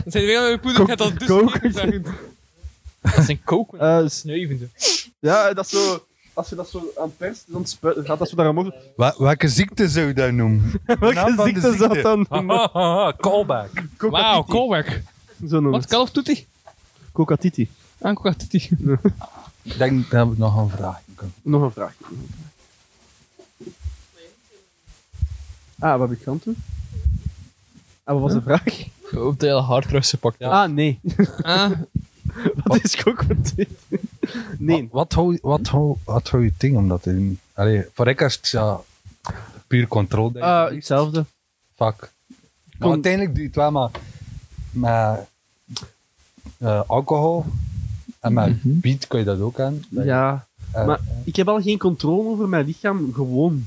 Speaker 3: Zijn weer aan je poeder? Gaat dat dus niet
Speaker 4: Dat is een coke,
Speaker 2: Eh, s-
Speaker 4: sneuvende.
Speaker 2: ja, dat is zo, als je dat zo aan het perst, dan spuit- gaat dat zo daar omhoog.
Speaker 1: Wa- welke ziekte zou je dat noemen?
Speaker 2: Welke
Speaker 1: naam van de
Speaker 2: ziekte zou dat dan
Speaker 3: Ah.
Speaker 2: noemen?
Speaker 1: Hahaha, Callback.
Speaker 3: Wauw, callback.
Speaker 2: Zo noemen
Speaker 3: Wat,
Speaker 2: het.
Speaker 3: Call of Duty?
Speaker 2: Kokatiti.
Speaker 3: Aan Call of Duty.
Speaker 1: Ik denk dat we nog een vraag kunnen.
Speaker 2: Nog een vraag. Ah, wat heb ik aan toe? En wat was de vraag?
Speaker 4: Ik hoop dat je al hard teruggepakt hebt.
Speaker 2: Ah, nee. Wat is ook Nee.
Speaker 1: Wat hou wat hou- wat hou je ding om dat te doen? Allee, voor ik is het ja, puur controle. denk ik.
Speaker 3: Eh,
Speaker 2: Ah, hetzelfde.
Speaker 1: Fuck. Maar uiteindelijk doe je het wel maar met eh, alcohol en met beat kun je dat ook aan. Dat je-
Speaker 2: Ja,
Speaker 1: Eh,
Speaker 2: maar ik heb al geen controle over mijn lichaam, gewoon.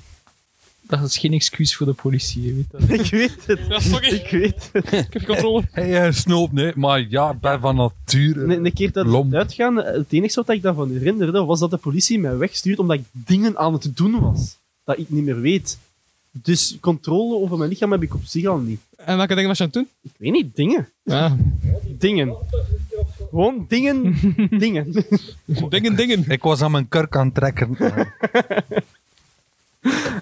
Speaker 4: Dat is geen excuus voor de politie, je weet
Speaker 2: dat. ik weet het. Ik weet het.
Speaker 3: Ik heb controle.
Speaker 1: Hey, eh, snoop, nee, maar ja, ik ben van nature.
Speaker 2: Nee, een keer dat het uitgaan, het enige wat ik daarvan herinnerde, was dat de politie mij wegstuurt omdat ik dingen aan het doen was. Dat ik niet meer weet. Dus controle over mijn lichaam heb ik op zich al niet.
Speaker 3: En welke dingen was je aan het doen?
Speaker 2: Ik weet niet, dingen.
Speaker 3: Ja.
Speaker 2: Dingen. Gewoon dingen, dingen.
Speaker 3: Ah, dingen, dingen.
Speaker 1: Ik was aan mijn kurk aan het trekken.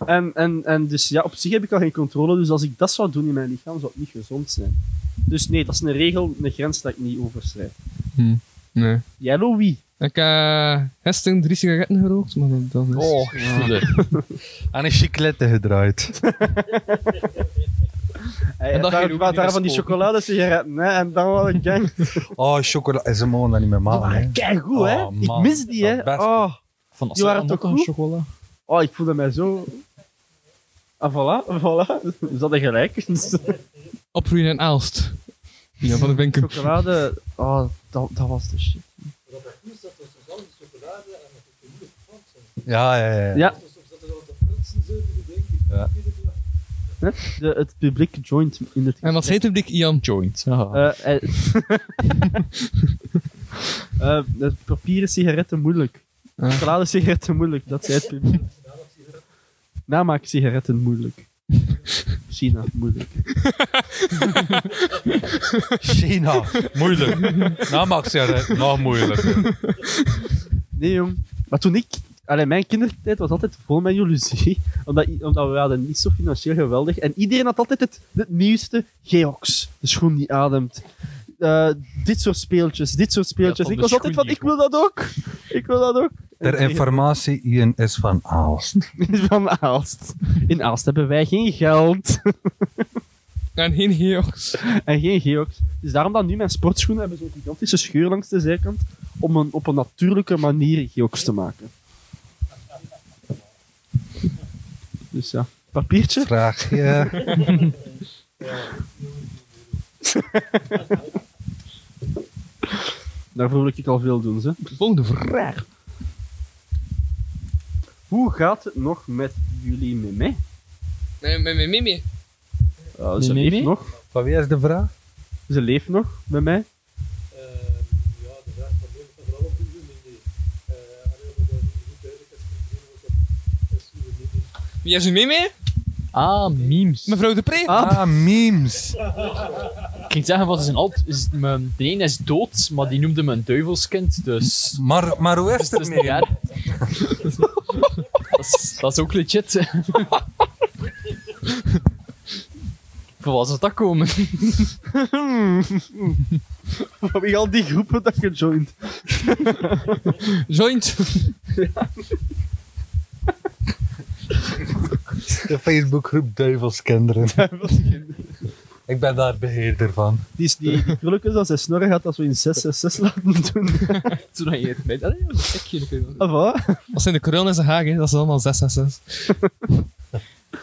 Speaker 2: En, en, en dus ja, op zich heb ik al geen controle, dus als ik dat zou doen in mijn lichaam, zou het niet gezond zijn. Dus nee, dat is een regel, een grens dat ik niet overschrijd.
Speaker 3: Hm, Nee.
Speaker 2: Yellow wie?
Speaker 3: Ik eh gisteren drie sigaretten gerookt, maar dat, dat is...
Speaker 1: Oh, Aan een chiclette gedraaid.
Speaker 2: En
Speaker 1: dat
Speaker 2: daar,
Speaker 1: je ook
Speaker 2: waar-
Speaker 1: niet
Speaker 2: daar
Speaker 1: naar
Speaker 2: van die
Speaker 1: school.
Speaker 2: chocoladesigaretten, hè, en dan wel een gang.
Speaker 1: Oh, chocola is een man dat niet meer maken.
Speaker 2: Kijk goed, hè?
Speaker 1: Oh,
Speaker 2: ik
Speaker 1: man.
Speaker 2: mis die, hè? Oh,
Speaker 4: Van
Speaker 2: die waren toch goed?
Speaker 4: chocola?
Speaker 2: Oh, ik voelde mij zo. Ah, voilà, voilà. Is dat gelijk?
Speaker 3: Opgroeien in Aalst. Ja, van de winkel.
Speaker 2: Chocolade, oh, dat, dat was de shit.
Speaker 1: Ja, ja, ja.
Speaker 2: Ja.
Speaker 1: Ja.
Speaker 2: Hè? De, het publiek joint in het
Speaker 3: En wat heet het publiek? Ian Joint.
Speaker 2: Eh, eh, eh, de papieren sigaretten moeilijk.
Speaker 3: Ah.
Speaker 2: Chocolade sigaretten moeilijk, dat zei het publiek. Namaak sigaretten moeilijk. China moeilijk.
Speaker 1: China, Nou, moeilijk. Namaak zeggen, nog moeilijker.
Speaker 2: Nee, jong. Maar toen ik... Allee, mijn kindertijd was altijd vol met jaloezie. Omdat, i- omdat we hadden niet zo financieel geweldig. En iedereen had altijd het, het nieuwste Geox. De schoen die ademt. Eh, dit soort speeltjes, dit soort speeltjes.
Speaker 1: van
Speaker 2: ik
Speaker 1: de
Speaker 2: was altijd van,
Speaker 1: schoen
Speaker 2: ik wil dat ook. Ik wil dat ook.
Speaker 1: Ter informatie, Ian is van Aalst.
Speaker 2: Van Aalst. In Aalst hebben wij geen geld.
Speaker 3: En geen geox.
Speaker 2: En geen geox. Dus daarom dat nu mijn sportschoenen hebben zo'n gigantische scheur langs de zijkant. Om een, op een natuurlijke manier geox te maken. Dus ja. Papiertje?
Speaker 1: Vraagje.
Speaker 2: Daarvoor wil ik al veel doen, ze.
Speaker 3: Volgende vraag.
Speaker 2: Hoe gaat het nog met jullie mee? mee?
Speaker 3: Nee, met mijn mimi.
Speaker 2: ze
Speaker 1: Nee, nee,
Speaker 2: leeft
Speaker 1: nee.
Speaker 2: nog.
Speaker 1: Van wie is de vraag?
Speaker 2: Ze leeft nog, bij mij.
Speaker 3: Wie is uw mimi?
Speaker 4: Ah, memes.
Speaker 3: Mevrouw de Pre.
Speaker 1: Ah, memes.
Speaker 4: Ik ging zeggen, wat is een alt... Is, mijn, de ene is dood, maar die noemde me een duivelskind, dus...
Speaker 1: Maar, maar hoe is
Speaker 4: het
Speaker 1: het
Speaker 4: is
Speaker 1: mee?
Speaker 4: niet erg. dat, is, dat is ook legit. Van waar zou dat komen?
Speaker 2: Hmm. Van wie al die groepen dat je joint?
Speaker 3: Joint.
Speaker 1: De Facebookgroep Duivelskinderen. Ik ben daar beheerder van.
Speaker 2: Die, is- die, die krulletjes als hij snorren gaat, als we in 666 laten doen. Ah,
Speaker 4: Toen hij het met... Allee, dat is een gekje.
Speaker 2: Of wat?
Speaker 3: Dat zijn de kronen en zijn hagen, dat is allemaal 666.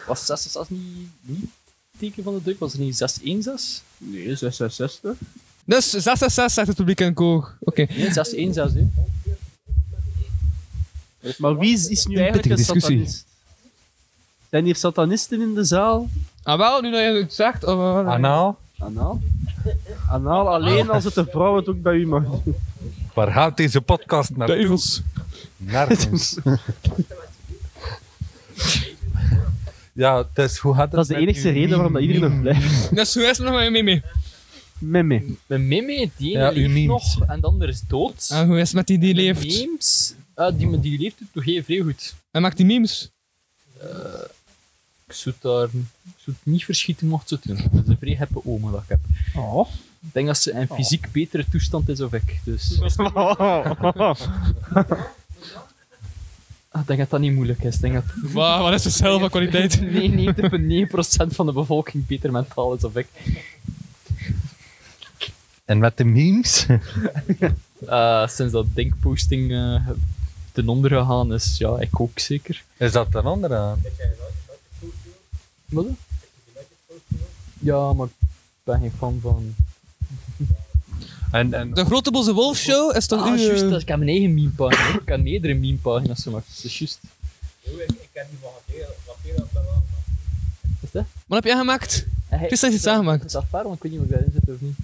Speaker 4: Was 666 niet, niet het teken van de duik? Was het niet 616?
Speaker 2: Nee, 666.
Speaker 3: Dus 666 zegt het publiek in koog. Oké.
Speaker 4: Nee, 616, hè.
Speaker 2: Maar wie is, is nu
Speaker 3: Een
Speaker 2: eigenlijk
Speaker 3: pittige
Speaker 2: een
Speaker 3: discussie.
Speaker 2: satanist? Zijn hier satanisten in de zaal?
Speaker 3: Ah wel, nu dat je het zegt. Oh, oh, oh.
Speaker 1: Anaal,
Speaker 2: Anaal? Anaal alleen als het een vrouw het ook bij u mag doen.
Speaker 1: waar gaat deze podcast naar?
Speaker 3: Duivels.
Speaker 1: Nergens. ja, dus hoe gaat het
Speaker 2: Dat is de
Speaker 1: met
Speaker 2: enige
Speaker 1: uw
Speaker 2: reden waarom dat
Speaker 1: meme-
Speaker 2: iedereen nog blijft.
Speaker 3: Dus hoe is het nog met je mimi?
Speaker 2: Meme.
Speaker 4: Mijn meme, die ene
Speaker 1: Ja, uw
Speaker 4: leeft
Speaker 1: memes.
Speaker 4: nog en de ander is dood.
Speaker 3: En hoe is het met die die
Speaker 4: Mijn
Speaker 3: leeft?
Speaker 4: Memes, ah, die, die leeft het toch heel vrij goed.
Speaker 3: En maakt die memes?
Speaker 4: Ik zou, daar, ik zou het niet verschieten mocht ze het doen. Dat is een vrij heppe oma dat ik heb.
Speaker 2: Oh.
Speaker 4: Ik denk dat ze in fysiek betere toestand is of ik. Dus.
Speaker 2: Oh.
Speaker 4: Ik denk dat dat niet moeilijk is. Ik denk dat...
Speaker 3: Wat- wat is de cel van kwaliteit?
Speaker 4: 99,9% van de bevolking beter mentaal is dan ik.
Speaker 1: En met de memes?
Speaker 4: Eh, sinds dat denkposting eh ten onder gegaan is, ja, ik ook zeker.
Speaker 1: Is dat ten onder aan?
Speaker 4: Wat? Ja, maar ik ben geen fan van...
Speaker 1: En, en...
Speaker 3: De Grote Boze Wolf Show is toch eh,
Speaker 4: Ah,
Speaker 3: uw...
Speaker 4: juist, dat- ik heb mijn eigen memepagina. ik heb meerdere memepagina's gemaakt, dat is juist.
Speaker 11: Ik heb niet van wat veel dat wel
Speaker 4: Wat is dat? Eh,
Speaker 3: Wat heb jij gemaakt?
Speaker 4: Hey,
Speaker 3: Het is dat je iets aangemaakt.
Speaker 4: Is dat waar? Want ik weet niet of ik daarin zit of niet.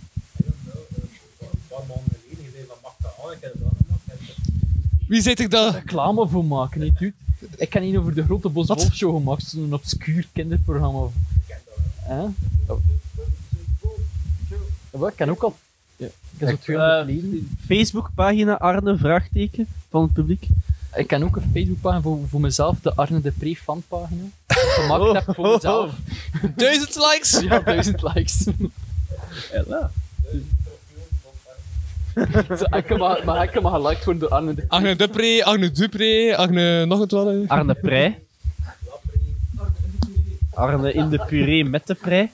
Speaker 3: Wie zit ik daar?
Speaker 4: Reclame voor maken, niet dude. Ik kan niet over de grote Bos Wolf Show gemaakt, zo'n obscuur kinderprogramma. Hè? Ja, Wat? Ik kan ook al. Ja, ik heb zo 200
Speaker 11: Eh,
Speaker 4: leden.
Speaker 2: Facebookpagina Arne, vraagteken, van het publiek.
Speaker 4: Ik kan ook een Facebookpagina voor, voor mezelf, de Arne de Pre fanpagina. Gemaakt heb voor mezelf.
Speaker 3: Oh. Duizend likes!
Speaker 4: Ja, duizend likes.
Speaker 2: Ja.
Speaker 4: Zo, ik kan maar, maar ik kan maar geliked worden door Arne de
Speaker 3: Agne Dupré, Agne Dupré, Agne nog het wel. eh.
Speaker 2: Arne Prij. Arne in de puree met de prei.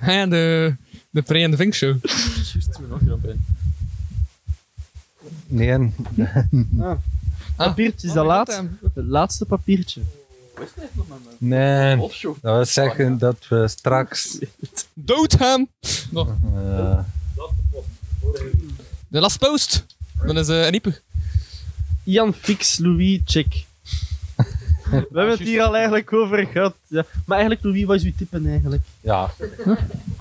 Speaker 3: Ja, de, de Pre en de Vink Show.
Speaker 4: Juist, toen nog erop in.
Speaker 1: Nee. en-
Speaker 2: Ah. Papiertje is dat laat. Het laatste papiertje.
Speaker 1: nee. Dat wil zeggen dat we straks...
Speaker 3: Dood hem! Nog.
Speaker 1: eh,
Speaker 3: De last post. Dan is eh een ieper.
Speaker 2: Jan Fix, Louis, check. We hebben het hier al eigenlijk over gehad. Ja. Maar eigenlijk, Louis, wat is uw tippen eigenlijk?
Speaker 1: ja.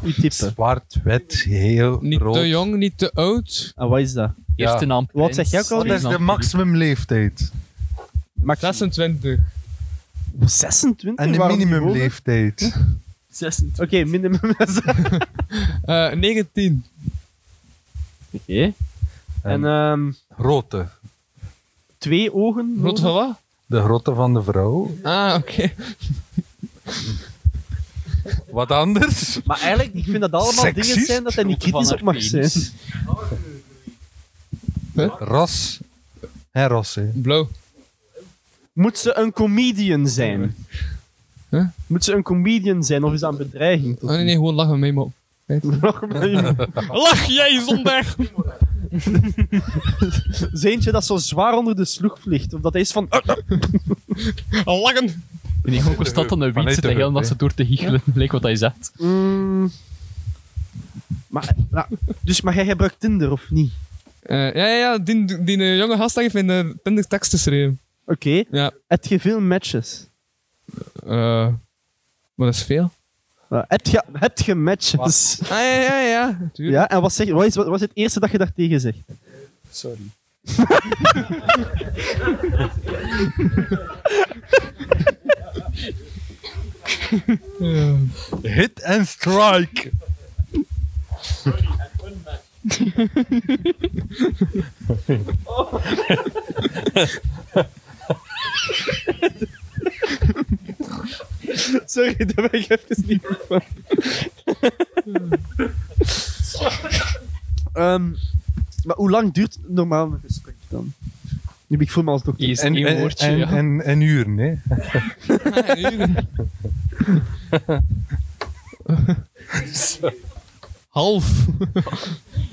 Speaker 2: Uw tippen.
Speaker 1: Zwart, wit, heel,
Speaker 3: Niet
Speaker 1: rood.
Speaker 3: te jong, niet te oud.
Speaker 2: En Ah, wat is dat?
Speaker 1: Ja. Eerste naam
Speaker 2: Wat zeg jij ook al?
Speaker 1: Wat is de maximumleeftijd?
Speaker 3: 26.
Speaker 2: 26?
Speaker 1: En de
Speaker 2: waarom niet hoger?
Speaker 1: minimumleeftijd?
Speaker 4: 26.
Speaker 2: Oké, minimum. Oké.
Speaker 3: Eh 19.
Speaker 2: En ehm
Speaker 1: Rote.
Speaker 2: twee ogen.
Speaker 3: Grote van wat?
Speaker 1: De grote van de vrouw.
Speaker 3: Ah, oké.
Speaker 1: Wat anders?
Speaker 2: Maar eigenlijk, ik vind dat allemaal dingen
Speaker 1: Seksist?
Speaker 2: zijn dat hij niet
Speaker 1: Grote van
Speaker 2: kritisch op mag zijn.
Speaker 1: haar Ras. En ras, hè.
Speaker 3: Blauw.
Speaker 2: Moet ze een comedian zijn?
Speaker 3: Huh?
Speaker 2: Moet ze een comedian zijn of is dat een bedreiging?
Speaker 3: Ah, nee, nee, gewoon lachen mee, man.
Speaker 2: Lach
Speaker 3: Lach jij, zondag!
Speaker 2: Zeentje dat zo zwaar onder de sloeg vliegt. Of dat hij is van...
Speaker 3: Lachen!
Speaker 4: En die gewoon constant aan de wiet
Speaker 1: Vanuit
Speaker 4: zitten,
Speaker 1: de
Speaker 4: heel
Speaker 1: heup,
Speaker 4: dat
Speaker 1: hè.
Speaker 4: ze door te hiechelen, lijkt wat hij zegt.
Speaker 2: Mm. Maar, nou, dus, maar jij gebruikt Tinder of niet?
Speaker 3: Eh, ja, ja, ja, die, die eh, jonge gast heeft in de Tinder tekst te schrijven.
Speaker 2: Oké.
Speaker 3: Ja.
Speaker 2: Heb je veel matches?
Speaker 3: Eh, maar dat is veel.
Speaker 2: Nou, heb, je, heb je matches?
Speaker 3: Ah, ja, ja, ja. natuurlijk.
Speaker 2: Ja, en wat, zeg, wat, is, wat was het eerste dat je daartegen zegt?
Speaker 4: Sorry.
Speaker 1: Hit and strike.
Speaker 2: Sorry, daar ben ik even niet goed van. Ehm, maar hoe lang duurt normaal een gesprek dan? Nu ben ik voor me als dokter.
Speaker 4: Is
Speaker 1: En,
Speaker 4: één
Speaker 1: en,
Speaker 4: woordje,
Speaker 1: en,
Speaker 4: ja.
Speaker 1: en, en uren, hè.
Speaker 3: Half.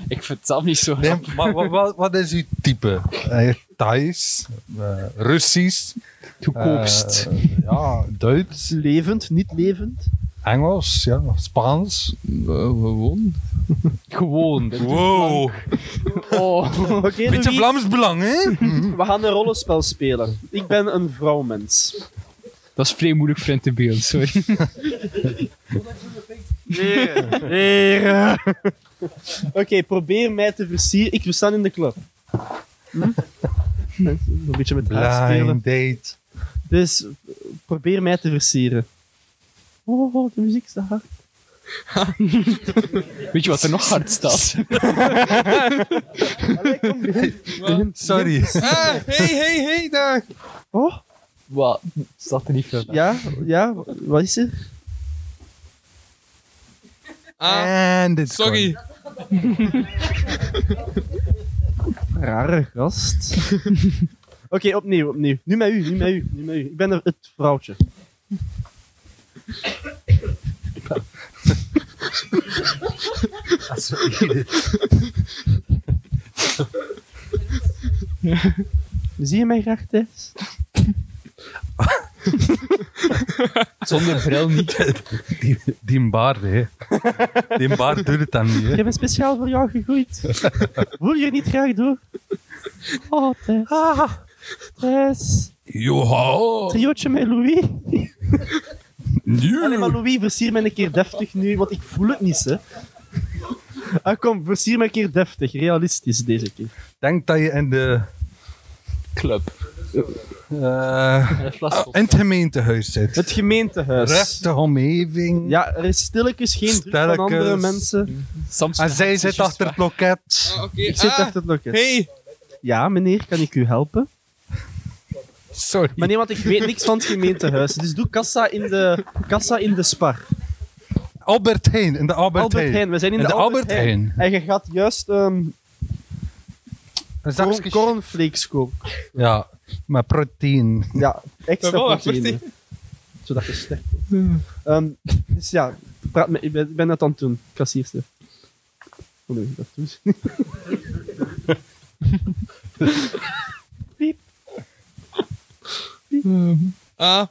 Speaker 4: Ik vind het zelf niet zo
Speaker 1: Nee,
Speaker 4: grappig.
Speaker 1: maar wat, wat, wat is uw type? Eh, Thais, eh, Russisch,
Speaker 2: Toekomst.
Speaker 1: eh, ja, Duits,
Speaker 2: Levend, niet levend.
Speaker 1: Engels, ja, Spaans.
Speaker 3: gewoon.
Speaker 4: Gewoon. dat doet
Speaker 1: Wow.
Speaker 4: lang. Oh.
Speaker 2: Oké,
Speaker 1: Beetje
Speaker 2: Louis,
Speaker 1: Vlaams belang, hè?
Speaker 2: we gaan een rollenspel spelen. Ik ben een vrouwmens.
Speaker 4: Dat is vrij moeilijk voor in te beeld, sorry.
Speaker 2: Heren. Oké, probeer mij te versieren. Ik, we staan in de club. Hm? Een beetje met haar spelen.
Speaker 1: Blind date.
Speaker 2: Dus eh, probeer mij te versieren. Oh, oh, de muziek staat hard.
Speaker 4: Weet je wat er nog hard staat?
Speaker 1: Sorry.
Speaker 3: Ah, hey, hey, hey, daar.
Speaker 2: Oh,
Speaker 4: Wat? Staat er niet veel bij.
Speaker 2: ja, ja, wat is er?
Speaker 3: Ah,
Speaker 1: En dit
Speaker 3: sorry.
Speaker 2: Rare gast. opnieuw, opnieuw. Nu met u, nu met u, nu met u. Ik ben er het vrouwtje.
Speaker 1: Dat is wel ieder.
Speaker 2: Zie je mij graag, Thijs?
Speaker 1: Zonder bril niet. Die, die baard, hè. Die baard doet het dan niet,
Speaker 2: Ik
Speaker 1: hè.
Speaker 2: heb een speciaal voor jou gegroeid. Voel je niet graag door? Oh, Thijs. Thijs.
Speaker 1: Joha.
Speaker 2: Triootje met Louis.
Speaker 1: Nu.
Speaker 2: Allee, maar Louis, versier me een keer deftig nu, want ik voel het niet, hè. Ah, kom, versier me een keer deftig. Realistisch deze keer.
Speaker 1: Denk dat je in de... Club. eh, in het gemeentehuis zit.
Speaker 2: Het gemeentehuis.
Speaker 1: Rechte omgeving.
Speaker 2: Ja, er is stilletjes geen druk van
Speaker 1: Sterkes.
Speaker 2: andere mensen.
Speaker 1: En Ah, zij zit achter het loket.
Speaker 2: Ik zit achter het loket.
Speaker 3: Ah, Hey.
Speaker 2: Ja, meneer, kan ik u helpen?
Speaker 1: Sorry.
Speaker 2: Maar nee, want ik weet niks van het gemeentehuis. Dus doe kassa in de, kassa in de spar.
Speaker 1: Albert Heijn, in de Albert,
Speaker 2: Albert Heijn, we zijn in de, Albert Heijn. En je gaat juist ehm corn, cornflakes kopen.
Speaker 1: Ja, maar proteïne.
Speaker 2: Ja, extra
Speaker 1: Voilà,
Speaker 2: proteïne.
Speaker 1: proteïne.
Speaker 2: Zodat je sterk wordt. Ehm, dus ja, praat met, ik, ben, ik ben net aan het doen, kassierste. Oh nee, dat doet ze niet. Piep.
Speaker 3: Ah.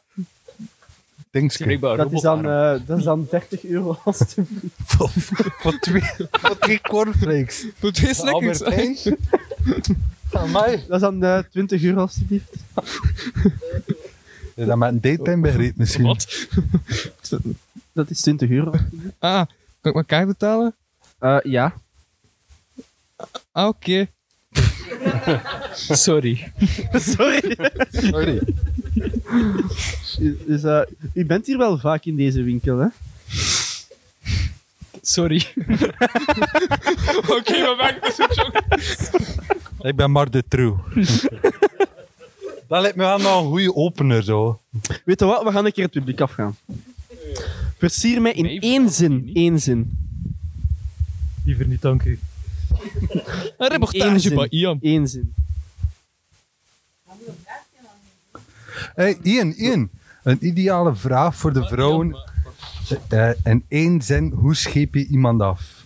Speaker 2: Dat is dan, eh, dat is dan 30 euro, alstublieft.
Speaker 1: Voor twee, voor drie cornflakes.
Speaker 3: Voor twee
Speaker 2: snackers.
Speaker 1: Albert Heijn.
Speaker 2: Dat is dan eh, 20 euro, alstublieft.
Speaker 1: Ja, dat met een daytime begreep misschien.
Speaker 3: Wat?
Speaker 2: Dat is 20 euro. Eh,
Speaker 3: Ah, kan ik mijn kaart betalen?
Speaker 2: ja.
Speaker 3: Ah, oké.
Speaker 4: Sorry.
Speaker 2: Sorry.
Speaker 1: Sorry.
Speaker 2: Dus, eh, u bent hier wel vaak in deze winkel, hè?
Speaker 4: Sorry.
Speaker 3: Oké, maar maak het zo
Speaker 1: Ik ben maar de true. dat lijkt me wel nog een goede opener zo.
Speaker 2: Weet je wat? We gaan een keer het publiek afgaan. Versier mij in één zin. Één zin.
Speaker 8: Liever niet, dank u.
Speaker 3: Een
Speaker 2: Eén
Speaker 3: reportage
Speaker 2: zin.
Speaker 3: bij Ian.
Speaker 2: Eén zin.
Speaker 1: Hey, Ian, Ian. Een ideale vraag voor de vrouwen. Eh, in één zin, hoe scheep je iemand af?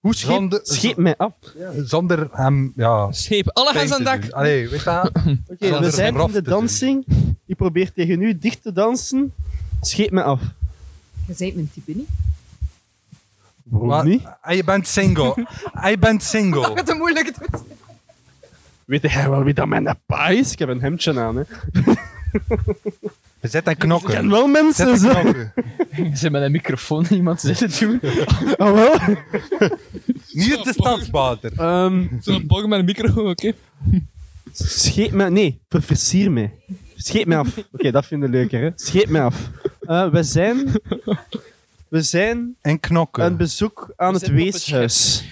Speaker 2: Hoe
Speaker 1: scheep, zonder,
Speaker 2: scheep mij af?
Speaker 1: Zonder hem, ja...
Speaker 3: Scheep, alle
Speaker 1: pijn
Speaker 3: hands aan
Speaker 1: te
Speaker 3: dek.
Speaker 1: doen. Allee, weet je dat?
Speaker 2: Oké, we
Speaker 1: Zonder
Speaker 2: zijn
Speaker 1: hem
Speaker 2: in
Speaker 1: af
Speaker 2: de
Speaker 1: te doen.
Speaker 2: dansing. Ik probeer tegen u dicht te dansen. Scheep me af.
Speaker 9: Je bent mijn type niet.
Speaker 1: Wat? Ah, Je bent single. Ah, Je bent
Speaker 13: Mag
Speaker 1: single.
Speaker 13: het een moeilijke doen?
Speaker 2: Weet jij wel wie dat mijn pa is? Ik heb een hemdje aan, hè.
Speaker 1: Zet en
Speaker 2: knokken. Ik ken wel mensen,
Speaker 4: Zet en
Speaker 2: zo.
Speaker 4: knokken. Ze met een microfoon iemand zitten doen.
Speaker 2: Oh, wel?
Speaker 1: Niet het standsbater.
Speaker 3: Zo'n bogen met een micro, oké.
Speaker 2: Scheep me... Nee, ver- versier mij. Scheep me af. Oké, dat vinden we leuker, hè. Scheep me af. Eh, we zijn... We zijn...
Speaker 1: En knokken.
Speaker 2: Een bezoek aan het weeshuis.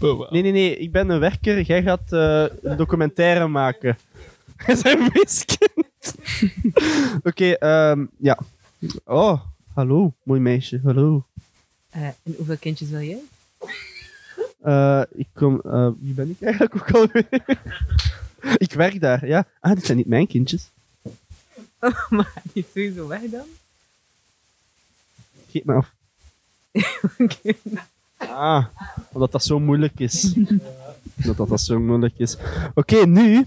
Speaker 4: Oh,
Speaker 2: Nee, nee, nee. Ik ben een werker. Jij gaat eh, een documentaire maken. Jij bent weeskind. Oké, ehm, ja. Oh, hallo. Mooi meisje. Hallo.
Speaker 9: Eh, en hoeveel kindjes wil jij?
Speaker 2: Eh, ik kom... eh, wie ben ik eigenlijk ook alweer? ik werk daar, ja. Ah, dit zijn niet mijn kindjes.
Speaker 9: Oh, maar die is sowieso weg dan?
Speaker 2: Geef me af.
Speaker 9: Oké.
Speaker 2: Ah, omdat dat zo moeilijk is. Omdat dat, dat zo moeilijk is. Oké, nu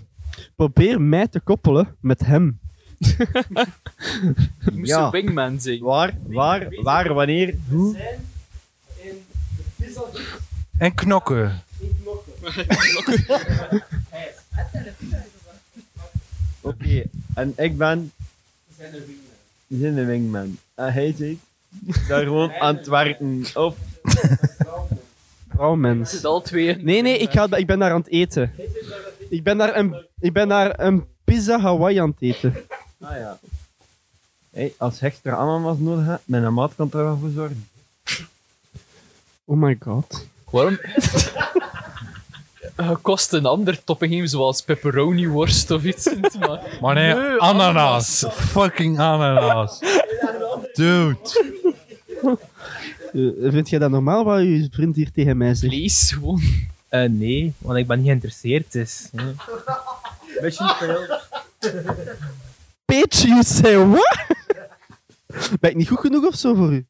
Speaker 2: probeer mij te koppelen met hem.
Speaker 4: Moest een wingman zijn.
Speaker 2: Waar, waar, waar, wanneer, hoe?
Speaker 1: En knokken.
Speaker 10: Oké, en ik ben. We zijn een wingman. En hij zit daar gewoon aan het werken. Of.
Speaker 2: Vrouwmens.
Speaker 4: Het is al twee.
Speaker 2: Nee, nee, ik, ga, ik ben daar aan het eten. Ik ben daar een, ik ben daar een pizza Hawaii aan het eten.
Speaker 10: Ah ja. Hey, als je extra ananas nodig hebt, mijn maat kan er wel voor zorgen.
Speaker 2: Oh my god.
Speaker 4: Waarom? Je Eh, kost een ander topping geven, zoals pepperoni worst of iets. Maar,
Speaker 1: Maar nee, ananas. Fucking ananas. Dude.
Speaker 2: Eh, vind jij dat normaal wat je vriend hier tegen mij zegt?
Speaker 4: Lees gewoon.
Speaker 8: Eh, nee, want ik ben niet geïnteresseerd. Dus, hè.
Speaker 14: Mission failed.
Speaker 2: Bitch, you say what? ben ik niet goed genoeg of zo voor u?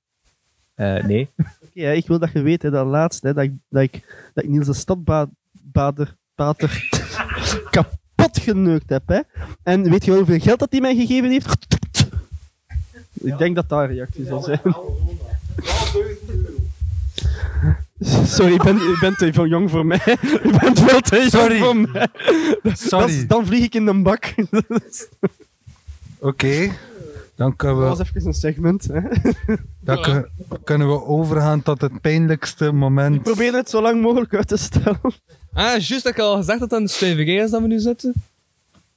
Speaker 14: Eh, nee.
Speaker 2: Oké, hè, ik wil dat je weet, hè, dat laatst, hè, dat, ik, dat, ik, dat ik Niels de stadbader pater, kapot geneukt heb. Hè. En weet je wel hoeveel geld dat hij mij gegeven heeft? Ik denk dat daar een reactie zal zijn. Sorry, ik ben, ik ben te veel jong voor mij. Je bent wel te jong
Speaker 1: Sorry.
Speaker 2: voor mij. Dat-
Speaker 1: Sorry.
Speaker 2: dat is- dan vlieg ik in een bak. Dat is-
Speaker 1: Oké, dan kunnen
Speaker 2: dat was
Speaker 1: we,
Speaker 2: even een segment. Hè.
Speaker 1: dan kun- kunnen we overgaan tot het pijnlijkste
Speaker 2: Ik
Speaker 1: moment.
Speaker 2: probeer het zo lang mogelijk uit te stellen.
Speaker 3: Ah, juist dat ik al gezegd had dat het een STVG is dat we nu zitten.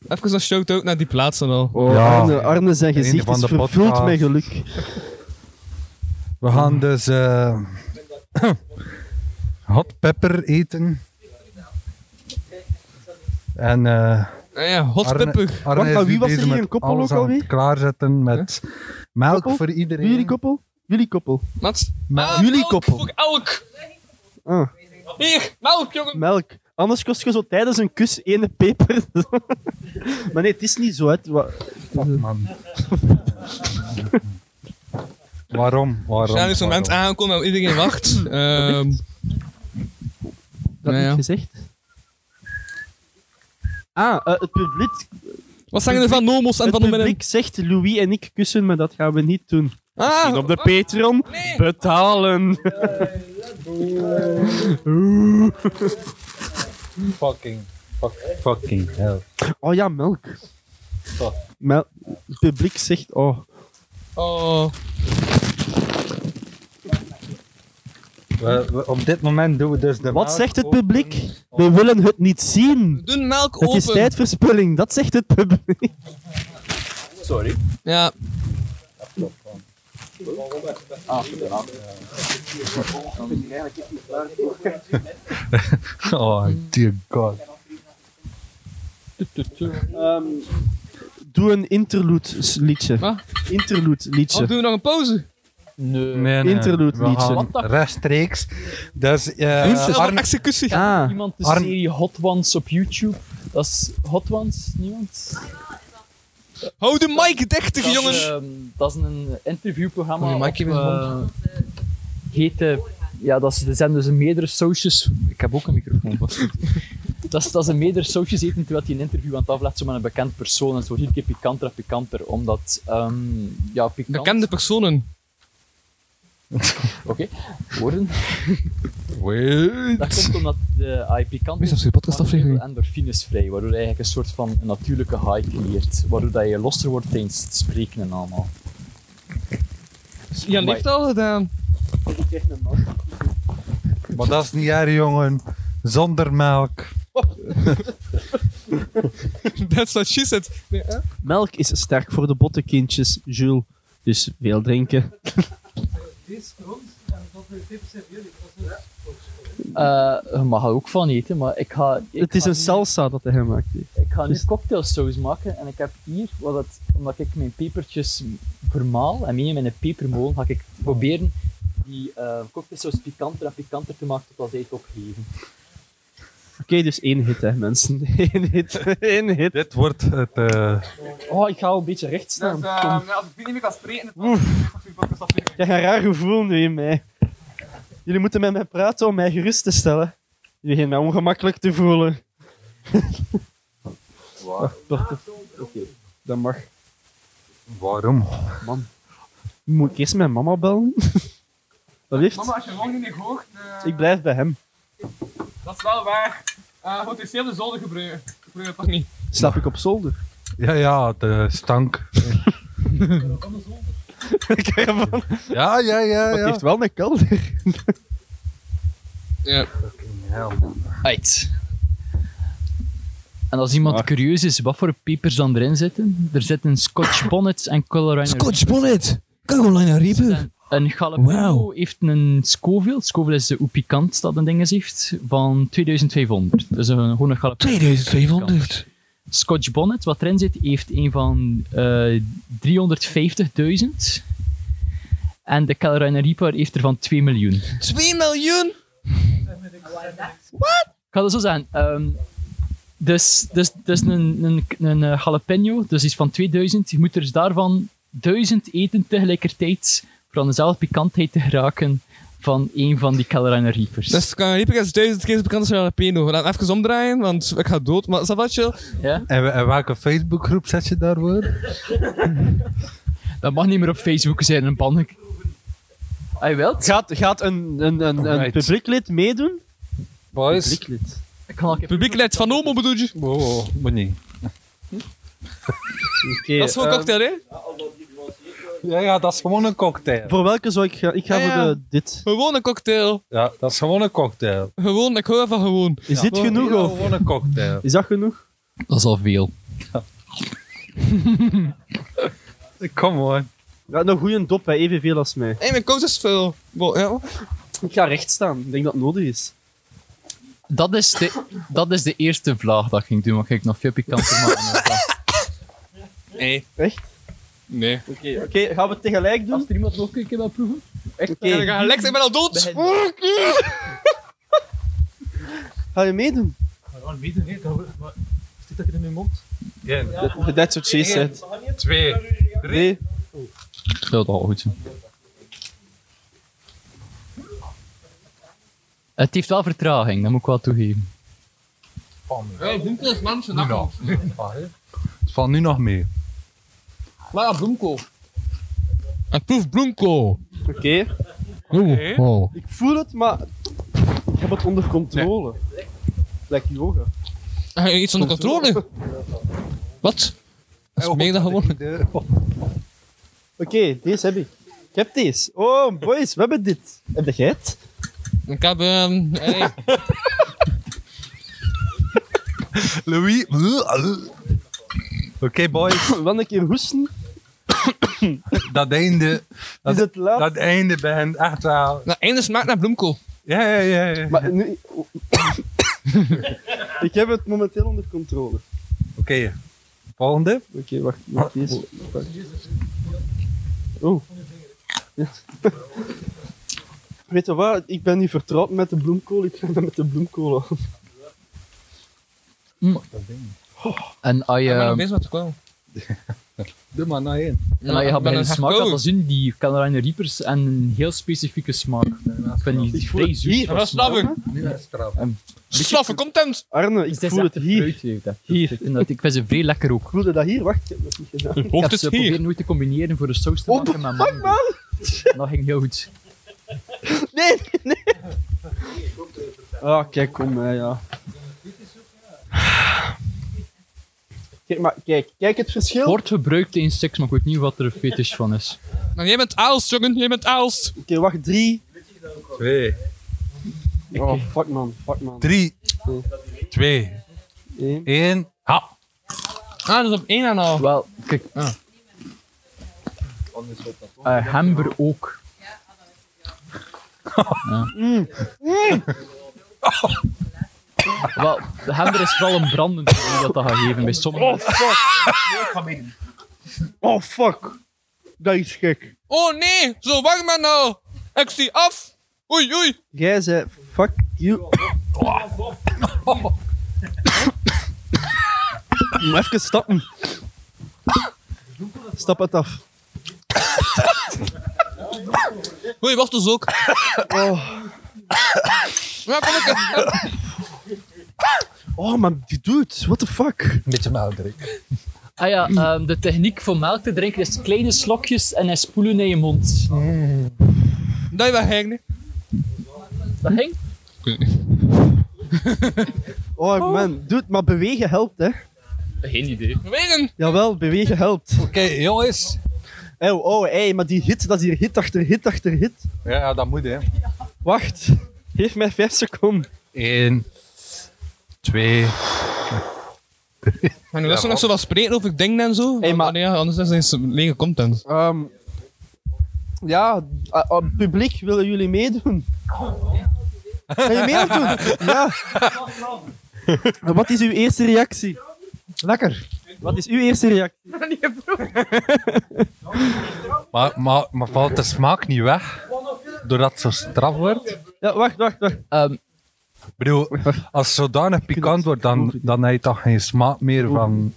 Speaker 3: Even een shout-out naar die plaats en al.
Speaker 2: Oh, Arne, Arne zijn
Speaker 1: Einde
Speaker 2: gezicht
Speaker 1: van
Speaker 2: is
Speaker 1: de
Speaker 2: vervuld
Speaker 1: podcast.
Speaker 2: met geluk.
Speaker 1: We gaan dus eh, hot pepper eten. En eh,
Speaker 3: Ah ja, hot
Speaker 1: Arne-
Speaker 3: pepper.
Speaker 1: Arne
Speaker 2: Wacht,
Speaker 1: is
Speaker 2: maar
Speaker 1: nu
Speaker 2: wie was er
Speaker 1: bezig
Speaker 2: hier,
Speaker 1: met
Speaker 2: een koppel
Speaker 1: alles
Speaker 2: ook
Speaker 1: aan
Speaker 2: alweer?
Speaker 1: het Klaarzetten met melk voor iedereen.
Speaker 2: Jullie koppel? Jullie koppel.
Speaker 3: Mats?
Speaker 1: Melk.
Speaker 2: Jullie koppel.
Speaker 3: Ah, Voor elk!
Speaker 2: Ah,
Speaker 3: Hier, melk, jongen!
Speaker 2: melk. Anders kost je zo tijdens een kus ene peper. maar nee, het is niet zo. Hè. Het wa-
Speaker 1: Man. Waarom?
Speaker 3: Er
Speaker 1: Waarom?
Speaker 3: zijn dus moment
Speaker 1: Waarom?
Speaker 3: aangekomen dat iedereen wacht. Ehm
Speaker 2: Dat
Speaker 3: nou
Speaker 2: heb
Speaker 3: ja.
Speaker 2: ik gezegd. Ah, eh, het publiek.
Speaker 3: Wat zeggen er van Nomos en
Speaker 2: het
Speaker 3: van de
Speaker 2: publiek zegt Louis en ik kussen, maar dat gaan we niet doen.
Speaker 3: Ah,
Speaker 2: Misschien op de Patreon betalen. Oeh.
Speaker 1: Fucking. Fuck, fucking hell.
Speaker 2: oh ja, melk. Mel- het publiek zegt. Oh.
Speaker 3: Oh.
Speaker 1: We, we- op dit moment doen we dus de
Speaker 2: Wat
Speaker 1: melk
Speaker 2: zegt het
Speaker 1: open.
Speaker 2: publiek? We willen het niet zien.
Speaker 3: Doen melk
Speaker 2: Het is
Speaker 3: open.
Speaker 2: tijdverspilling, dat zegt het publiek.
Speaker 4: Sorry.
Speaker 3: Ja.
Speaker 1: Oh, dear god.
Speaker 2: Ehm, Doe een interlude liedje.
Speaker 3: Wat?
Speaker 2: Interlude
Speaker 3: Oh, doen
Speaker 2: liedje.
Speaker 3: we nog een pauze?
Speaker 1: Nee, nee.
Speaker 2: Interlude
Speaker 1: We gaan
Speaker 2: liedje.
Speaker 1: Rechtstreeks. Dus, eh,
Speaker 3: Dit is
Speaker 1: Arne-
Speaker 3: een executie.
Speaker 2: Ah,
Speaker 4: Iemand de
Speaker 1: Arn-
Speaker 4: serie Hot Ones op YouTube. Dat is Hot Ones, niemand?
Speaker 3: Hou de mic dicht,
Speaker 4: Dat is,
Speaker 3: jongens!
Speaker 2: eh,
Speaker 4: ehm, dat is een interviewprogramma.
Speaker 15: Oh, die mic
Speaker 4: op,
Speaker 15: heeft een
Speaker 4: eh, heet, eh, ja, dat is, er zijn dus meerdere socials. Ik heb ook een microfoon vast. dat, is, dat is een meerdere socials eten terwijl hij een interview aan het aflegt zo met een bekend persoon. En het wordt iedere keer pikanter en pikanter. Omdat, ehm, ja, pikant.
Speaker 3: Bekende personen.
Speaker 4: Oké, worden.
Speaker 1: Wait.
Speaker 4: Dat komt omdat de ah, pikant
Speaker 3: Meestal is de podcastaflevering.
Speaker 4: endorfines vrij, waardoor je eigenlijk een soort van natuurlijke high creëert. Waardoor dat je losser wordt tijdens het spreken en allemaal.
Speaker 3: Jan heeft het al gedaan.
Speaker 1: Maar dat is niet erg, jongen. Zonder melk.
Speaker 3: That's what she said. Nee, hè?
Speaker 2: melk is sterk voor de bottenkindjes, Jules. Dus veel drinken.
Speaker 4: Eh, je mag er ook van eten, maar ik ga... Ik
Speaker 2: Het is
Speaker 4: ga
Speaker 2: een
Speaker 4: nu-
Speaker 2: salsa dat hij gemaakt heeft.
Speaker 4: Ik ga nu
Speaker 2: dus-
Speaker 4: cocktailsaus maken en ik heb hier, wat het, omdat ik mijn pepertjes vermaal en mee in mijn pepermolen, ga ik proberen die eh cocktailsaus pikanter en pikanter te maken tot dat ik opgeven.
Speaker 2: Oké, dus één hit, hè, mensen. Eén hit. Eén hit.
Speaker 1: Dit wordt het. eh,
Speaker 4: Oh, ik ga al een beetje recht staan.
Speaker 2: Nou,
Speaker 4: Kom.
Speaker 16: eh, nou, als ik niet meer kan spreken,
Speaker 2: Ik krijg een raar gevoel nu in mij. Jullie moeten met mij praten om mij gerust te stellen. Jullie beginnen mij ongemakkelijk te voelen. Wacht, wacht. Oké, dat mag.
Speaker 1: waarom?
Speaker 2: Moet ik eerst mijn mama bellen? Dat
Speaker 16: Mama,
Speaker 2: heeft.
Speaker 16: als je morgen niet hoogt, eh,
Speaker 2: Ik blijf bij hem.
Speaker 16: dat is wel waar. Eh goed, ik zie op de zolder gebruiken. Ik probeer het toch niet.
Speaker 2: Slaap ik op zolder?
Speaker 1: Ja, ja, de stank.
Speaker 2: Ik heb hem- Maar
Speaker 1: Ja, ja, ja.
Speaker 2: het
Speaker 1: ja.
Speaker 2: heeft wel een kelder.
Speaker 3: Ja.
Speaker 4: Uit. En als iemand
Speaker 2: Maar-
Speaker 4: curieus is, wat voor pepers dan erin zitten? Er zitten Scotch Bonnets en Colorado
Speaker 3: Bonnet! Carolina Reaper!
Speaker 4: Een jalapeno
Speaker 3: Wauw.
Speaker 4: heeft een Scoville. Scoville is de oepikant dat een ding heeft. Van 2500. Dus een, gewoon een jalapeno. Scotch Bonnet, wat erin zit, heeft een van eh 350.000. En de Carolina Reaper heeft er van 2 miljoen.
Speaker 3: 2 miljoen!
Speaker 4: Ik ga het zo zeggen. ehm, Dus, dus, dus een, een, een eh, jalapeno, dus iets van 2000. Je moet er daarvan 1000 eten tegelijkertijd. Voor aan dezelfde pikantheid te geraken van een van die Carolina Reapers.
Speaker 3: Dus kan Reaper is duizend keer zo bekend als Jalapeno. We gaan hem even omdraaien, want ik ga dood. Maar Savatje,
Speaker 1: En, we- en welke Facebookgroep zet je daarvoor?
Speaker 4: Dat mag niet meer op Facebook zijn, een bank. Hij Ah, wilt?
Speaker 2: Gaat, gaat een, een, een, een
Speaker 4: Alright.
Speaker 2: publieklid meedoen?
Speaker 1: Boys.
Speaker 2: Publieklid.
Speaker 4: Ik kan al
Speaker 3: publiek leidt van Omo bedoel je?
Speaker 1: Wow, maar niet.
Speaker 2: Oké,
Speaker 3: dat is gewoon
Speaker 2: ehm,
Speaker 3: cocktail, hè?
Speaker 1: Ja, ja, dat is gewoon een cocktail.
Speaker 2: Voor welke zou ik gaan? Ik ga
Speaker 3: Ja, ja.
Speaker 2: voor de, dit.
Speaker 3: Gewoon een cocktail.
Speaker 1: Ja, dat is gewoon een cocktail.
Speaker 3: Gewoon, ik hou van gewoon.
Speaker 2: Is dit genoeg?
Speaker 1: Ja,
Speaker 2: Of?
Speaker 1: Gewoon een cocktail.
Speaker 2: Is dat genoeg?
Speaker 4: Dat is al veel.
Speaker 1: Kom hoor.
Speaker 2: Ja, een goede dop bij evenveel als mij.
Speaker 3: Hé, mijn kous is veel. Wow, ja.
Speaker 2: Ik ga recht staan. Ik denk dat het nodig is.
Speaker 4: Dat is, de, dat is de eerste vlaag dat ik ging doen, want ik nog veel pikanter maken.
Speaker 3: Nee.
Speaker 2: Echt?
Speaker 3: Nee.
Speaker 2: Oké, oké. gaan we het tegelijk doen?
Speaker 4: er iemand nog een keer wil proeven?
Speaker 2: Echt?
Speaker 3: Ja, dan ga je Lex, ik ben al dood.
Speaker 2: Ga je meedoen?
Speaker 17: Maar dan weten nee, dat we- maar Zit dat in mijn mond?
Speaker 2: Dat That's what she said.
Speaker 1: Twee.
Speaker 2: Nee.
Speaker 4: Dat zou toch al goed zijn. Het heeft wel vertraging, dat moet ik wel toegeven.
Speaker 3: Ja, bloemkool is manche
Speaker 1: nacht. Het valt nu nog mee.
Speaker 3: Maar ja, bloemkool. Ik proef bloemkool. Oh,
Speaker 2: Oké. Ik voel het, maar ik heb het onder controle. Lekker yoga.
Speaker 3: Heb je iets onder controle? Wat? Dat is meer dan
Speaker 2: Oh,
Speaker 3: gewoon.
Speaker 2: Oké, deze heb ik. Ik heb deze. Oh, boys, we hebben dit. Heb jij het?
Speaker 3: Ik heb... ehm, hey.
Speaker 1: Louis. Oké, boys.
Speaker 2: Wanneer een keer hoesten.
Speaker 1: Dat einde. Dat,
Speaker 2: Is het laat?
Speaker 1: dat einde bent echt wel.
Speaker 3: Nou, einde smaakt naar bloemkool.
Speaker 1: Ja, ja, ja. ja.
Speaker 2: Maar nu... ik heb het momenteel onder controle.
Speaker 1: Oké. Volgende.
Speaker 2: Oké, wacht. wacht deze. Wacht. Oh. Ja. Weet je wat? Ik ben niet vertrouwd met de bloemkool. Ik ga dat met de bloemkool aan.
Speaker 4: En als je,
Speaker 3: Ik ben nog
Speaker 4: en
Speaker 3: bezig met de kool.
Speaker 1: Doe maar nou, naar één.
Speaker 4: als je gaat
Speaker 3: ben
Speaker 4: bij een
Speaker 3: een
Speaker 4: smaak
Speaker 3: hardcore.
Speaker 4: gaat zien, die Carolina Reapers en een heel specifieke smaak. Ik vind die
Speaker 2: Ik voel
Speaker 4: vrij
Speaker 2: het
Speaker 4: zoet.
Speaker 2: hier.
Speaker 3: Dat is slaven.
Speaker 1: Nu is het eraf.
Speaker 3: Slaven content.
Speaker 2: Arne, ik
Speaker 4: Dus dat is
Speaker 2: voel
Speaker 4: echt
Speaker 2: het
Speaker 4: een
Speaker 2: hier.
Speaker 4: fruit, heeft dat. Ik vind dat- ik vind ze vrij lekker ook.
Speaker 2: Ik voelde dat hier. Wacht, ik heb dat niet gedaan.
Speaker 4: Ik
Speaker 3: Hoofd
Speaker 4: heb
Speaker 3: is
Speaker 4: ze
Speaker 3: hier.
Speaker 4: proberen nooit te combineren voor de saus te
Speaker 2: Oh,
Speaker 4: maken met mango. Dat ging heel goed.
Speaker 2: Nee, nee. Ah, kijk, kom, hè, ja. Kijk, maar kijk, kijk het verschil. Oké,
Speaker 4: Wordt gebruikt in seks, maar ik weet niet wat er een fetish van is.
Speaker 3: Maar jij bent aalst, jongen. Jij bent aalst.
Speaker 2: wacht, drie.
Speaker 1: Twee.
Speaker 2: Oh, fuck man, fuck man.
Speaker 1: Drie. Twee.
Speaker 2: Eén.
Speaker 1: Eén. Ha.
Speaker 3: Ah, dat is op één en al.
Speaker 4: Wel, kijk.
Speaker 3: Ah.
Speaker 4: Eh, Hamber ook. Wel, de Hamber is vooral een brandende die dat dat gaat geven bij sommigen.
Speaker 2: Oh, fuck. Dat is gek.
Speaker 3: Oh nee, zo warm maar nou. Ik zie af. Oei, oei.
Speaker 2: Jij zei, fuck you. Moet even stappen. Stap het af.
Speaker 3: Oei, wacht dus ook.
Speaker 2: Oh,
Speaker 3: Ja, kom ik.
Speaker 2: oh man, die dude, what the fuck.
Speaker 1: Een beetje melderik.
Speaker 4: Ah ja, ehm, de techniek voor melk te drinken is kleine slokjes en hij spoelen in je mond.
Speaker 3: Dat je wel gek, nee.
Speaker 4: Dat ging?
Speaker 2: Oh man, dude, maar bewegen helpt, hè.
Speaker 4: Geen idee.
Speaker 3: Wegen.
Speaker 2: Jawel, bewegen helpt.
Speaker 1: Oké, jongens.
Speaker 2: Oh, oh, hey, maar die hit, dat is hier hit achter hit achter hit.
Speaker 1: Ja, dat moet hè.
Speaker 2: Wacht, geef mij vijf seconden.
Speaker 1: Eén. Twee.
Speaker 3: En nu was er nog zo wat spreken over dingen en zo.
Speaker 2: Hey, maar-
Speaker 3: Ah, nee, anders is het lege content.
Speaker 2: Ehm, ja, eh, eh, publiek, willen jullie meedoen? Wil je mee doen? Ja. En Wat is uw eerste reactie? Lekker. Wat is uw eerste reactie?
Speaker 1: Maar, maar, maar valt de smaak niet weg? Doordat het zo straf wordt?
Speaker 2: Ja, wacht, wacht, wacht.
Speaker 4: Ehm,
Speaker 1: Ik bedoel, als het zodanig pikant wordt, dan, dan heb je toch geen smaak meer van...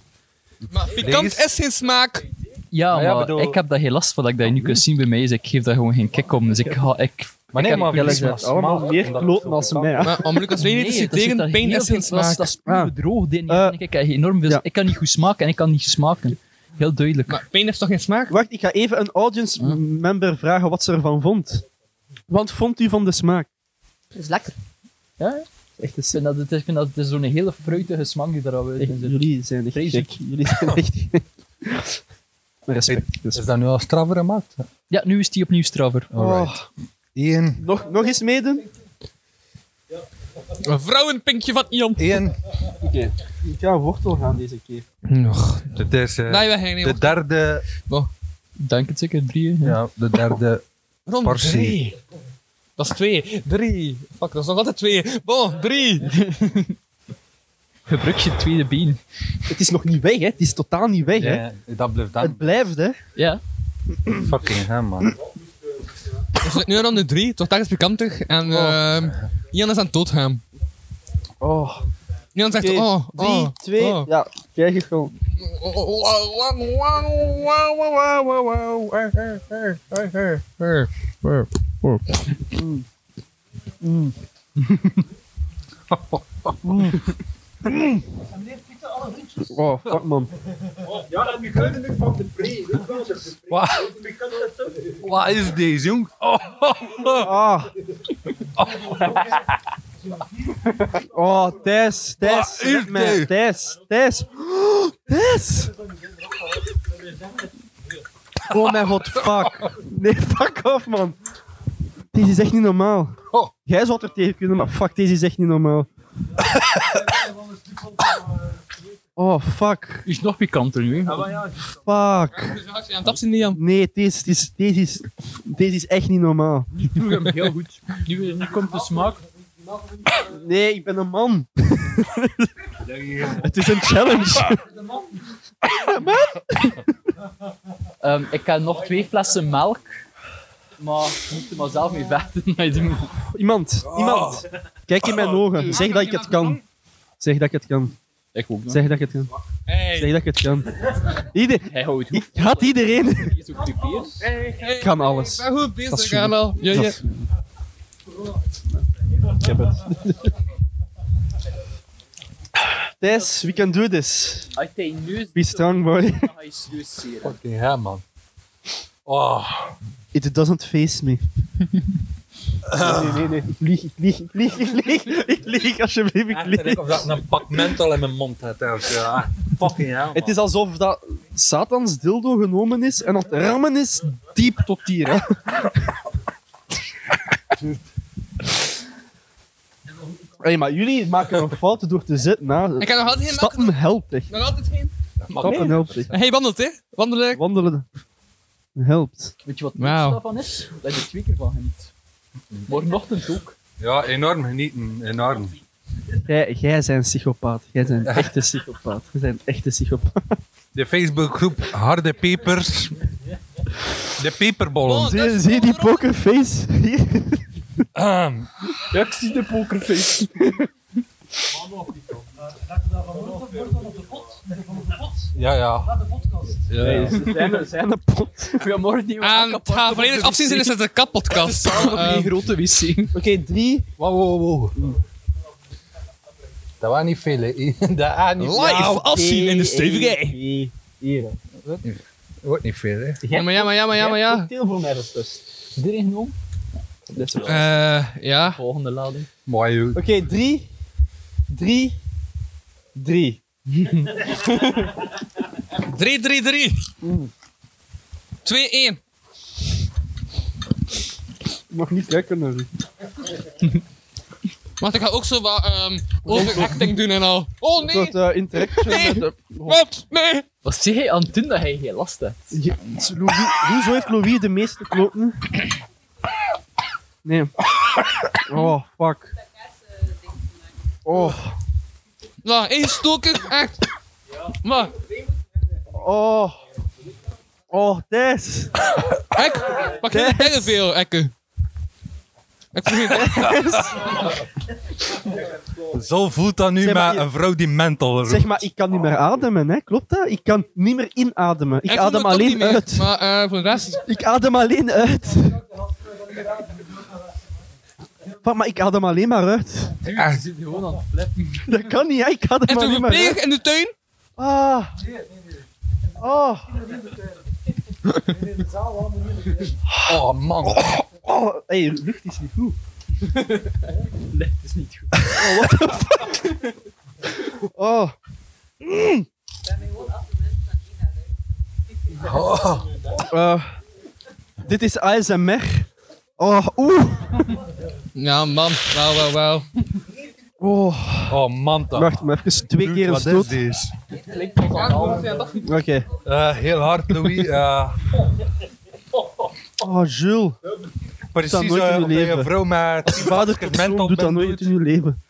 Speaker 3: Maar pikant is geen smaak.
Speaker 4: Ja,
Speaker 3: Maar
Speaker 4: maar,
Speaker 3: ja, bedoel-
Speaker 4: ik heb daar geen last van dat ik dat nu kan zien bij mij. Is, ik geef daar gewoon geen kick om. Dus ik ga... Ik,
Speaker 1: Maar nee,
Speaker 4: ik
Speaker 1: maar jullie zijn allemaal meer kloten
Speaker 2: als mij, hè.
Speaker 3: Maar om Lucas Lely te citeren, pijn is geen smaak.
Speaker 4: Dat is
Speaker 2: Ah.
Speaker 4: puur droog. die niet.
Speaker 2: Eh,
Speaker 4: Ik krijg enorm veel... Ik kan niet goed smaken en ik kan niet smaken. Heel duidelijk.
Speaker 3: Maar pijn heeft toch geen smaak?
Speaker 2: Wacht, ik ga even een audience member vragen wat ze ervan vond. Wat vond u van de smaak?
Speaker 4: Het is lekker. Ja? Echt, ik vind dat het, ik vind dat het is zo'n hele fruitige smaak die er al uit
Speaker 2: Echt,
Speaker 4: in zit.
Speaker 2: jullie zijn echt
Speaker 4: Vreselijk.
Speaker 2: gek. Jullie zijn echt gek. Respect.
Speaker 1: Is dat nu al straffer gemaakt?
Speaker 4: Ja, nu is die opnieuw straffer.
Speaker 1: Alright. Eén.
Speaker 2: Oh, Nog, nog eens meedoen?
Speaker 3: Een vrouwenpinkje van Ian.
Speaker 1: Eén.
Speaker 2: Oké. Ik ga een wortel gaan deze keer.
Speaker 1: Nog. Het is eh,
Speaker 3: Nee, we gaan niet
Speaker 1: de
Speaker 3: op.
Speaker 1: derde...
Speaker 4: Dank het zeker, drie.
Speaker 1: Ja, de derde
Speaker 3: Rond
Speaker 1: portie.
Speaker 3: drie. Dat is twee. Drie. Fuck, dat is nog altijd twee. Bon, drie.
Speaker 4: Gebruik je tweede been.
Speaker 2: Het is nog niet weg, hè? Het is totaal niet weg, hè?
Speaker 1: Ja, dat blijft
Speaker 2: Het
Speaker 1: dan.
Speaker 2: blijft, hè?
Speaker 4: Ja.
Speaker 1: Fucking hem, man.
Speaker 3: We zitten nu aan de drie. Tot daar is pikantig. En ehm Ian is aan het doodgaan.
Speaker 2: Oh.
Speaker 3: Ian zegt,
Speaker 2: Oké,
Speaker 3: oh,
Speaker 2: drie,
Speaker 3: oh,
Speaker 2: twee,
Speaker 3: oh.
Speaker 2: ja, krijg je gewoon. Mm. Mm. Mm. Oh, fuck man.
Speaker 18: Ja, en die gunnen nu van de pre.
Speaker 1: Wat? Wat is deze, jong? Oh.
Speaker 2: Oh. Oh, Tess, Tess,
Speaker 1: Wat is
Speaker 2: red mij,
Speaker 1: dit?
Speaker 2: Tess, Tess. Oh, Tess! Oh mijn god, fuck. Nee, fuck off, man. Deze is echt niet normaal.
Speaker 3: Oh.
Speaker 2: Jij zou het er tegen kunnen, maar fuck, deze is echt niet normaal. Oh, fuck.
Speaker 4: Is nog pikanter nu. hè?
Speaker 2: Fuck. Nee, deze is, deze is, deze is echt niet normaal.
Speaker 4: Vroeg hem heel goed. Nu, nu komt de smaak.
Speaker 2: Nee, ik ben een man. Het is een challenge.
Speaker 4: Ehm, ik heb nog twee flessen melk. Maar je moet er maar zelf mee vechten. maar je moet-
Speaker 2: Iemand, iemand. Kijk in mijn ogen. Zeg dat ik het kan. Zeg dat ik het kan.
Speaker 4: Ik ook.
Speaker 2: Zeg dat ik het kan. Zeg dat ik het kan. Ieder...
Speaker 4: Hij houdt
Speaker 2: Ik had iedereen.
Speaker 4: Je zoekt de peers.
Speaker 2: Ik kan alles.
Speaker 3: Ik ben goed
Speaker 2: Dat is
Speaker 3: bezig,
Speaker 2: goed.
Speaker 3: Arno. Je,
Speaker 2: Dat
Speaker 3: je.
Speaker 2: is- Ik heb het. Thijs, we can do this.
Speaker 4: Als je je neus
Speaker 2: Be strong, boy.
Speaker 4: dan ga je serieus zeren.
Speaker 1: Fucking hem, man. Oh.
Speaker 2: It doesn't face me. Nee, nee, nee. Ik lieg, ik lieg, ik lieg, ik lieg. Ik lieg, alsjeblieft, ik lieg.
Speaker 1: of dat een pak mental in mijn mond had. Ja. Fucking hell, man.
Speaker 2: Het is alsof dat Satans dildo genomen is en dat rammen is diep tot hier. Hè. Hey, maar jullie maken een fout door te zitten. Hè.
Speaker 3: Ik heb nog altijd geen
Speaker 2: Stappen helpt echt.
Speaker 3: Nog altijd geen.
Speaker 2: Stappen helpt echt.
Speaker 3: Hey, wandelt, hè? Wandelen.
Speaker 2: Wandelen helpt.
Speaker 4: Weet je wat het
Speaker 3: Wauw.
Speaker 4: wow. daarvan is? Dat je er twee keer van geniet. Morgenochtend ook.
Speaker 1: Ja, enorm genieten. Enorm.
Speaker 2: Jij, jij bent een psychopaat. Jij bent een echte psychopaat. Jij bent een echte psychopaat.
Speaker 1: De Facebookgroep Harde Pepers. De peperbollen.
Speaker 2: Zie, zie je die pokerface? Hier.
Speaker 1: Ehm,
Speaker 4: Ja, ik zie de pokerface.
Speaker 1: ja, ja. Ja, ja.
Speaker 2: Zijn, zijn een pot.
Speaker 4: Goedemorgen, die
Speaker 3: En het gaat volledig afzien zijn is het een kapodcast.
Speaker 4: een eh, grote wc.
Speaker 2: Oké, drie.
Speaker 1: Wow, wow, wow. Dat waren niet veel, hè. Dat waren niet veel.
Speaker 3: Live afzien in
Speaker 2: Twee,
Speaker 3: de stevige.
Speaker 2: drie, Hier. hè.
Speaker 1: Wordt niet veel, hè.
Speaker 3: Ja, maar ja, maar ja, maar ja, maar ja.
Speaker 2: Cocktail voor mij, dat is dus.
Speaker 4: Iedereen genomen?
Speaker 2: Dat is wel-
Speaker 3: Eh, ja.
Speaker 4: Volgende lading.
Speaker 1: Mooi, joh.
Speaker 2: Oké, drie. Drie. Drie.
Speaker 3: 3-3-3. 2-1.
Speaker 2: Mag niet lekker naar
Speaker 3: Want ik ga ook zo wat ehm overacting doen en al. Oh
Speaker 2: Een
Speaker 3: nee!
Speaker 2: soort eh, interaction
Speaker 3: Nee.
Speaker 2: met de...
Speaker 3: Wat? Nee!
Speaker 4: Wat zeg jij aan het doen dat hij geen last hebt?
Speaker 2: Je- Louis, hoezo heeft Louis de meeste kloten? Nee. Oh, fuck. Oh.
Speaker 3: Nou, één stoker, echt. Maar,
Speaker 2: Oh. Oh, Tess.
Speaker 3: Ek, pak jij
Speaker 2: Yes.
Speaker 3: tegen veel, Ekke. Ik vroeg je-
Speaker 1: Zo voelt dat nu
Speaker 2: Zeg maar,
Speaker 1: met
Speaker 2: je-
Speaker 1: een vrouw die mental roept.
Speaker 2: Zeg maar, ik kan niet meer ademen, hè? klopt dat? Ik kan niet meer inademen. Ik,
Speaker 3: Ik voel
Speaker 2: adem
Speaker 3: het ook niet
Speaker 2: alleen
Speaker 3: meer,
Speaker 2: uit.
Speaker 3: Maar eh, voor de rest...
Speaker 2: Ik adem alleen uit. Wat, maar ik adem alleen maar uit.
Speaker 4: Je zit gewoon aan het flappen.
Speaker 2: Dat kan niet, hè? ik adem
Speaker 3: Is er
Speaker 2: alleen
Speaker 3: een
Speaker 2: maar
Speaker 3: pleeg
Speaker 2: uit.
Speaker 3: in de tuin?
Speaker 2: Ah. Oh.
Speaker 1: Oh man.
Speaker 2: Oh, hey, lucht is niet goed.
Speaker 4: Nee, het is niet goed.
Speaker 2: Oh, what the fuck? Oh. Mm.
Speaker 1: Oh.
Speaker 2: Eh, dit is ASMR. Oh, oeh.
Speaker 3: Ja, man. Wauw, wauw, wauw.
Speaker 2: Oh.
Speaker 1: Oh man, dat.
Speaker 2: Wacht, maar even twee
Speaker 1: Dude,
Speaker 2: keer een
Speaker 1: wat
Speaker 2: stoot.
Speaker 1: is dit?
Speaker 2: Oké.
Speaker 1: Eh, heel hard, Louis. eh,
Speaker 2: Oh, Jules.
Speaker 1: precies
Speaker 2: nooit
Speaker 1: eh,
Speaker 2: in je
Speaker 1: omdat je
Speaker 2: leven.
Speaker 1: een vrouw met
Speaker 2: Vader tot zoon doet dat nooit in je leven.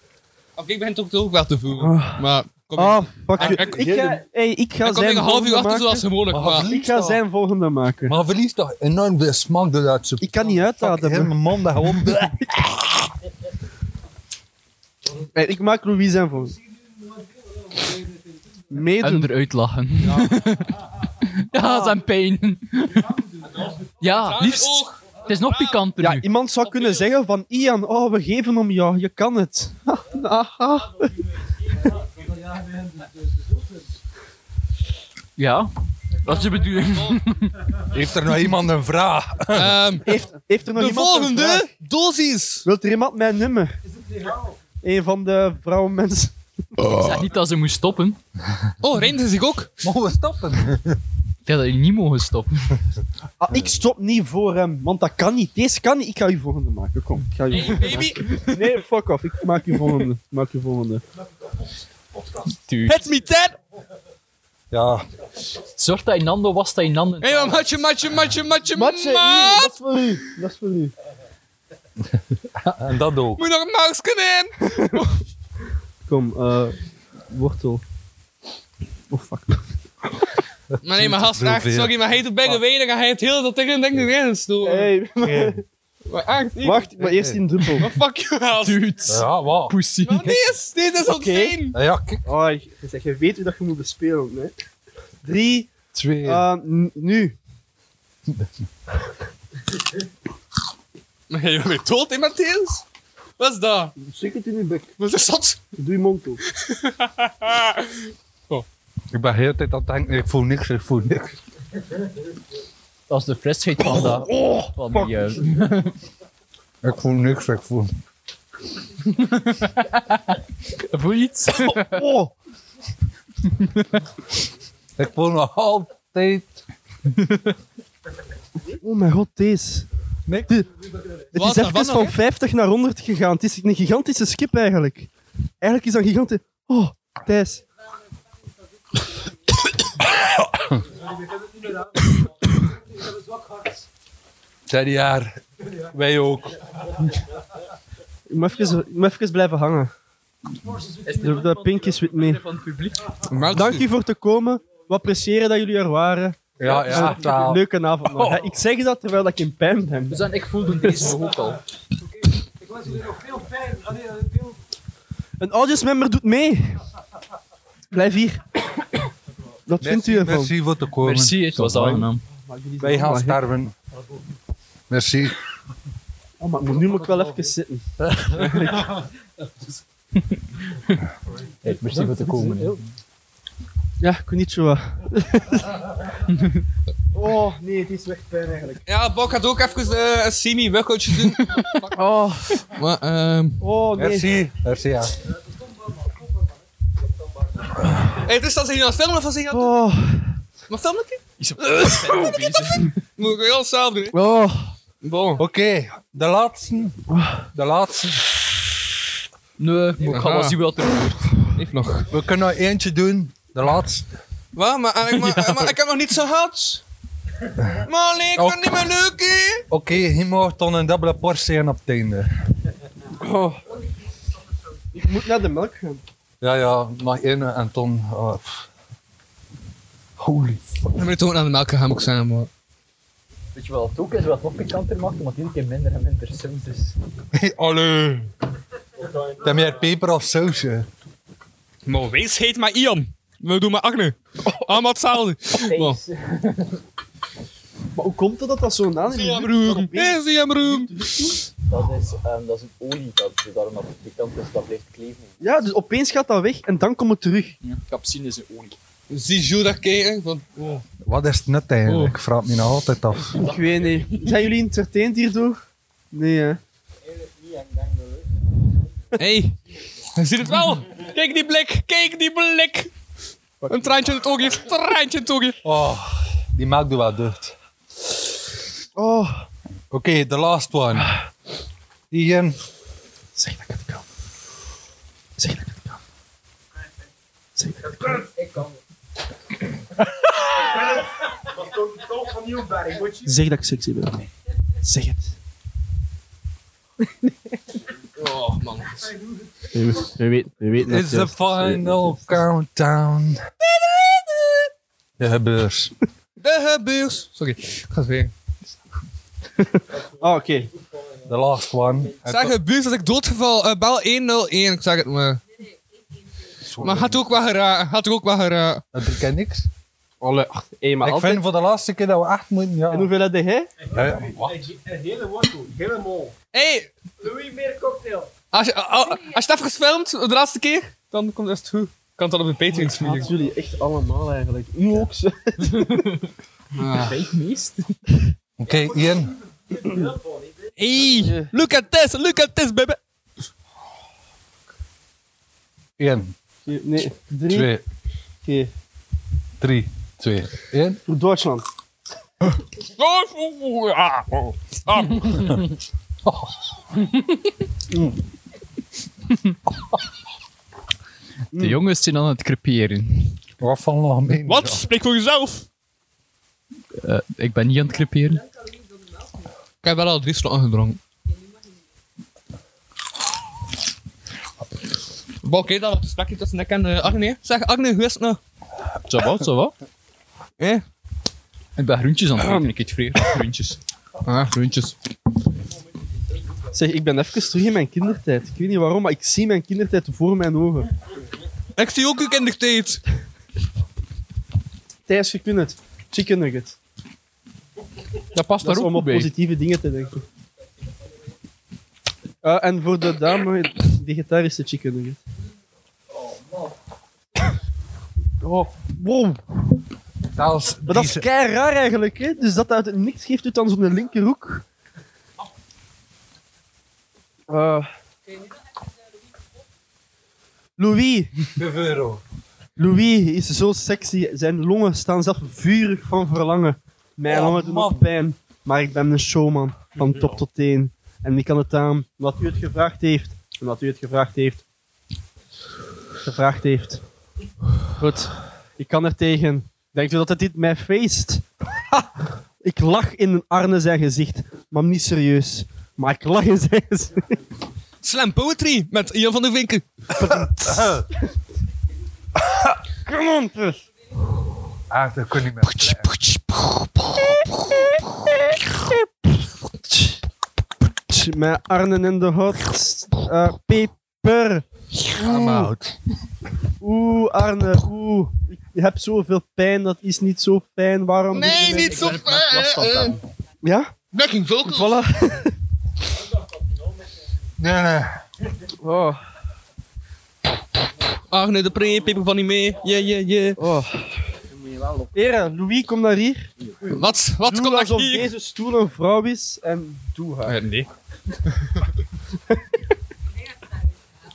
Speaker 3: Oké, ik begin toch ook wel te voelen. Maar... Kom
Speaker 2: Oh, fuck
Speaker 3: Ik-
Speaker 2: you.
Speaker 3: ik-
Speaker 2: Ik ga, hey, ik ga
Speaker 3: Ik kom
Speaker 2: zijn
Speaker 3: een half uur
Speaker 2: volgende maken. Oh,
Speaker 3: achter zoals gewoonlijk,
Speaker 1: Maar
Speaker 3: maar...
Speaker 2: Ik ga zijn volgende maken.
Speaker 1: Maar verliest toch enorm veel smaak doordat ze...
Speaker 2: Ik kan niet uitademen.
Speaker 1: Heel mijn mond dat gewoon...
Speaker 2: Hey, Eh, ik maak Louis zijn volgende. Meedoen.
Speaker 6: En eruit lachen. Ja, zijn pijn. ja, liefst. Het is nog pikanter
Speaker 2: Ja,
Speaker 6: nu.
Speaker 2: iemand zou kunnen zeggen van Ian, oh, we geven om jou, je kan het. Aha.
Speaker 6: Ja, dat is de bedoeling.
Speaker 1: Heeft er nog iemand een vraag?
Speaker 2: Heeft, heeft er nog
Speaker 3: ehm, de
Speaker 2: iemand een vraag?
Speaker 3: volgende dosis.
Speaker 2: Wilt er iemand mijn nummer? Een van de vrouwenmensen.
Speaker 6: Zeg niet dat ze moest stoppen.
Speaker 3: Oh, Reinde zich ook.
Speaker 1: Mogen we stoppen?
Speaker 6: Ik had dat je niet mogen stoppen.
Speaker 2: Ah, ik stop niet voor hem, want dat kan niet. Deze kan niet. Ik ga je volgende maken. Kom, ik ga je volgende
Speaker 3: baby.
Speaker 2: maken. Nee, fuck off. Ik maak je volgende. Ik maak je volgende.
Speaker 3: Het me ten.
Speaker 1: Ja.
Speaker 6: Zorg dat je Nando was, dat je Nando...
Speaker 3: Hé, hey, matje, matje, matje, matje,
Speaker 2: Matje, hier, dat is voor u. Dat is voor u.
Speaker 1: En dat ook.
Speaker 3: Moet je nog een mausken in?
Speaker 2: Kom, eh wortel. Oh, fuck.
Speaker 3: Maar nee, maar gast,
Speaker 1: Veel
Speaker 3: echt,
Speaker 1: veel.
Speaker 3: sorry, maar hij doet bijna weinig en hij heeft heel dat tegen denk ik erin storen.
Speaker 2: Hey,
Speaker 3: Maar echt, hier.
Speaker 2: wacht, maar eerst in druppel.
Speaker 3: Maar fuck you, gast.
Speaker 6: Dude,
Speaker 1: Ja, wat?
Speaker 6: pussy.
Speaker 3: Maar dit is, dit is ontzien.
Speaker 1: Ja, kijk.
Speaker 2: Oh, je, zegt, je weet hoe dat je moet bespelen, hè. Drie,
Speaker 1: Twee.
Speaker 2: eh, n- nu.
Speaker 3: Maar jij bent dood, hè, Matthäus? Wat is dat?
Speaker 2: Stik het in je bek.
Speaker 3: Wat is dat?
Speaker 2: Doe je mond toe.
Speaker 1: Ik ben de hele tijd aan het denken, ik voel niks, ik voel niks.
Speaker 6: Dat is de frisheid van dat... van die... eh,
Speaker 1: Ik voel niks, ik voel...
Speaker 6: voel je iets?
Speaker 2: Oh,
Speaker 1: Ik voel nog altijd...
Speaker 2: oh mijn god, deze.
Speaker 1: Niks.
Speaker 2: De- het
Speaker 3: Wat,
Speaker 2: is even
Speaker 3: daarvan nog,
Speaker 2: van
Speaker 3: hè?
Speaker 2: 50 naar 100 gegaan. Het is een gigantische skip eigenlijk. Eigenlijk is dat een gigantische... Oh, Thijs.
Speaker 1: Zijn jaar. Wij ook.
Speaker 2: Ik moet even, ik moet even blijven hangen. De, de pink is wit mee.
Speaker 6: eh, Van het publiek.
Speaker 2: Dank u voor te komen. We appreciëren dat jullie er waren.
Speaker 1: Ja, ja. ja.
Speaker 2: Leuke avond
Speaker 3: Oh.
Speaker 2: nog. hè. Ik zeg dat terwijl ik in pijn ben.
Speaker 6: Dus dan, ik voelde deze ook al.
Speaker 8: Ik was hier nog veel pijn. Allee, veel...
Speaker 2: Een audience member doet mee. Blijf hier. Wat vindt u
Speaker 1: Merci,
Speaker 2: ervan?
Speaker 1: merci voor te komen.
Speaker 6: Merci, het was aangenaam.
Speaker 1: Wij gaan sterven. Merci.
Speaker 2: Oh, maar nu moet ik wel even zitten.
Speaker 6: Merci voor te komen.
Speaker 2: Ja, konnichiwa. oh, nee, het is echt pijn eigenlijk.
Speaker 3: Ja, Bok gaat ook even eh, een semi-workoutje doen.
Speaker 2: Oh,
Speaker 3: maar, ehm...
Speaker 2: oh nee.
Speaker 1: Merci. Merci, ja.
Speaker 3: Hé, het is dat ze hier aan het filmen of was hij aan het...
Speaker 2: Oh,
Speaker 3: Maar film ik het?
Speaker 6: Is op de bezig.
Speaker 3: Moet ik wel alles zelf doen, hè?
Speaker 2: oh.
Speaker 3: Bon.
Speaker 1: Oké, de laatste. De laatste.
Speaker 6: Nee, maar ik ga wel zien wat er
Speaker 3: Even nog.
Speaker 1: We kunnen nog eentje doen. De laatste.
Speaker 3: Wat? Maar, eh, maar, eh, maar ik heb nog niet zo gehad. Maar nee, ik vind het niet meer leuk, hè?
Speaker 1: Oké, je mag dan een dubbele portie en op het einde.
Speaker 2: Ik moet naar de melk gaan.
Speaker 1: Ja, ja, nog één en dan... ah, pff. Holy fuck.
Speaker 3: Dan ben ik toch ook naar de melk gaan, moet ik zeggen, maar...
Speaker 4: Weet je wel, het ook is wat nog pikanter maakt, omdat iedere keer minder en minder saus is.
Speaker 1: Allee. Heb meer peper of saus? hè?
Speaker 3: Maar wees heet maar Ian. We doen maar Agne. Allemaal hetzelfde. Maar-
Speaker 2: Maar hoe komt het dat dat zo'n naam
Speaker 3: Zie hem roem. Hey, zie hem roem.
Speaker 4: Dat is, ehm, dat is een olie dat daarom dat het pikant is, dat blijft kleven.
Speaker 2: Ja, dus opeens gaat dat weg en dan komt het terug.
Speaker 4: Capsine is een olie.
Speaker 3: Zie Jules dat kijken? Van, oh.
Speaker 1: Wat is het nut eigenlijk? Ik vraag het me nou altijd af.
Speaker 2: Ik weet niet. Zijn jullie entertained hierdoor? Nee, hè?
Speaker 3: Hey, je ziet het wel. Kijk die blik, kijk die blik. Een traantje in het oogje, een traantje in het oogje.
Speaker 1: Oh, die maakt er wel deugd.
Speaker 2: Oh.
Speaker 1: Oké, the last one. Ian.
Speaker 2: Zeg dat ik het kan. Zeg dat ik het kan. Zeg dat ik het kan.
Speaker 8: Ik kan het. Dat is toch van Nieuwberg, moet je?
Speaker 2: Zeg dat ik sexy ben. Zeg het.
Speaker 3: Oh, man.
Speaker 10: We, we weten, we weten dat
Speaker 1: It's the
Speaker 10: juist-
Speaker 1: final countdown. De hubbers.
Speaker 3: De beurs. Sorry, ik ga het weer.
Speaker 2: Oh, oké.
Speaker 1: The last one.
Speaker 3: Zeg het buurt dat ik doodgeval. eh, bel 101, ik zeg het maar. Maar gaat ook wel geraken, gaat ook wel geraken.
Speaker 1: Dat bekend niks.
Speaker 2: Alle, ach, hey, maar
Speaker 1: ik
Speaker 2: altijd-
Speaker 1: vind voor de laatste keer dat we acht moeten. Ja.
Speaker 2: En hoeveel had jij?
Speaker 1: Ja, ja.
Speaker 8: Een hele wortel, helemaal.
Speaker 3: Hey,
Speaker 8: Louis meer cocktail.
Speaker 3: als je, ah, ah, als je het even filmt, de laatste keer, dan komt het goed. Ik kan het dan op de Patreon
Speaker 2: Haat
Speaker 3: smeren.
Speaker 2: jullie echt allemaal eigenlijk. U ook, ze.
Speaker 4: Weet meest.
Speaker 1: Oké, Ian.
Speaker 3: Hey, look at this, look at this, baby.
Speaker 1: Eén,
Speaker 2: Nee, drie.
Speaker 1: twee,
Speaker 2: Oké.
Speaker 1: drie, twee, één.
Speaker 2: Voor Duitsland.
Speaker 3: Ah, oh. Ah.
Speaker 6: De jongens zijn aan het creperen.
Speaker 1: Wat van Lameen?
Speaker 3: Wat? Spreek voor jezelf.
Speaker 6: Eh, ik ben niet aan het creperen.
Speaker 3: Ik heb wel al drie slotten gedronken. Bon, Oké, dan een gesprekje tussen ik en eh, Agne. Zeg, Agne, hoe is het nou?
Speaker 6: Zo wat, zo wat.
Speaker 3: Eh?
Speaker 6: Ik ben groentjes aan het eten, ik eet vreer groentjes.
Speaker 3: Ah, groentjes.
Speaker 2: Zeg, ik ben even terug in mijn kindertijd. Ik weet niet waarom, maar ik zie mijn kindertijd voor mijn ogen.
Speaker 3: Ik zie ook uw kindertijd.
Speaker 2: Thijs, je kunt het. Chicken nugget.
Speaker 6: Dat past
Speaker 2: Dat is om op positieve dingen te denken. Eh, en voor de dame, vegetarische chicken nugget. Oh, wow.
Speaker 1: Zelfs
Speaker 2: Maar dat is
Speaker 1: deze-
Speaker 2: kei raar eigenlijk, hè? Dus dat uit het niks geeft u dan zo'n linkerhoek. Eh Louis,
Speaker 1: 5 euro.
Speaker 2: Louis is zo sexy. Zijn longen staan zelf vurig van verlangen. Mijn
Speaker 1: Oh,
Speaker 2: longen doen nog pijn. Maar ik ben een showman van top tot teen. En ik kan het aan, omdat u het gevraagd heeft. Omdat u het gevraagd heeft. Gevraagd heeft. Goed, ik kan er tegen. Denkt u dat dit mij feest? Ha! Ik lach in Arne zijn gezicht, maar niet serieus. Maar ik lach in zijn gezicht.
Speaker 3: Slam Poetry met Jan van der Vinken.
Speaker 2: Come on, dus.
Speaker 1: Ah, dat kon niet meer.
Speaker 2: Mijn armen in de hot. eh, peper.
Speaker 1: I'm
Speaker 2: Oeh.
Speaker 1: out.
Speaker 2: Oeh, Arne, oeh. Ik heb zoveel pijn, dat is niet zo fijn. Waarom doe je mij-
Speaker 3: zo ver.
Speaker 2: Ja?
Speaker 3: Backing vocals.
Speaker 2: Voilà.
Speaker 1: Nee, nee.
Speaker 2: Oh,
Speaker 3: Agne de Pre, Pippa van niet mee. Yeah, yeah, yeah.
Speaker 2: oh. Heren, Louis, kom naar hier.
Speaker 3: Wat? Wat
Speaker 2: doe
Speaker 3: komt dat
Speaker 2: alsof
Speaker 3: hier?
Speaker 2: deze stoel een vrouw is en doe haar.
Speaker 3: Eh, nee.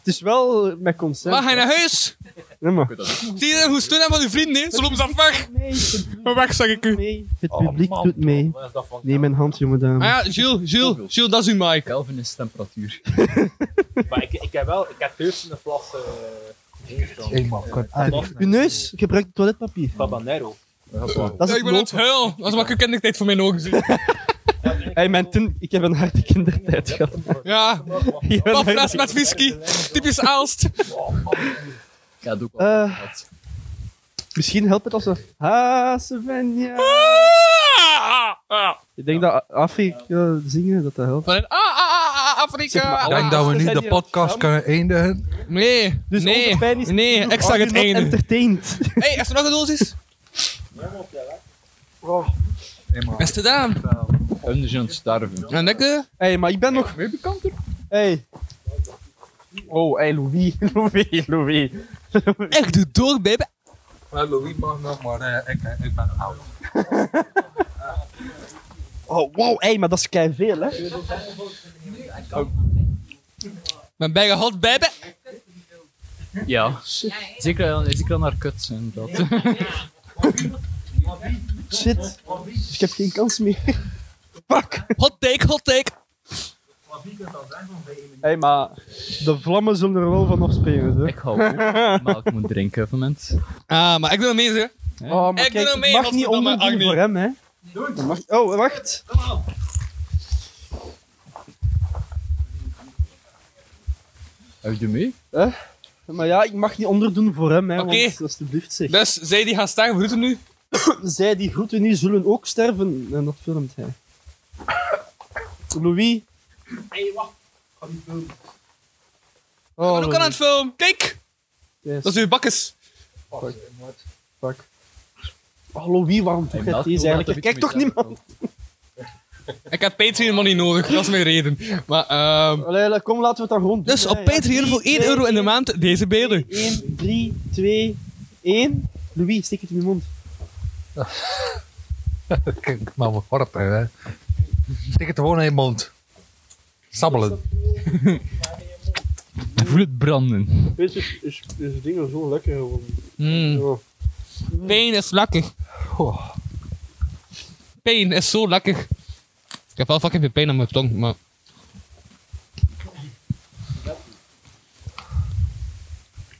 Speaker 2: Het is wel met consent.
Speaker 3: Waar ga je naar huis?
Speaker 2: Nee, maar.
Speaker 3: Zie je hoe stoen van uw vrienden? hè? Ze lopen zelf weg.
Speaker 2: Nee, het
Speaker 3: Maar weg, zeg ik u.
Speaker 2: publiek- het
Speaker 1: Oh,
Speaker 2: publiek doet mee. Neem mijn hand, jonge dame.
Speaker 3: Ah ja, Jules, Jules, Jules, dat is uw mic.
Speaker 4: Kelvin is temperatuur.
Speaker 8: Maar ik, ik heb wel, ik heb thuis een fles eh,
Speaker 1: Eenmaal. Kon- ah, nee.
Speaker 2: Uw neus gebruikt toiletpapier.
Speaker 8: Habanero.
Speaker 2: Dat is
Speaker 3: ik ben aan het
Speaker 2: geloof.
Speaker 3: huilen. Dat is wat ik kindertijd voor mijn ogen zie.
Speaker 2: Hey, mijn tin- ik heb een harde kindertijd gehad.
Speaker 3: Ja,
Speaker 2: Ik heb een harde-
Speaker 3: Pafles met whisky. Typisch Aalst.
Speaker 4: Ja, dat doe ik wel.
Speaker 2: Eh, misschien helpt het als we. Ha, Svenja.
Speaker 3: Ah! Ah.
Speaker 2: Ik denk dat Afrika zingen, dat dat helpt.
Speaker 3: Van een- ah, ah, ah, ah, Afrika.
Speaker 1: Ik denk dat we nu de podcast kunnen eindigen.
Speaker 3: Nee, nee, nee, ik zag het einde.
Speaker 2: Oh, entertained.
Speaker 3: Hé, hey, is er nog een dosis? Is het gedaan?
Speaker 4: Hun zijn aan het sterven.
Speaker 3: En dikke?
Speaker 2: Hé, maar ik ben nog...
Speaker 4: Wie bekant er?
Speaker 2: Hey. Oh, hey Louis, Louis, Louis.
Speaker 3: Ik doe door, baby.
Speaker 1: Maar Louis mag nog, maar eh, ik, ik ben oud.
Speaker 2: Oh, wow, hey, maar dat is kei veel, hè?
Speaker 3: Mijn bijge hot, baby.
Speaker 4: Ja. Zeker, al- zeker al naar kut zijn dat.
Speaker 2: Shit. Ik heb geen kans meer.
Speaker 3: Hot take, hot take.
Speaker 2: hey, maar de vlammen zullen er wel van afspringen, hè?
Speaker 4: Ik hou ook, maar ik moet drinken op het moment.
Speaker 3: Ah, maar ik doe hem mee, zeg.
Speaker 2: Oh, maar
Speaker 3: Ik doe
Speaker 2: kijk,
Speaker 3: hem mee,
Speaker 2: mag niet
Speaker 3: godverdomme,
Speaker 2: onderdoen
Speaker 3: Agni.
Speaker 2: voor hem, hè? Dat mag- Oh, wacht.
Speaker 4: Heb je mee?
Speaker 2: Hè? Maar ja, ik mag niet onderdoen voor hem, hè?
Speaker 3: Oké.
Speaker 2: Want, alsjeblieft, zeg.
Speaker 3: Dus zij die gaan staan, groeten nu.
Speaker 2: Zij die groeten niet zullen ook sterven. En dat filmt hij. Louis.
Speaker 19: Hé, wacht. Ik ga niet filmen.
Speaker 2: Oh,
Speaker 3: We doen ook aan
Speaker 2: Louis.
Speaker 3: het film. Kijk,
Speaker 2: Yes.
Speaker 3: dat is uw bakkes.
Speaker 19: Fuck.
Speaker 2: Fuck. Oh, Louis, waarom doe
Speaker 4: Hij
Speaker 2: jij
Speaker 4: meldt
Speaker 2: deze
Speaker 4: gewoon
Speaker 2: eigenlijk?
Speaker 4: dat
Speaker 2: Er
Speaker 4: er
Speaker 2: kijkt
Speaker 4: iets
Speaker 2: toch
Speaker 4: mee
Speaker 2: niemand?
Speaker 3: Ik heb Patreon money nodig, dat is mijn reden. Maar, ehm
Speaker 2: Allee, allee, kom, laten we het dan gewoon doen.
Speaker 3: dus op Patreon voor 1 euro in de maand deze beelden.
Speaker 2: 1, 3, 2, 1. Louis, steek het in je mond.
Speaker 1: Kijk, maar wat hard, hè. Stik het gewoon in je mond. Sabbelen.
Speaker 4: Voel het branden.
Speaker 2: Weet je, is, is dingen zo lekker geworden.
Speaker 3: Mm. Pijn is lekker. Pijn is zo lekker. Ik heb wel fucking veel pijn aan mijn tong, maar...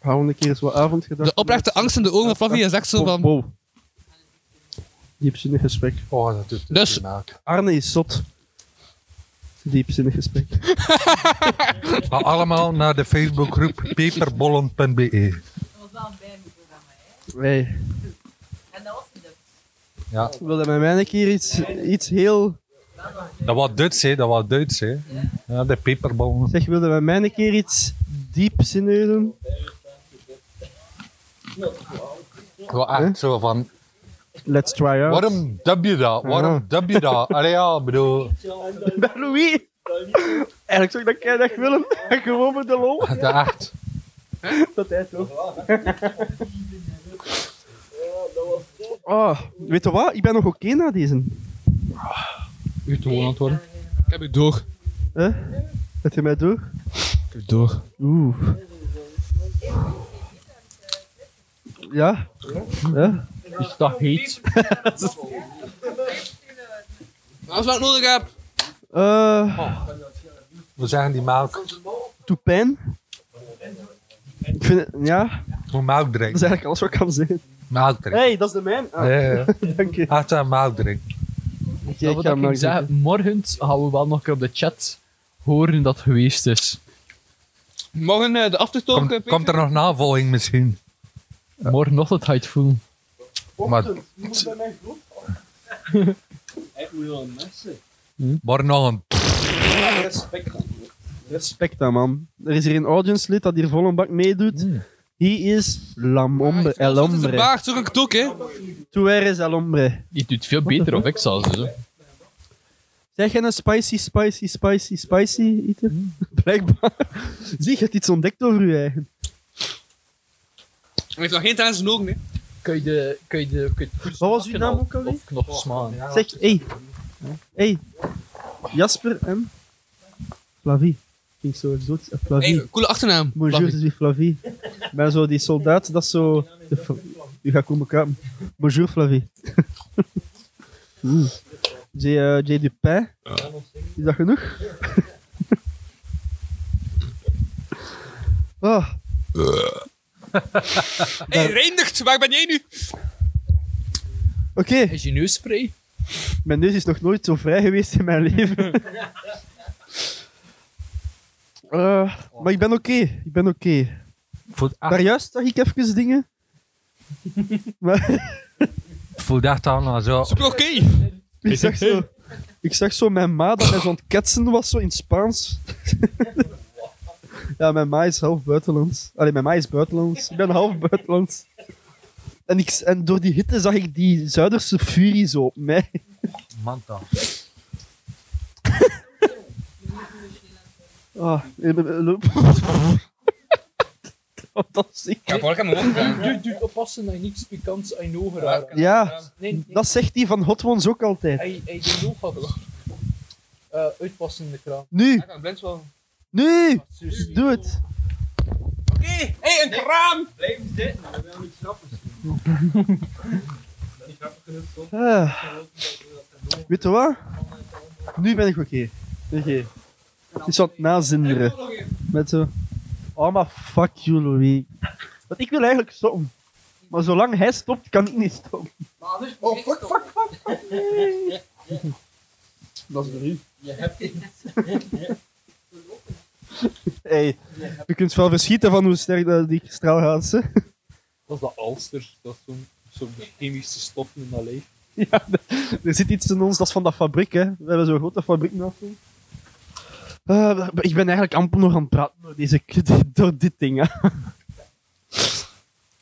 Speaker 2: Hou een keer eens wat avondgedachten.
Speaker 3: De oprechte angst in de ogen van Flavie is echt zo
Speaker 2: Oh,
Speaker 3: van...
Speaker 2: wow. Diepzinnig gesprek.
Speaker 1: Oh, dat doet het
Speaker 3: Dus-
Speaker 1: naak.
Speaker 2: Arne is zot. Diepzinnig gesprek.
Speaker 1: Maar allemaal naar de Facebookgroep peperbollen.be.
Speaker 5: was wel een bijprogramma, hè.
Speaker 2: Wij.
Speaker 5: En dat was het dus.
Speaker 1: Ja,
Speaker 2: Wilde met mij een keer iets, iets heel...
Speaker 1: dat was Duits, hè. Dat was Duits, hè. Ja, de peperbollen.
Speaker 2: Zeg, wilde met mij een keer iets diepzinnigs doen?
Speaker 1: Wel echt zo van...
Speaker 2: Let's try out.
Speaker 1: Waarom dub je dat? Waarom dub je dat? Allee, ja, ik bedoel...
Speaker 2: Bij Louis. Eigenlijk zou ik dat jij dat willen. Gewoon met de lol.
Speaker 1: De echt.
Speaker 2: Dat hij toch. Oh, weet je wat? Ik ben nog oké na deze.
Speaker 4: U te woon worden.
Speaker 3: Ik heb u door.
Speaker 2: Hè? Zet je mij door?
Speaker 3: Ik heb u door.
Speaker 2: Oeh. Ja? Ja?
Speaker 4: Is dat heet?
Speaker 3: Dat is wat ik nodig heb.
Speaker 2: Eh,
Speaker 1: We zeggen die melk.
Speaker 2: doet pijn. Ik vind het, ja,
Speaker 1: Moet melk
Speaker 2: dat is
Speaker 1: drinken.
Speaker 2: eigenlijk alles wat ik kan zeggen.
Speaker 1: Melk drinken.
Speaker 2: hey, dat is de mijn. Ah,
Speaker 1: Ja, ja.
Speaker 2: Dank je.
Speaker 1: Echt aan melk drinken.
Speaker 2: Oké,
Speaker 4: Dat
Speaker 2: ik
Speaker 4: wil
Speaker 2: ga
Speaker 4: dat
Speaker 2: hem
Speaker 4: ik
Speaker 2: nog zeggen.
Speaker 4: zeggen, morgen gaan we wel nog een keer op de chat horen dat het geweest is.
Speaker 3: Morgen eh, de aftertalk. eh,
Speaker 1: Komt, komt
Speaker 3: Peter?
Speaker 1: er nog navolging misschien?
Speaker 4: Morgenochtend ga je het voelen.
Speaker 1: Maar
Speaker 19: Hij moet wel messen.
Speaker 1: morgen Hm? nog een...
Speaker 19: Respect dan.
Speaker 2: Respect aan, man. Er is hier een audience lid dat hier vol een bak meedoet. Die is Lamombe, El
Speaker 3: Het Ah, is een
Speaker 2: Hombre.
Speaker 3: baard, zo ik het ook, hè.
Speaker 2: Tú eres El Hombre.
Speaker 4: Je doet veel beter of ik zelfs. Dus.
Speaker 2: Zeg jij een spicy, spicy, spicy, spicy eten? Blijkbaar. Zie, je hebt iets ontdekt over je eigen.
Speaker 3: Hij heeft nog geen tijdens zijn ogen, hè.
Speaker 4: Kun je de... Kun je de kun je het
Speaker 2: Wat was uw
Speaker 4: smaken
Speaker 2: naam
Speaker 4: al-
Speaker 2: ook alweer?
Speaker 4: Of nog smaan.
Speaker 2: Zeg, hé. Hé. Jasper en... Flavie. Ging zo exotisch. Eh, Flavie.
Speaker 3: Hey, coole achternaam.
Speaker 2: Bonjour, je
Speaker 3: Flavie.
Speaker 2: suis Flavie. Ik ben zo die soldaat dat zo... de F- U gaat komen kapen. Bonjour, Flavie. Oeh. J. eh, J. Dupin. Is dat genoeg? Ah.
Speaker 3: Hey, Reindert, waar ben jij nu?
Speaker 2: Oké.
Speaker 4: Is je neusspray?
Speaker 2: Mijn neus is nog nooit zo vrij geweest in mijn leven. Eh, maar ik ben oké. Ik ben oké.
Speaker 1: Ik voel echt,
Speaker 2: Daar juist zag ik even dingen. maar
Speaker 1: ik voel echt aan als zo...
Speaker 3: Super oké.
Speaker 2: Ik zag zo, ik zag zo mijn ma dat hij zo aan het ketsen was, zo in het Spaans. ja, mijn ma is half buitenlands. Allee, mijn ma is buitenlands. Ik ben half buitenlands. En, ik, en door die hitte zag ik die Zuiderse furie zo op mij.
Speaker 4: Manta.
Speaker 2: Ah, eh, eh, loop. Dat is ik.
Speaker 4: Ja,
Speaker 2: vooral kan me ook-
Speaker 4: Doe, doe oppassen dat je niets pikants aan je ogen raakt.
Speaker 2: Ja,
Speaker 4: Nee, nee.
Speaker 2: dat zegt die van Hot Ones ook altijd.
Speaker 4: Hij, hij deed nog wat. Eh, uitpassen in de kraan.
Speaker 2: Nu.
Speaker 4: Hij kan blind wel.
Speaker 2: Nu! Doe het!
Speaker 3: Oké, hey, een kraam! Blijf zitten, we willen niet grappig
Speaker 2: Ah. Weet je wat? Nu ben ik oké. Oké. Het is wat nazinderen. Met zo... Oh, maar fuck you, Louis. Want ik wil eigenlijk stoppen. Maar zolang hij stopt, kan ik niet stoppen.
Speaker 20: Maar anders oh, fuck, fuck, fuck, fuck, nee.
Speaker 2: Dat is de ruw.
Speaker 20: Je hebt het.
Speaker 2: Hey, je kunt wel verschieten van hoe sterk dat die straal gaat. hè.
Speaker 4: Dat is dat alster. Dat is zo'n soort chemische stof in dat leeg.
Speaker 2: Ja, d- er zit iets in ons, dat is van dat fabriek, hè. We hebben zo'n grote fabriek naast ons. Eh, ik ben eigenlijk amper nog aan het praten door, deze, kut- door dit ding. Hè.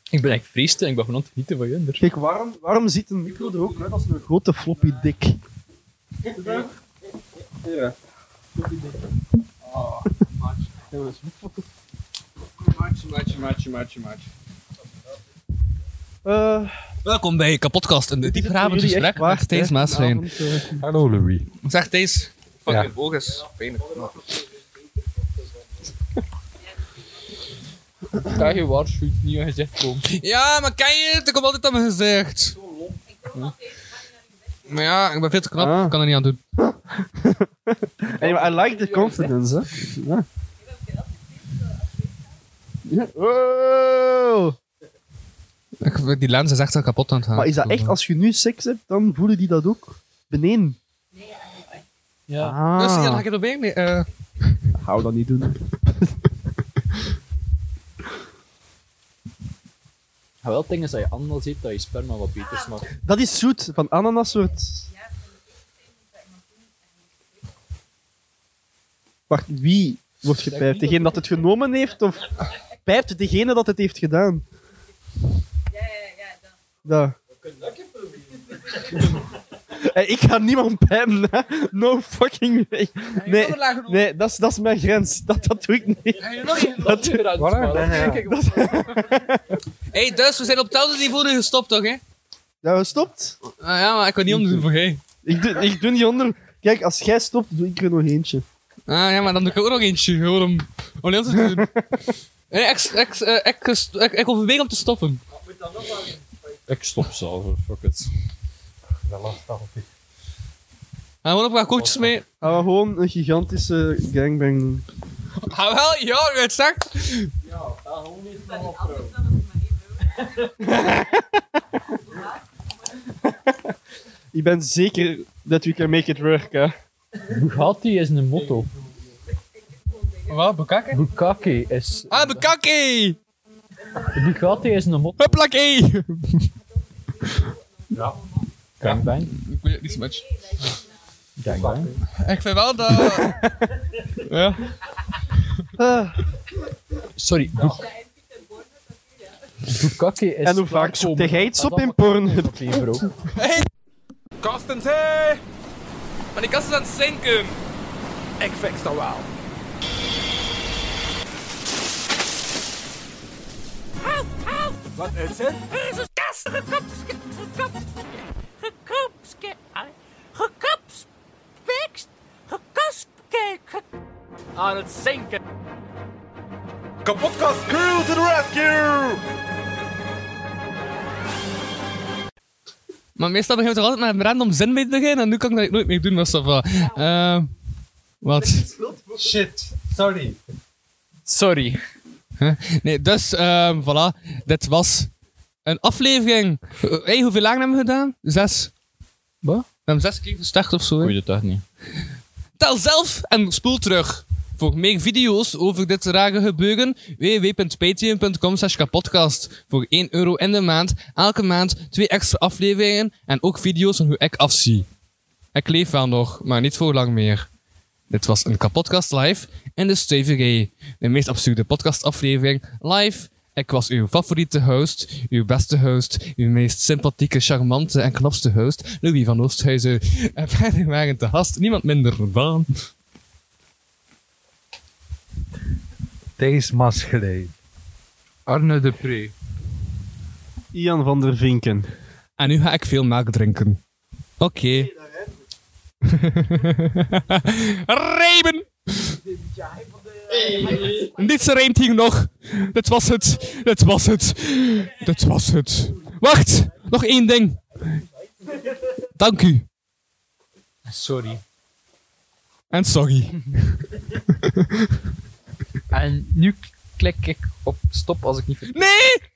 Speaker 4: Ik ben echt vreesde en ik ben gewoon aan het genieten van Junder.
Speaker 2: Kijk, waarom, waarom ziet een micro er ook uit als een grote floppy dik?
Speaker 20: Ja.
Speaker 3: Oh, match. Match, match, match, match, match.
Speaker 2: Eh,
Speaker 3: Welkom bij Kapotkast, een diepgravend
Speaker 2: jullie echt
Speaker 3: gesprek
Speaker 2: waar,
Speaker 3: met Thijs
Speaker 2: hè? eh.
Speaker 3: Maasveen.
Speaker 2: Vanavond,
Speaker 21: Hallo Louis.
Speaker 3: Zeg Thijs, fuck
Speaker 21: Ja.
Speaker 3: je vogels. Pijnlijk.
Speaker 4: Krijg je waarschuwt niet aan gezegd komt.
Speaker 3: Ja, maar ken je het? Ik heb altijd aan mijn gezicht. Maar ja, ik ben veel te knap,
Speaker 2: Ah.
Speaker 3: ik kan er niet aan doen.
Speaker 2: Anyway, I like the confidence, hè. Ja. Ja. Wow.
Speaker 3: Ik- Die lens is echt al kapot aan het gaan.
Speaker 2: Maar is dat echt, als je nu seks hebt, dan voelen die dat ook beneden?
Speaker 4: Ja.
Speaker 2: Ah.
Speaker 3: Dus ja, dan ga ik het proberen. Nee, eh,
Speaker 2: Hou dat niet doen.
Speaker 4: Ja, wel, het ding is dat je anders ziet dat je sperma wat beter smaakt.
Speaker 2: Dat is zoet, van ananas wordt... Wacht, wie wordt gepijpt? Degene dat het genomen heeft, of pijpt degene dat het heeft gedaan? Ja, ja, ja. Hey, ik ga niemand pijpen, hè. No fucking way. Nee, nee dat, is, dat is mijn grens. Dat, dat doe ik niet. Dat doe ik
Speaker 3: hey, dus we zijn op hetzelfde niveau nu gestopt, toch? Hè?
Speaker 2: Ja, we stopt.
Speaker 3: Ah, ja, maar ik kan niet onderdoen voor jij.
Speaker 2: Ik doe, ik doe niet onder. Kijk, als jij stopt, doe ik er nog eentje.
Speaker 3: Ah ja, maar dan doe ik ook nog eentje. Gewoon om, om niet anders te doen. Nee, ik, ik, eh, ik, ik, ik overweeg om te stoppen.
Speaker 4: Ik stop zelf, fuck it. Dat lastig op
Speaker 3: Gaan we ook wat koetjes mee?
Speaker 2: Gaan we Ah, gewoon een gigantische gangbang doen.
Speaker 3: Ah wel, ja, je weet het
Speaker 20: Ja, dat gewoon niet van
Speaker 2: Ik ben zeker dat we can make it work, hè.
Speaker 4: Bugatti is een motto.
Speaker 3: Wat, Bukake?
Speaker 4: Bukake is...
Speaker 3: Ah, Bukake!
Speaker 4: Bugatti is een motto.
Speaker 3: Hupplakee!
Speaker 4: Ja. Gangbang.
Speaker 3: Ik weet het niet zo much.
Speaker 4: Gangbang.
Speaker 3: Ik vind wel dat... ja.
Speaker 4: Sorry, Buk- Bukake is...
Speaker 2: En hoe vaak zoekt jij iets op in porn?
Speaker 3: Kostens, hé! Maar die kast is aan het zinken. Ik fix dat wel.
Speaker 22: Help, help!
Speaker 3: Wat is het?
Speaker 22: Er is een kast gekopske, gekopske, gekopske, gekopspikst, gekospkeken.
Speaker 3: Aan het zinken.
Speaker 22: Kapotkast crew to the rescue!
Speaker 3: Maar meestal begint het toch altijd met een random zin mee te beginnen. En nu kan ik dat nooit meer doen, maar ça va. Eh, wat?
Speaker 21: Shit, sorry.
Speaker 4: Sorry.
Speaker 3: Huh? Nee, dus, ehm, voilà. Dit was een aflevering. Eh, hey, hoeveel lagen hebben we gedaan? Zes. Wat? We hebben zes keer gestart of zo. hè?
Speaker 4: Goeie dat echt niet.
Speaker 3: Tel zelf en spoel terug. Voor meer video's over dit rare gebeuren, www.patreon.com slash kapodcast. Voor 1 euro in de maand, elke maand twee extra afleveringen en ook video's van hoe ik afzie. Ik leef wel nog, maar niet voor lang meer. Dit was een kapotkast live in de Stevige, de meest absurde podcastaflevering live. Ik was uw favoriete host, uw beste host, uw meest sympathieke, charmante en knapste host, Louis van Oosthuizen. En verder waren te gast niemand minder dan...
Speaker 1: Thijs Masgeleid.
Speaker 23: Arne de Pre.
Speaker 24: Ian van der Vinken.
Speaker 3: En nu ga ik veel melk drinken. Oké. Remen! Niets reemt hier nog. Dat was het. Dat was het. Dat was het. Wacht! Nog één ding. Dank u.
Speaker 2: Sorry.
Speaker 3: En sorry.
Speaker 2: En nu klik ik op stop als ik niet...
Speaker 3: Nee!